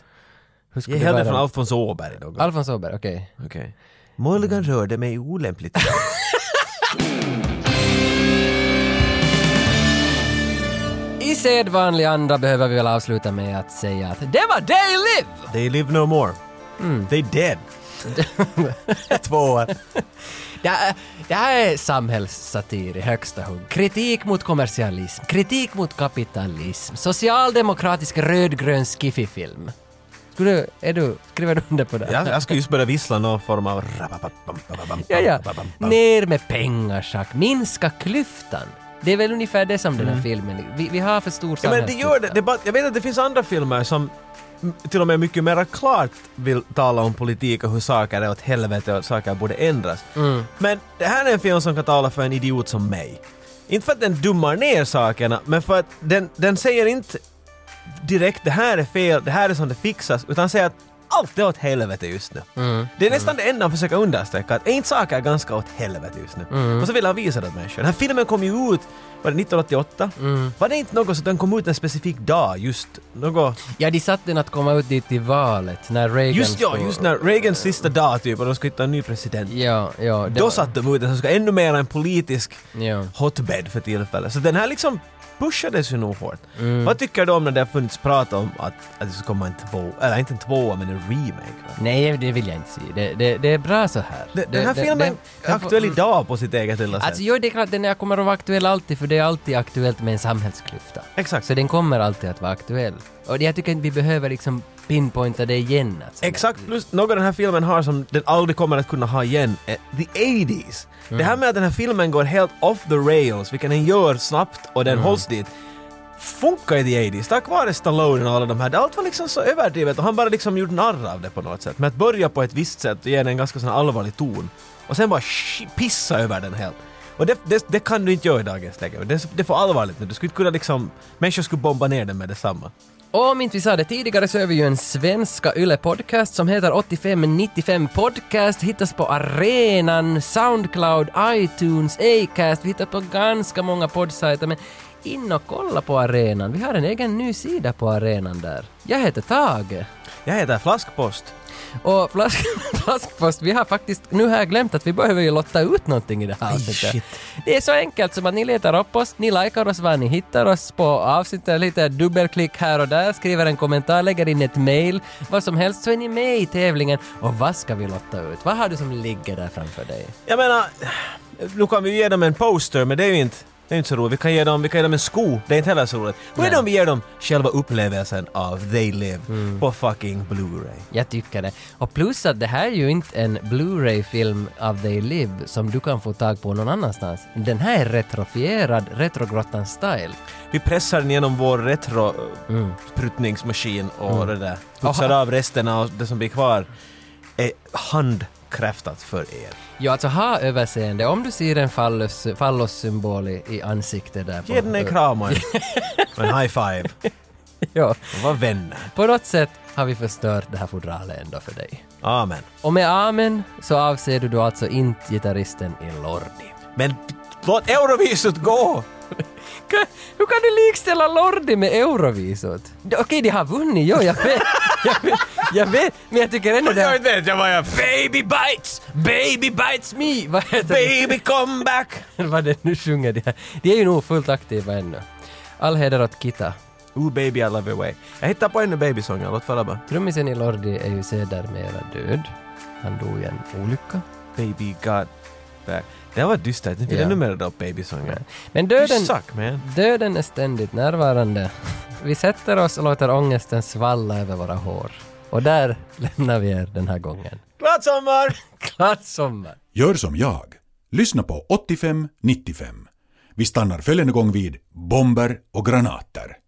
[SPEAKER 1] Jag
[SPEAKER 2] skulle det
[SPEAKER 1] hällde
[SPEAKER 2] vara?
[SPEAKER 1] från
[SPEAKER 2] då?
[SPEAKER 1] Alfons Åberg då.
[SPEAKER 2] Alfons Åberg, okej.
[SPEAKER 1] Okej.
[SPEAKER 5] Mulligan rörde mig olämpligt.
[SPEAKER 2] I sedvanlig anda behöver vi väl avsluta med att säga att det var Day Live!
[SPEAKER 1] They live no more. They dead.
[SPEAKER 5] Tvåa.
[SPEAKER 2] Det här, det här är samhällssatir i högsta hugg. Kritik mot kommersialism, kritik mot kapitalism, socialdemokratisk rödgrön skiffifilm. Skulle du, är du, skriver du under på det?
[SPEAKER 1] Jag, jag ska just börja vissla någon form av...
[SPEAKER 2] Ja, ja. Ner med pengar, Jack. Minska klyftan. Det är väl ungefär det som den här filmen... Vi, vi har för stor
[SPEAKER 1] Mm. Ja, men det gör det. det är bara, jag vet att det finns andra filmer som m- till och med mycket mer klart vill tala om politik och hur saker är åt helvete och saker borde ändras. Men det här är en film som kan tala för en idiot som mig. Inte för att den dummar ner sakerna, men för att den, den säger inte direkt det här är fel, det här är som det fixas, utan säger att allt är åt helvete just nu.
[SPEAKER 2] Mm.
[SPEAKER 1] Det är nästan det enda han försöker understryka, att en sak är ganska åt helvete just nu.
[SPEAKER 2] Mm.
[SPEAKER 1] Och så vill han visa det åt människor. Den här filmen kom ju ut, var det 1988?
[SPEAKER 2] Mm.
[SPEAKER 1] Var det inte något så att den kom ut en specifik dag just, något...
[SPEAKER 2] Ja, de satt den att komma ut dit i valet när Reagan
[SPEAKER 1] Just ja,
[SPEAKER 2] stod-
[SPEAKER 1] just när Reagans sista dag typ och de skulle hitta en ny president.
[SPEAKER 2] Ja, ja. det
[SPEAKER 1] Då
[SPEAKER 2] var-
[SPEAKER 1] satte de ut den som ska ännu mer en politisk
[SPEAKER 2] Ja.
[SPEAKER 1] hotbed för tillfället. Så den här liksom pushades ju nog hårt.
[SPEAKER 2] Mm.
[SPEAKER 1] Vad tycker du om när det har funnits prat om att, att det ska komma en tvåa, eller inte en tvåa men en remake? va?
[SPEAKER 2] Nej, det vill jag inte se. Det, det, det är bra så här.
[SPEAKER 1] Det-
[SPEAKER 2] Det-
[SPEAKER 1] Den här
[SPEAKER 2] det-
[SPEAKER 1] filmen
[SPEAKER 2] den-
[SPEAKER 1] är aktuell idag på sitt eget lilla
[SPEAKER 2] Alltså,
[SPEAKER 1] sätt.
[SPEAKER 2] jo, det är klart, den här kommer att vara aktuell alltid, för det är alltid aktuellt med en samhällsklyfta.
[SPEAKER 1] Exakt.
[SPEAKER 2] Så den kommer alltid att vara aktuell. Och jag tycker inte vi behöver liksom pinpointa det igen. Alltså.
[SPEAKER 1] Exakt, plus något den här filmen har som den aldrig kommer att kunna ha igen, är the 80s. Det här med att den här filmen går helt off the rails, vilket den gör snabbt och den hålls dit, funkar i the 80s tack vare Stallone och alla de här. Allt var liksom så överdrivet och han bara liksom gjorde narr av det på något sätt. Men att börja på ett visst sätt och ge den en ganska sån här allvarlig ton och sen bara sh- pissa över den helt. Och det, det, det kan du inte göra i dagens läge. Det, det får allvarligt nu. Du skulle inte kunna liksom... Människor skulle bomba ner den med detsamma.
[SPEAKER 2] Om inte vi sa det tidigare så är vi ju en svenska YLE-podcast som heter 8595 Podcast. Hittas på Arenan, Soundcloud, iTunes, Acast. Vi hittar på ganska många poddsajter men in och kolla på Arenan. Vi har en egen ny sida på Arenan där. Jag heter Tage.
[SPEAKER 1] Jag heter Flaskpost.
[SPEAKER 2] Och flask, flaskpost, vi har faktiskt nu har jag glömt att vi behöver ju lotta ut någonting i det här avsnittet.
[SPEAKER 1] shit.
[SPEAKER 2] Det är så enkelt som att ni letar upp oss, ni likar oss var ni hittar oss på avsnittet, lite dubbelklick här och där, skriver en kommentar, lägger in ett mail, vad som helst så är ni med i tävlingen. Och vad ska vi lotta ut? Vad har du som ligger där framför dig?
[SPEAKER 1] Jag menar, nu kan vi ju ge dem en poster, men det är ju inte, det är inte så roligt. Vi kan, ge dem, vi kan ge dem en sko, det är inte heller så roligt. Vad är det om vi ger dem själva upplevelsen av They Live på fucking Blu-ray?
[SPEAKER 2] Jag tycker det. Och plus att det här är ju inte en Blu-ray-film av They Live som du kan få tag på någon annanstans. Den här är retrofierad, Retrogrottan-style.
[SPEAKER 1] Vi pressar den genom vår retro-pruttningsmaskin och det där. Putsar av resten av det som blir kvar. Är handkräftat för er.
[SPEAKER 2] Ja, alltså ha överseende. Om du ser en fallos, fallossymbol i, i ansiktet där.
[SPEAKER 1] Ge den en kram och en- och en high five.
[SPEAKER 2] Ja.
[SPEAKER 1] Och var vänner.
[SPEAKER 2] På något sätt har vi förstört det här fodralet ändå för dig.
[SPEAKER 1] Amen.
[SPEAKER 2] Och med amen så avser du då alltså inte gitarristen i Lordi.
[SPEAKER 1] Men låt Eurovisut gå!
[SPEAKER 2] Ka- Hur kan du likställa Lordi med Eurovisot? D- Okej, de har vunnit, jo, jag vet. Jag vet, jag vet men jag tycker ändå det...
[SPEAKER 1] Jag
[SPEAKER 2] här-
[SPEAKER 1] vet, jag var jag...
[SPEAKER 2] Baby bites! Baby bites me! Vad heter det?
[SPEAKER 1] Baby come back!
[SPEAKER 2] Vad det nu sjunger de här. De är ju nog fullt aktiva ännu. All heder åt Kita.
[SPEAKER 1] Ooh baby I love your way. Jag hittar på ännu babysånger, låt falla bara.
[SPEAKER 2] Trummisen i Lordi är ju sedermera död. Han dog i en olycka.
[SPEAKER 1] Baby got back. Det här var dystert, nu vill
[SPEAKER 2] Ja.
[SPEAKER 1] jag numera upp babysånger.
[SPEAKER 2] Men
[SPEAKER 1] You
[SPEAKER 2] döden,
[SPEAKER 1] suck man.
[SPEAKER 2] döden är ständigt närvarande. Vi sätter oss och låter ångesten svalla över våra hår. Och där lämnar vi er den här gången.
[SPEAKER 1] Glad sommar!
[SPEAKER 2] Glad sommar!
[SPEAKER 6] Gör som jag. Lyssna på 85-95. Vi stannar följande gång vid bomber och granater.